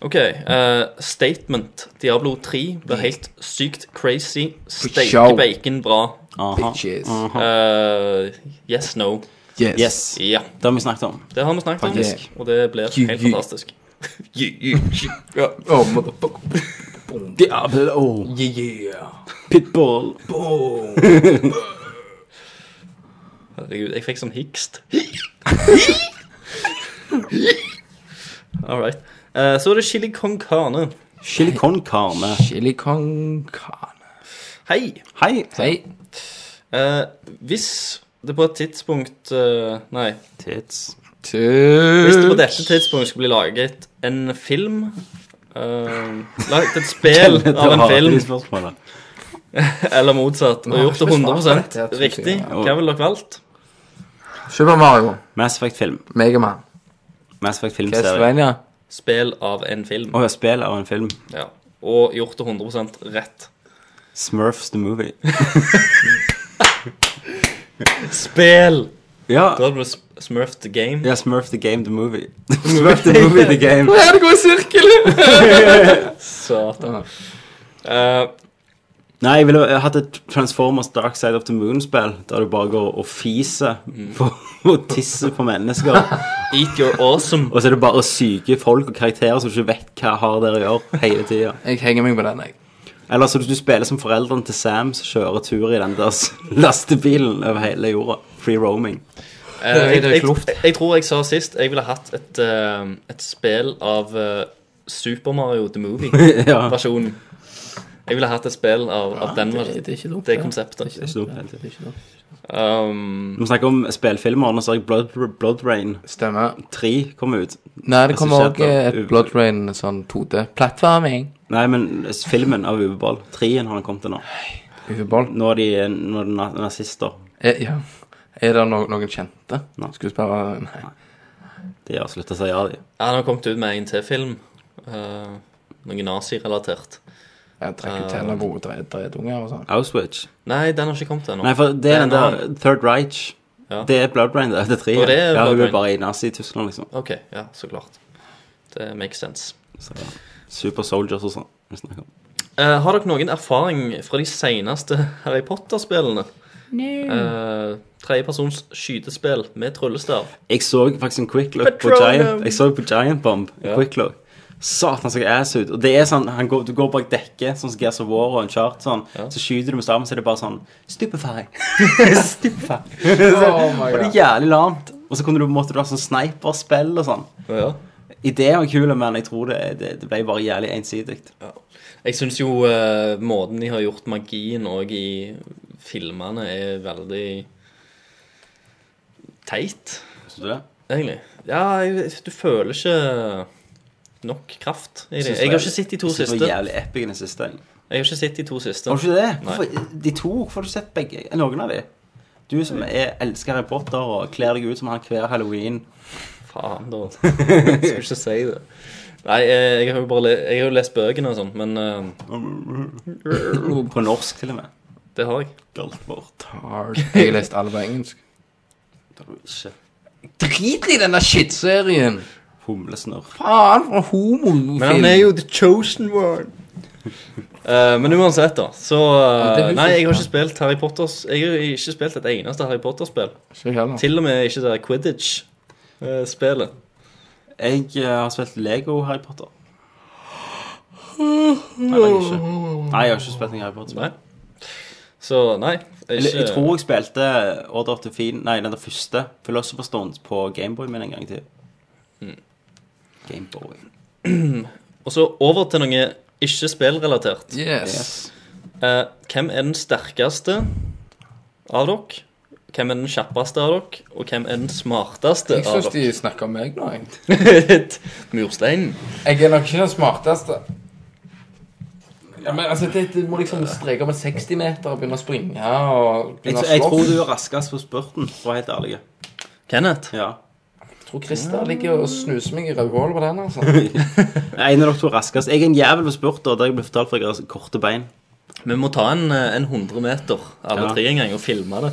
OK. eh, statement. Diablo 3 ble helt sykt crazy. show. Steike bacon bra. Bitches. Eh, yes, no. Yes. Ja. Det har vi snakket om. Det har vi snakket om, Faktisk. og det blir You- helt you- fantastisk. Ja. Oh, motherfucker. Diablo. Yeah. Pitbull. Herregud, jeg fikk sånn hikst. All right. Eh, så er det chili con carne. Chili con carne. Chili con carne. Hei. Hei. Eh, hvis det på et tidspunkt eh, Nei. Tits. Hvis det på dette tidspunkt skulle bli laget en film eh, Laget et spill Kenneth av en har film alltid spørsmålet. Eller motsatt, og Nå har gjort det jeg ikke besvart 100 dette, riktig, synes jeg. hva ville dere valgt? Super Mario. Mass Effect-film. Megaman. Mass Effect-filmserie. Castlevania. Spill av en film. Å, ja, spill av en film. Ja. Og gjort det 100 rett. Smurfs the Movie. Spill! Ja. Da hadde du sm- Smurf the Game. ja, Smurf the Game the Movie. Smurf the Movie the Game. Nå er det gått i sirkel! Satan. Eh, Nei, jeg ville jeg hatt et Transformers Dark Side of the Moon-spill, der du bare går og fiser på, og tisser på mennesker. Mm. Eat your awesome. Og så er det bare syke folk og karakterer som ikke vet hva har der å gjøre, hele tida. Jeg henger meg på den, jeg. Eller så du spiller som foreldrene til Sam som kjører tur i den der s- lastebilen over hele jorda. Free roaming. Eh, jeg, jeg, jeg, jeg tror jeg sa sist jeg ville hatt et, eh, et spill av eh, Super Mario The Ja. Movie-versjonen. Jeg ville hatt et spill av, av den det- det er ikke dumt, det det. konseptet. Det er ikke dumt, det er ikke dumt. Um, Når vi snakker om spillfilmer, nå så har jeg Blood, Blood Rain Stemmer. 3 komme ut. Nei, det kommer Regissert også av et Uwe- Blood Rain sånn 2D-plattforming. Nei, men filmen av Uwe Boll. Trien har han kommet til nå. Uwe Boll? Nå er de, nå er de na- nazister. Er, ja. er det no noen kjente? Skuespillere? Nei. De har sluttet å si ja, de. han har kommet ut med en til film. eh, noe nazirelatert. Jeg trekker til Eh, en gode dre- dredunger og sånn. Auschwitch. Nei, den har ikke kommet ennå. Nei, for det er en den der annen. Third Reich. Ja. Det er Blood Rain, det. Det er trien. Og det er ja, Blood hun er Rain. bare i Nazi-Tyskland, liksom. OK, ja, så klart. Det makes sense. Super Soldiers og sånn. vi snakker om. Eh, har dere noen erfaring fra de seneste Harry Potter-spillene? Mm. Eh, Tredjepersons skytespill med tryllestav. Jeg så faktisk en quick look på Patronum. Giant, jeg så på Giant Bomb. en Quick look. Satan, så ass ut. Og det er sånn, han går, Du går bak dekket, sånn som Gears of War og en chart, sånn. Så skyter du med staven, så er det bare sånn Stupefy. Stupefy. Oh my det er God. jævlig lamt. Og så kunne du, måtte du ha sånn sniperspill og sånn. Ja. Ideen var kul, men jeg tror det, det, det ble bare jævlig ensidig. Jeg syns jo eh, måten de har gjort magien òg i filmene, er veldig teit. Syns du det? Egentlig. Ja, jeg, du føler ikke nok kraft i det. Syns Jeg det- har ikke sett de to syns siste. Det var jævlig epic i den siste. jeg. Jeg har ikke sett de to siste. Har du ikke det? Nei. Hvorfor, de to, hvorfor har du sett begge? eh, Noen av de? Du som er, elsker Harry Potter og kler deg ut som han hver halloween. Faen, da. Jeg skulle ikke si det. Nei, eh, jeg har jo bare le jeg har jo lest bøkene og sånn, men eh, På norsk, til og med. Det har jeg. Hard. Jeg har lest alle på engelsk. Det har du ikke. Drit i denne shit-serien! Humlesnørr. Faen, for homofilm. Men han er jo the chosen one. Eh, men uansett, da. Så Ja, det eh, husker Nei, jeg har jeg. ikke spilt Harry Potters Jeg har ikke spilt et eneste Harry Potter-spill. Ikke heller. Til og med ikke det der Quidditch-spelet. Jeg eh, har spilt Lego Harry Potter. Nei, det har jeg ikke. Nei, jeg har ikke spilt noe Harry Potter. Så nei. Jeg, Ikke, jeg tror jeg spilte Order of the Fiend, nei, den der første Philosopher's Stone på Gameboy min en gang til. Gameboy. Mm. Og så over til noe ikke spillrelatert. Yes. Eh, hvem er den sterkeste av dere? Hvem er den kjappeste av dere? Og hvem er den smarteste Jeg av syns dere? de snakker om meg nå, jeg. Mursteinen. Jeg er nok ikke den smarteste. Ja, men altså, det, det må liksom streke med 60 meter og begynne å springe og Jeg, begynne jeg å tror du slåss. er raskest på spurten, for å være helt ærlig. Kenneth? Ja. Jeg tror Christer ligger og snuser meg i rødhålet på den, altså. En av dere to er raskest. Jeg er en jævel på spurter, der jeg ble fortalt for jeg har korte bein. Vi må ta en, eh, en 100 meter alle Ja. tre en gang og filme det.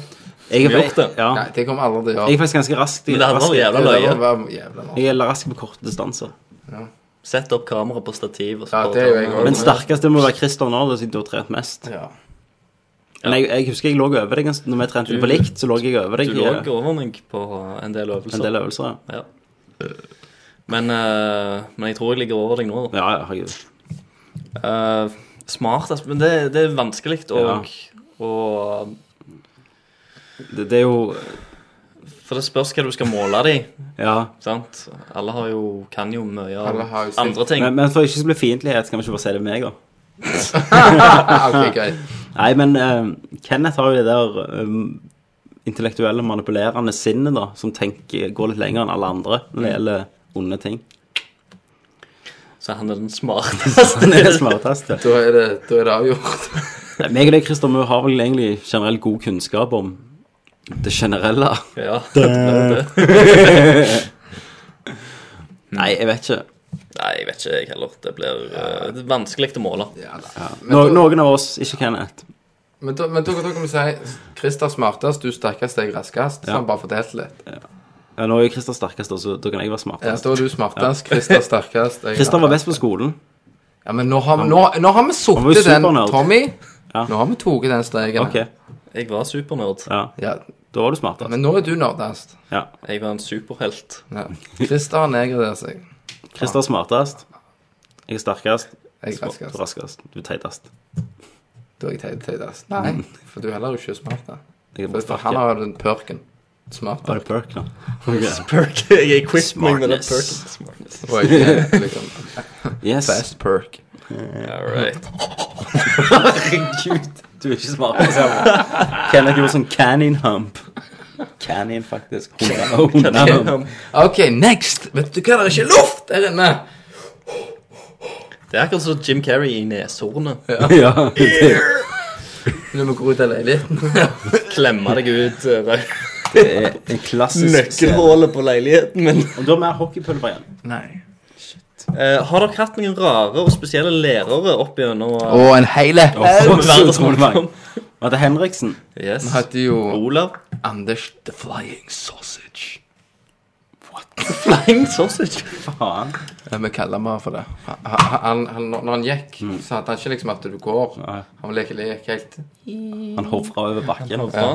Jeg er- Vi har gjort det. ja. Nei, det kommer aldri til å gjøre. Jeg er faktisk ganske rask. Men det hadde vært jævla Det løye. hadde vært jævla løye. Jeg er rask på korte distanser. Sett opp kamera på stativ. Og så Ja, bare det er jo ta jeg den. også. Men sterkest det må være Christer nå, da, siden du har trent mest. Ja. Men jeg, jeg husker jeg lå over deg ganske- når vi trente på likt, så lå jeg over deg. Mm. eh, Du lå over meg på en del øvelser. En del øvelser, ja. Men, eh, men jeg tror jeg ligger over deg nå, da. Eh, Ja, ja, herregud. smart, altså. Men det, det er vanskelig å og det, det er jo For det spørs hva du skal måle det i. Ja. Sant? Alle har jo, kan jo mye av Alle har jo sitt. andre ting. Men, men for ikke å bli fiendtlig, skal vi ikke bare si det med meg, da? Ok, greit. Nei, men eh, Kenneth har jo det der eh, intellektuelle, manipulerende sinnet, da, som tenker, går litt lenger enn alle andre når det gjelder onde ting. Mm. Så han er den smarteste. han er den smarteste. Da er det, da er det avgjort. Nei, meg og deg, Christer, vi har vel egentlig generelt god kunnskap om det generelle. Ja, det er det. Nei, jeg vet ikke. Mm. Nei, jeg vet ikke, jeg heller. Det blir eh, det er vanskelig å måle. No, noen av oss, ikke Kenneth. Men da, men da, da kan vi si Christer smartest, du sterkest, jeg raskest. Så Ja. han bare fordelte litt. Ja, nå er jo Christer sterkest, da, så da kan jeg være Ja, smartest. da er du smartest, Christer sterkest. jeg- Christer var best på skolen. Ja, men nå har, vi- nå, nå har vi Han var jo sittet den, supernerd. Tommy. Nå har vi tatt den streken. Ok. Jeg var supernerd. Ja. Da var du smartest. Men nå er du nerdest. Ja. Jeg var en superhelt. Ja. Christer har negret seg. Christer er smartest. Jeg er sterkest. Jeg er Smart- raskest. Du er raskest. Du er teitest. Da er jeg teit- teitest. Nei, for du er heller ikke smart. da. Mm. Jeg er For, bare for sterk, han ja. har jo den perken. Smart Var det perk, da? Ok. Perk. Jeg er quiz med den Smartness. perken. Smartness. Og ikke liksom Yes. Best perk. All right. Herregud, du er ikke smart. altså. Kenneth gjorde sånn canning hump. Canning, faktisk. Hunde- Canning Hundehump. hump. Ok, next! Vet du hva, det er ikke luft der inne! Det er akkurat som Jim Carrey i neshornet. Ja, det- Du må gå ut av leiligheten. Klemme deg ut. eh, Det er en klassisk Nøkkelhullet på leiligheten min. Og du har mer hockeypulver igjen. Nei. Eh, har dere hatt noen rare og spesielle lærere opp gjennom eh, Å, en hele haug med verden som kom? Var det Henriksen? Yes. Vi hadde jo Olav. Anders The Flying Sausage. Flying sausage. Faen. Ja, vi kaller meg for det. Han, han, han, når han gikk, Mm. så hadde han ikke liksom at du går. Han leke lek helt Han hofra over bakken. Ja.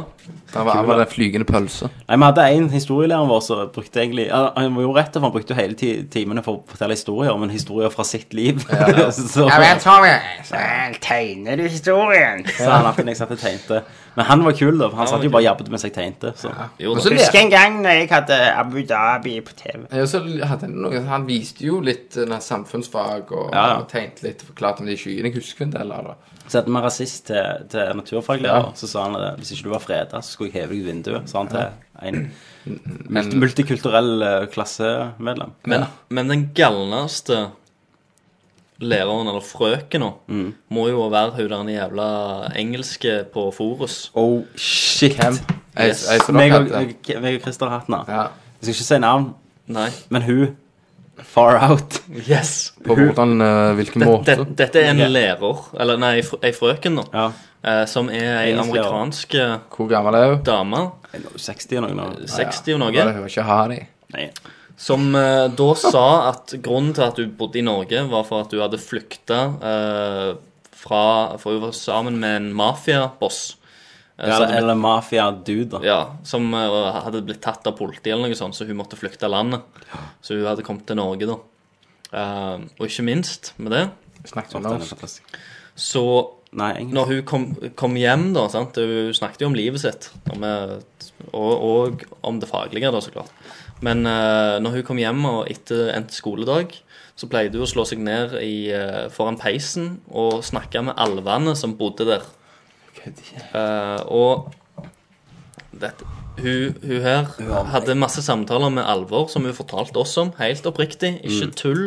Han var, han var den flygende pølse. Nei, Vi hadde en historielæreren vår som brukte egentlig ja, Han var jo rett for han brukte jo hele ti- timene for å fortelle historier, men historier fra sitt liv. Så- Tommy, så tegner du historien. Så han alltid når jeg satt og tegnte. Men han var kul, da. for Han satt jo bare og jabbet mens jeg tegnte. Så. Jo, da. Husker en gang når jeg hadde Abu Dhabi på TV. Ja, så hadde han, noe, han viste jo litt eh, den samfunnsfag og, Ja, ja. og tegnte litt og forklarte om de skyene. Jeg husker en del av det. Så hadde vi en rasist til, til naturfaglærer, Ja. så sa han at hvis ikke du var freda, så skulle jeg heve deg ut vinduet, sa han Ja. til en multi- multikulturell eh, klassemedlem. Men, men den galneste læreren, eller frøkena, Mm. må jo være hun der jævla engelske på Forus. Oh, shit. Jeg- Yes. jeg- så dere Meg og, hadde- jeg- meg og Christer har hatt den. Jeg skal ikke si navn, Nei. men hun Far out. Yes. På hvordan, eh, hvilken måte? Dette, dette er en Ok. lærer, eller nei, fr- ei frøken, da, eh, som er ei Engelsk lærer. amerikansk eh, Hvor gammel er hun? dame. 60 og noe. 60 og Ja, det noe. var ikke harry. Som eh, da sa at grunnen til at hun bodde i Norge, var for at hun hadde flykta eh, fra For hun var sammen med en mafiaboss. Eh, Ja, så eller hadde eller mafia-dude, da. Ja, som eh, hadde blitt tatt av politiet eller noe sånt, så hun måtte flykte av landet. Så hun hadde kommet til Norge, da. Eh, og ikke minst med det Snakket om norsk. Så når hun kom, kom hjem, da sant? Hun snakket jo om livet sitt, om, eh, og, og om det faglige, da, så klart. Men eh, når hun kom hjem og etter endt skoledag, så pleide hun å slå seg ned i, eh, foran peisen og snakke med alvene som bodde der. Eh, og dette, hun, hun her hadde masse samtaler med alvor som hun fortalte oss om, helt oppriktig. Ikke Mm. tull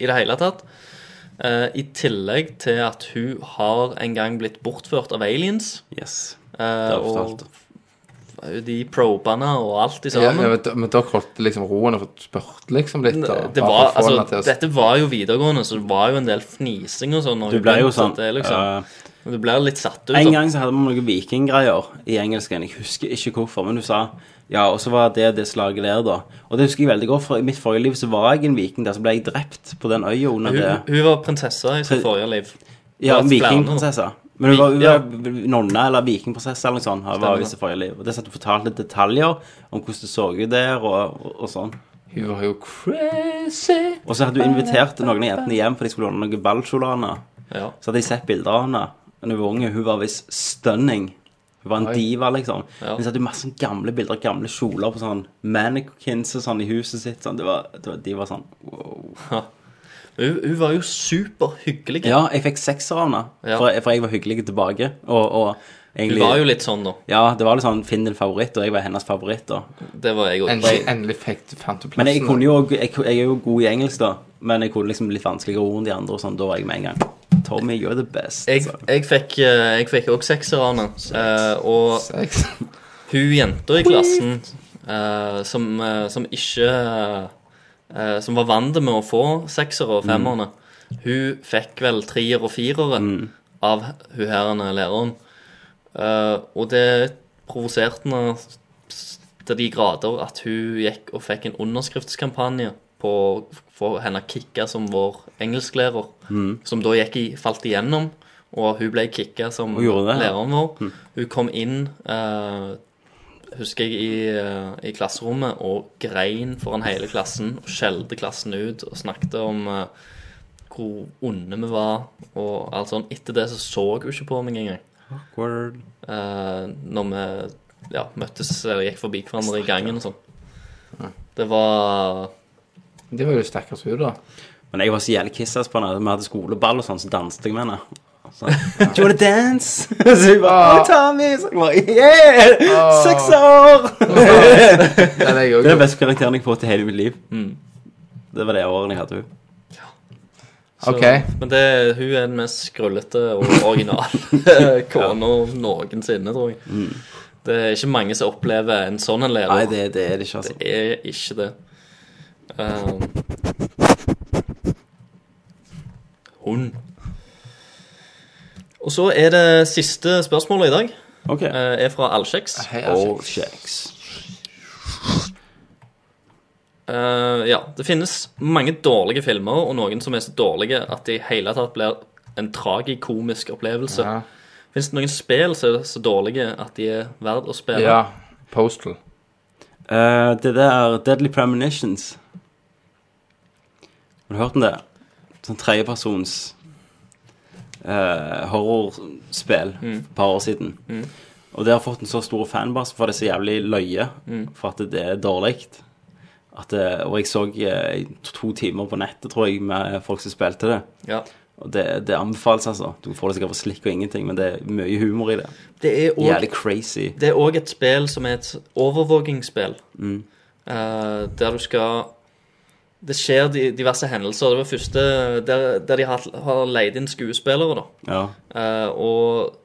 i det hele tatt. Eh, I tillegg til at hun har en gang blitt bortført av aliens. Yes, det har hun og de probene og alt i Ja, sammen. ja, men, da- men dere holdt liksom roen og spurte liksom litt? Og, det bare var, for å få henne til altså, å- dette var jo videregående, så det var jo en del fnising og sånn. og Du hun ble jo satt sånn, det, liksom. Du ble litt satt ut. En da. gang så hadde vi noen vikinggreier i engelsken. Jeg husker ikke hvorfor, men du sa ja, og så var det det slaget der, da. Og det husker jeg veldig godt, for i mitt forrige liv så var jeg en viking der, så ble jeg drept på den øya under Hun, det. hun var prinsesse i sitt forrige liv. Ja, Det var flere nå. vikingprinsesse. Men hun var, hun Ja. var nonna eller vikingprinsesse eller noe sånt. Hun Stemmer. var jo i sitt forrige liv. Og det satt hun fortalte detaljer om hvordan det så ut der, og, og, og sånn. Hun var jo Crazy. Og så hadde hun invitert noen av jentene hjem, for de skulle låne noen ballkjoler av henne. Så hadde jeg sett bilder av henne da hun var unge. Hun var visst stunning. Hun var en Oi. diva, liksom. Ja. Men så hadde hun masse gamle bilder, av gamle kjoler på sånn mannequins og sånn i huset sitt. Sånn. Det var, det var, de var sånn wow. Hun, hun var jo superhyggelig. Ja, jeg fikk sekser av henne, Ja. for, for jeg var hyggelig tilbake. Og, og egentlig Hun var jo litt sånn, da. Ja, det var litt sånn finn din favoritt, og jeg var hennes favoritt. da. Det var jeg òg. Endelig- fikk du fant du Men jeg kunne jo jeg, jeg er jo god i engelsk, da. Men jeg kunne liksom litt vanskeligere ord enn de andre, og sånn. Da var jeg med en gang. Tommy, you're the best. Jeg, jeg fikk eh, Jeg fikk òg sekser av henne. eh, Og hun jenta i klassen eh, som, eh, som ikke eh, Som var vant med å få seksere og femmerne, hun fikk vel trier og firere av hun her ene læreren. Eh, og det provoserte henne s- til de grader at hun gikk og fikk en underskriftskampanje på for henne kicka som vår engelsklærer, Mm. som da gikk i, falt igjennom. Og hun ble kicka som Hun gjorde det, ja. læreren vår. Mm. Hun kom inn, eh, husker jeg, i, eh, i klasserommet og grein foran hele klassen. Og skjelte klassen ut og snakket om eh, hvor onde vi var. Og alt sånn. Etter det så så hun ikke på meg engang. Awkward. Eh, når vi ja, møttes eller gikk forbi hverandre i gangen og sånn. Det var Det var jo stakkars hun, da. Men jeg var så jævlig kissass på henne. Vi hadde skoleball og sånn, så danset jeg med henne. Så, Do you wanna dance? så hun bare, oh, Tommy! Så jeg bare, yeah! oh. Seks år! Det er jeg det også. er den beste karakteren jeg har fått i hele mitt liv. Mm. Det var det året jeg hadde henne. Så, Men det, hun er den mest skrullete og originale kona noensinne, tror jeg. Mm. Det er ikke mange som opplever en sånn en lærer. Nei, det, det er det ikke, altså. Det er ikke det. Um, hund. Og så er det siste spørsmålet i dag. Ok. Eh, er fra Allsjeks. Hei, altså- Allsjeks. Allsjeks. Eh, ja. Det finnes mange dårlige filmer, og noen som er så dårlige at de i hele tatt blir en tragikomisk opplevelse. Fins det noen spill som er så dårlige at de er verdt å spille? Postal. Eh, det der Deadly Premonitions. Har du hørt om det? Sånn tredjepersons eh, horrorspill for Mm. et par år siden. Mm. Og det har fått en så stor fanbase, for det er så jævlig løye Mm. for at det er dårlig. At det, og jeg så eh, to timer på nettet, tror jeg, med folk som spilte det. Ja. Og det, det anbefales, altså. Du får det sikkert på slikk og ingenting, men det er mye humor i det. Det er også- Jævlig crazy. Det er òg et spill som er et overvåkingsspill. Mm. Eh, der du skal Det skjer di- diverse hendelser. Det var første der, der de har, har leid inn skuespillere, da. Ja. Eh, og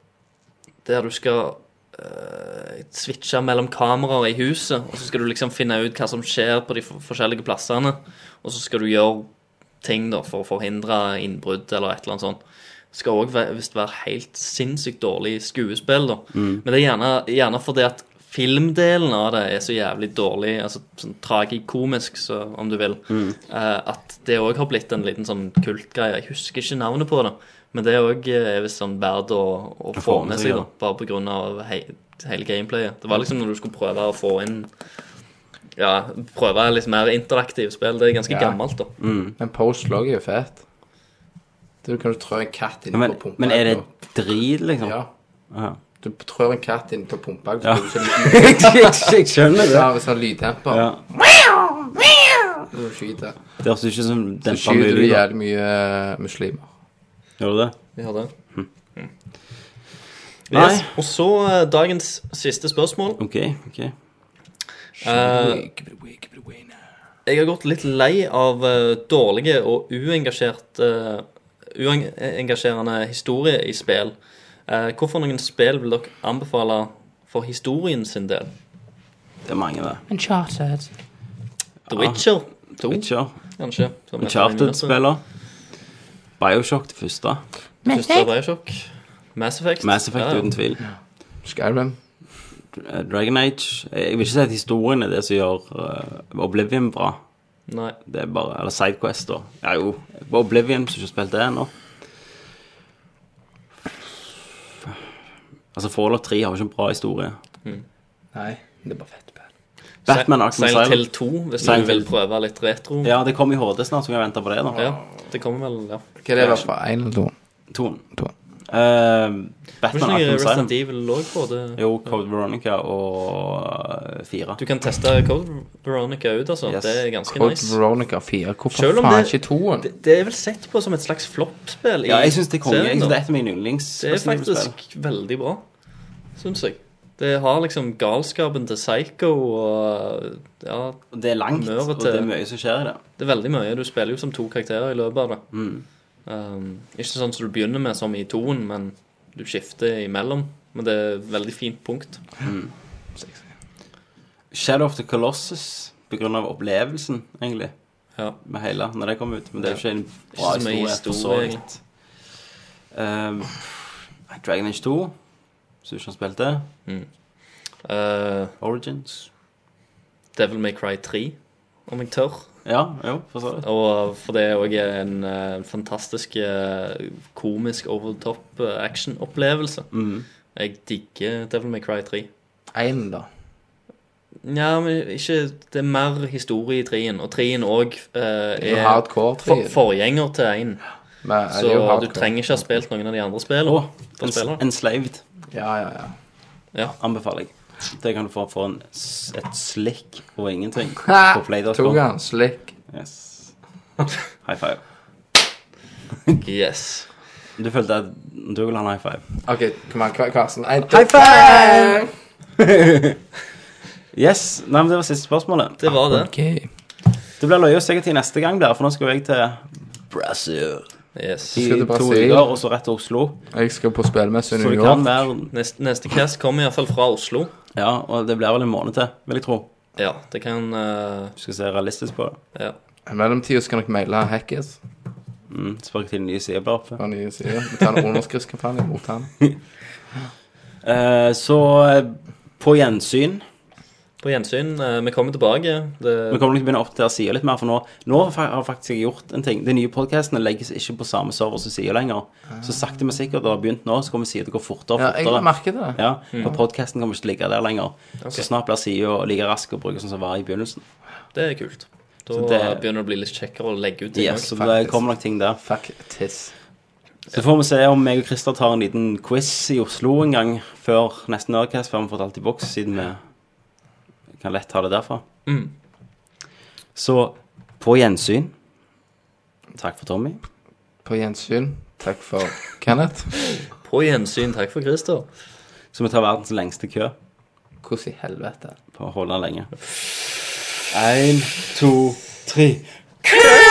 der du skal eh, switche mellom kameraer i huset, og så skal du liksom finne ut hva som skjer på de for- forskjellige plassene, og så skal du gjøre ting da for å forhindre innbrudd eller et eller annet sånt. Skal òg visst være helt sinnssykt dårlig skuespill, da. Mm. Men det er gjerne, gjerne fordi at filmdelen av det er så jævlig dårlig, altså sånn tragikomisk, så, om du vil. Mm. Eh, at det òg har blitt en liten sånn kultgreie. Jeg husker ikke navnet på det, men det òg er visst sånn verdt å, å Å få med seg, da. Bare på grunn av hei, hele gameplayet. Det var liksom når du skulle prøve å få inn Ja, prøve litt mer interaktivt spill. Det er ganske gammelt, da. Mm. Men Postal også er jo fett. Du kan jo trø en katt inn Men, på pumpa. men er det drit, liksom? Ja. Ja. Du trør en katt inn på pumpa. Ja. så blir det sånn- Jeg- jeg skjønner det. Ja, hvis han har lyddemper. Ja. Så skyter. Det høres ikke ut som Så dempa skyter du mulig. da. jævlig mye eh, muslimer. Gjør du det? Vi har det. Mm. Hm. Yes. Og så eh, dagens siste spørsmål. OK. ok. Eh, jeg har gått litt lei av eh, dårlige og uengasjert, eh, uengasjerende historier i spill. Eh, hvorfor noen spill vil dere anbefale for historien sin del? Det er mange, det. Uncharted. The Witcher 2, Witcher. kanskje. som er Uncharted-spiller. Bioshock det første. Mass Effect. Bioshock. Mass Effect. Mass Effect, Ja, ja. uten tvil. Eh, Skyrim. Dragon Age. Jeg vil ikke si at historien er det som gjør eh, Oblivion bra. Nei. Det er bare, Eller Sidequest, da. Ja, jo. Oblivion, hvis du ikke har spilt det ennå. Altså, Fallout 3 har jo ikke en bra historie. Nei, det er bare fett. Batman Arkham Silent Hill 2, hvis du Silent vil Hill. prøve litt retro. Ja, det kommer i HD snart, så vi venter på det, da. Ja, det kommer vel, ja. Hva er det da verdt for en eller to? Toen. Eh, Batman Hvordan er Arkham Resident Silent. Evil også på det? Jo, Code Veronica og 4. Du kan teste Code Veronica ut, altså. Yes. Det er ganske Code nice. Veronica 4. Hvorfor Selv om faen det- ikke toen? Det, det er vel sett på som et slags floppspill. i Ja, jeg synes det er konge. serien Jeg synes nå. det er et av mine yndlings- Det er Resident Evil-spill. faktisk veldig bra, syns jeg. Det har liksom galskapen til Psycho og ja, Det er langt, og det er mye som skjer i det. Det er veldig mye. Du spiller jo som to karakterer i løpet av det. Mm. Um, ikke sånn som du begynner med som i toen, men du skifter imellom. Men det er et veldig fint punkt. Mm. Shadow of the Colossus på grunn av opplevelsen, egentlig. Med hele, når det kom ut. Men det er jo ikke en bra Ikke så mye historie. for så historie, vidt. Um, Dragon Age 2, hvis du ikke har spilt det. Origins. Eh, Devil May Cry 3, om jeg tør. Ja, jo, for så vidt. Og for det er også en eh, fantastisk eh, komisk overtop action-opplevelse. Mhm. Jeg digger Devil May Cry 3. Én, da. Nja, men ikke Det er mer historie i 3-en, og 3-en òg eh, Det er jo er hardcore for, 3-en. forgjenger til 1. Men er det Så jo hardcore? du trenger ikke ha spilt noen av de andre spillene. for å spille det. Enslaved. Ja, ja, ja. Anbefaler jeg. Det kan du få for en, s- et slikk og ingenting. Ha! På play.com. Tok han slikk. Yes. High five. yes. Du følte at du ville ha en high five. OK, kom an, Kar- Karsten. En, to, High five! yes. Nei, men det var siste spørsmålet. Det var det. Det blir løye å se hva til neste gang blir, for nå skal jeg til Brasil. Yes. I Skal til to Brasil. uker, og så rett til Oslo. Jeg skal på spillmesse i Så New det kan York. være Neste, neste cast kommer iallfall fra Oslo. Ja, og det blir vel en måned til, vil jeg tro. Ja, det kan eh, Du skal se realistisk på det. Ja. I mellomtida skal dere maile Hackers. Mm, spør ikke til den nye siden blir oppe. Den nye siden. Vi tar en underskriftskampanje mot han. Eh, så eh, på gjensyn. På gjensyn. eh, vi kommer tilbake. Det, Vi kommer nok til å begynne å oppdatere sida litt mer, for nå, nå fa- har faktisk jeg gjort en ting. De nye podkastene legges ikke på samme server som sida lenger. Så sakte, men sikkert, det har begynt nå, så kommer sida til å gå fortere og Ah. Ja, fortere. jeg merker det. Ja, Mm. For podkasten kommer ikke til å ligge der lenger. Ok. Så snart blir sida like rask å bruke sånn som den var i begynnelsen. det er kult. Da Så det- begynner det å bli litt kjekkere å legge ut ting. Yes, så også. det kommer nok ting der. Tiss. Så får vi se om meg og Christer tar en liten quiz i Oslo en gang før neste Nerdcast, før vi får alt i boks, siden vi kan lett ta det derfra. Mm. Så på gjensyn. Takk for Tommy. På gjensyn. Takk for Kenneth. På gjensyn. Takk for Christer. Så vi tar verdens lengste kø. Hvordan i helvete? På å holde lenge. Én, to, tre. Kø!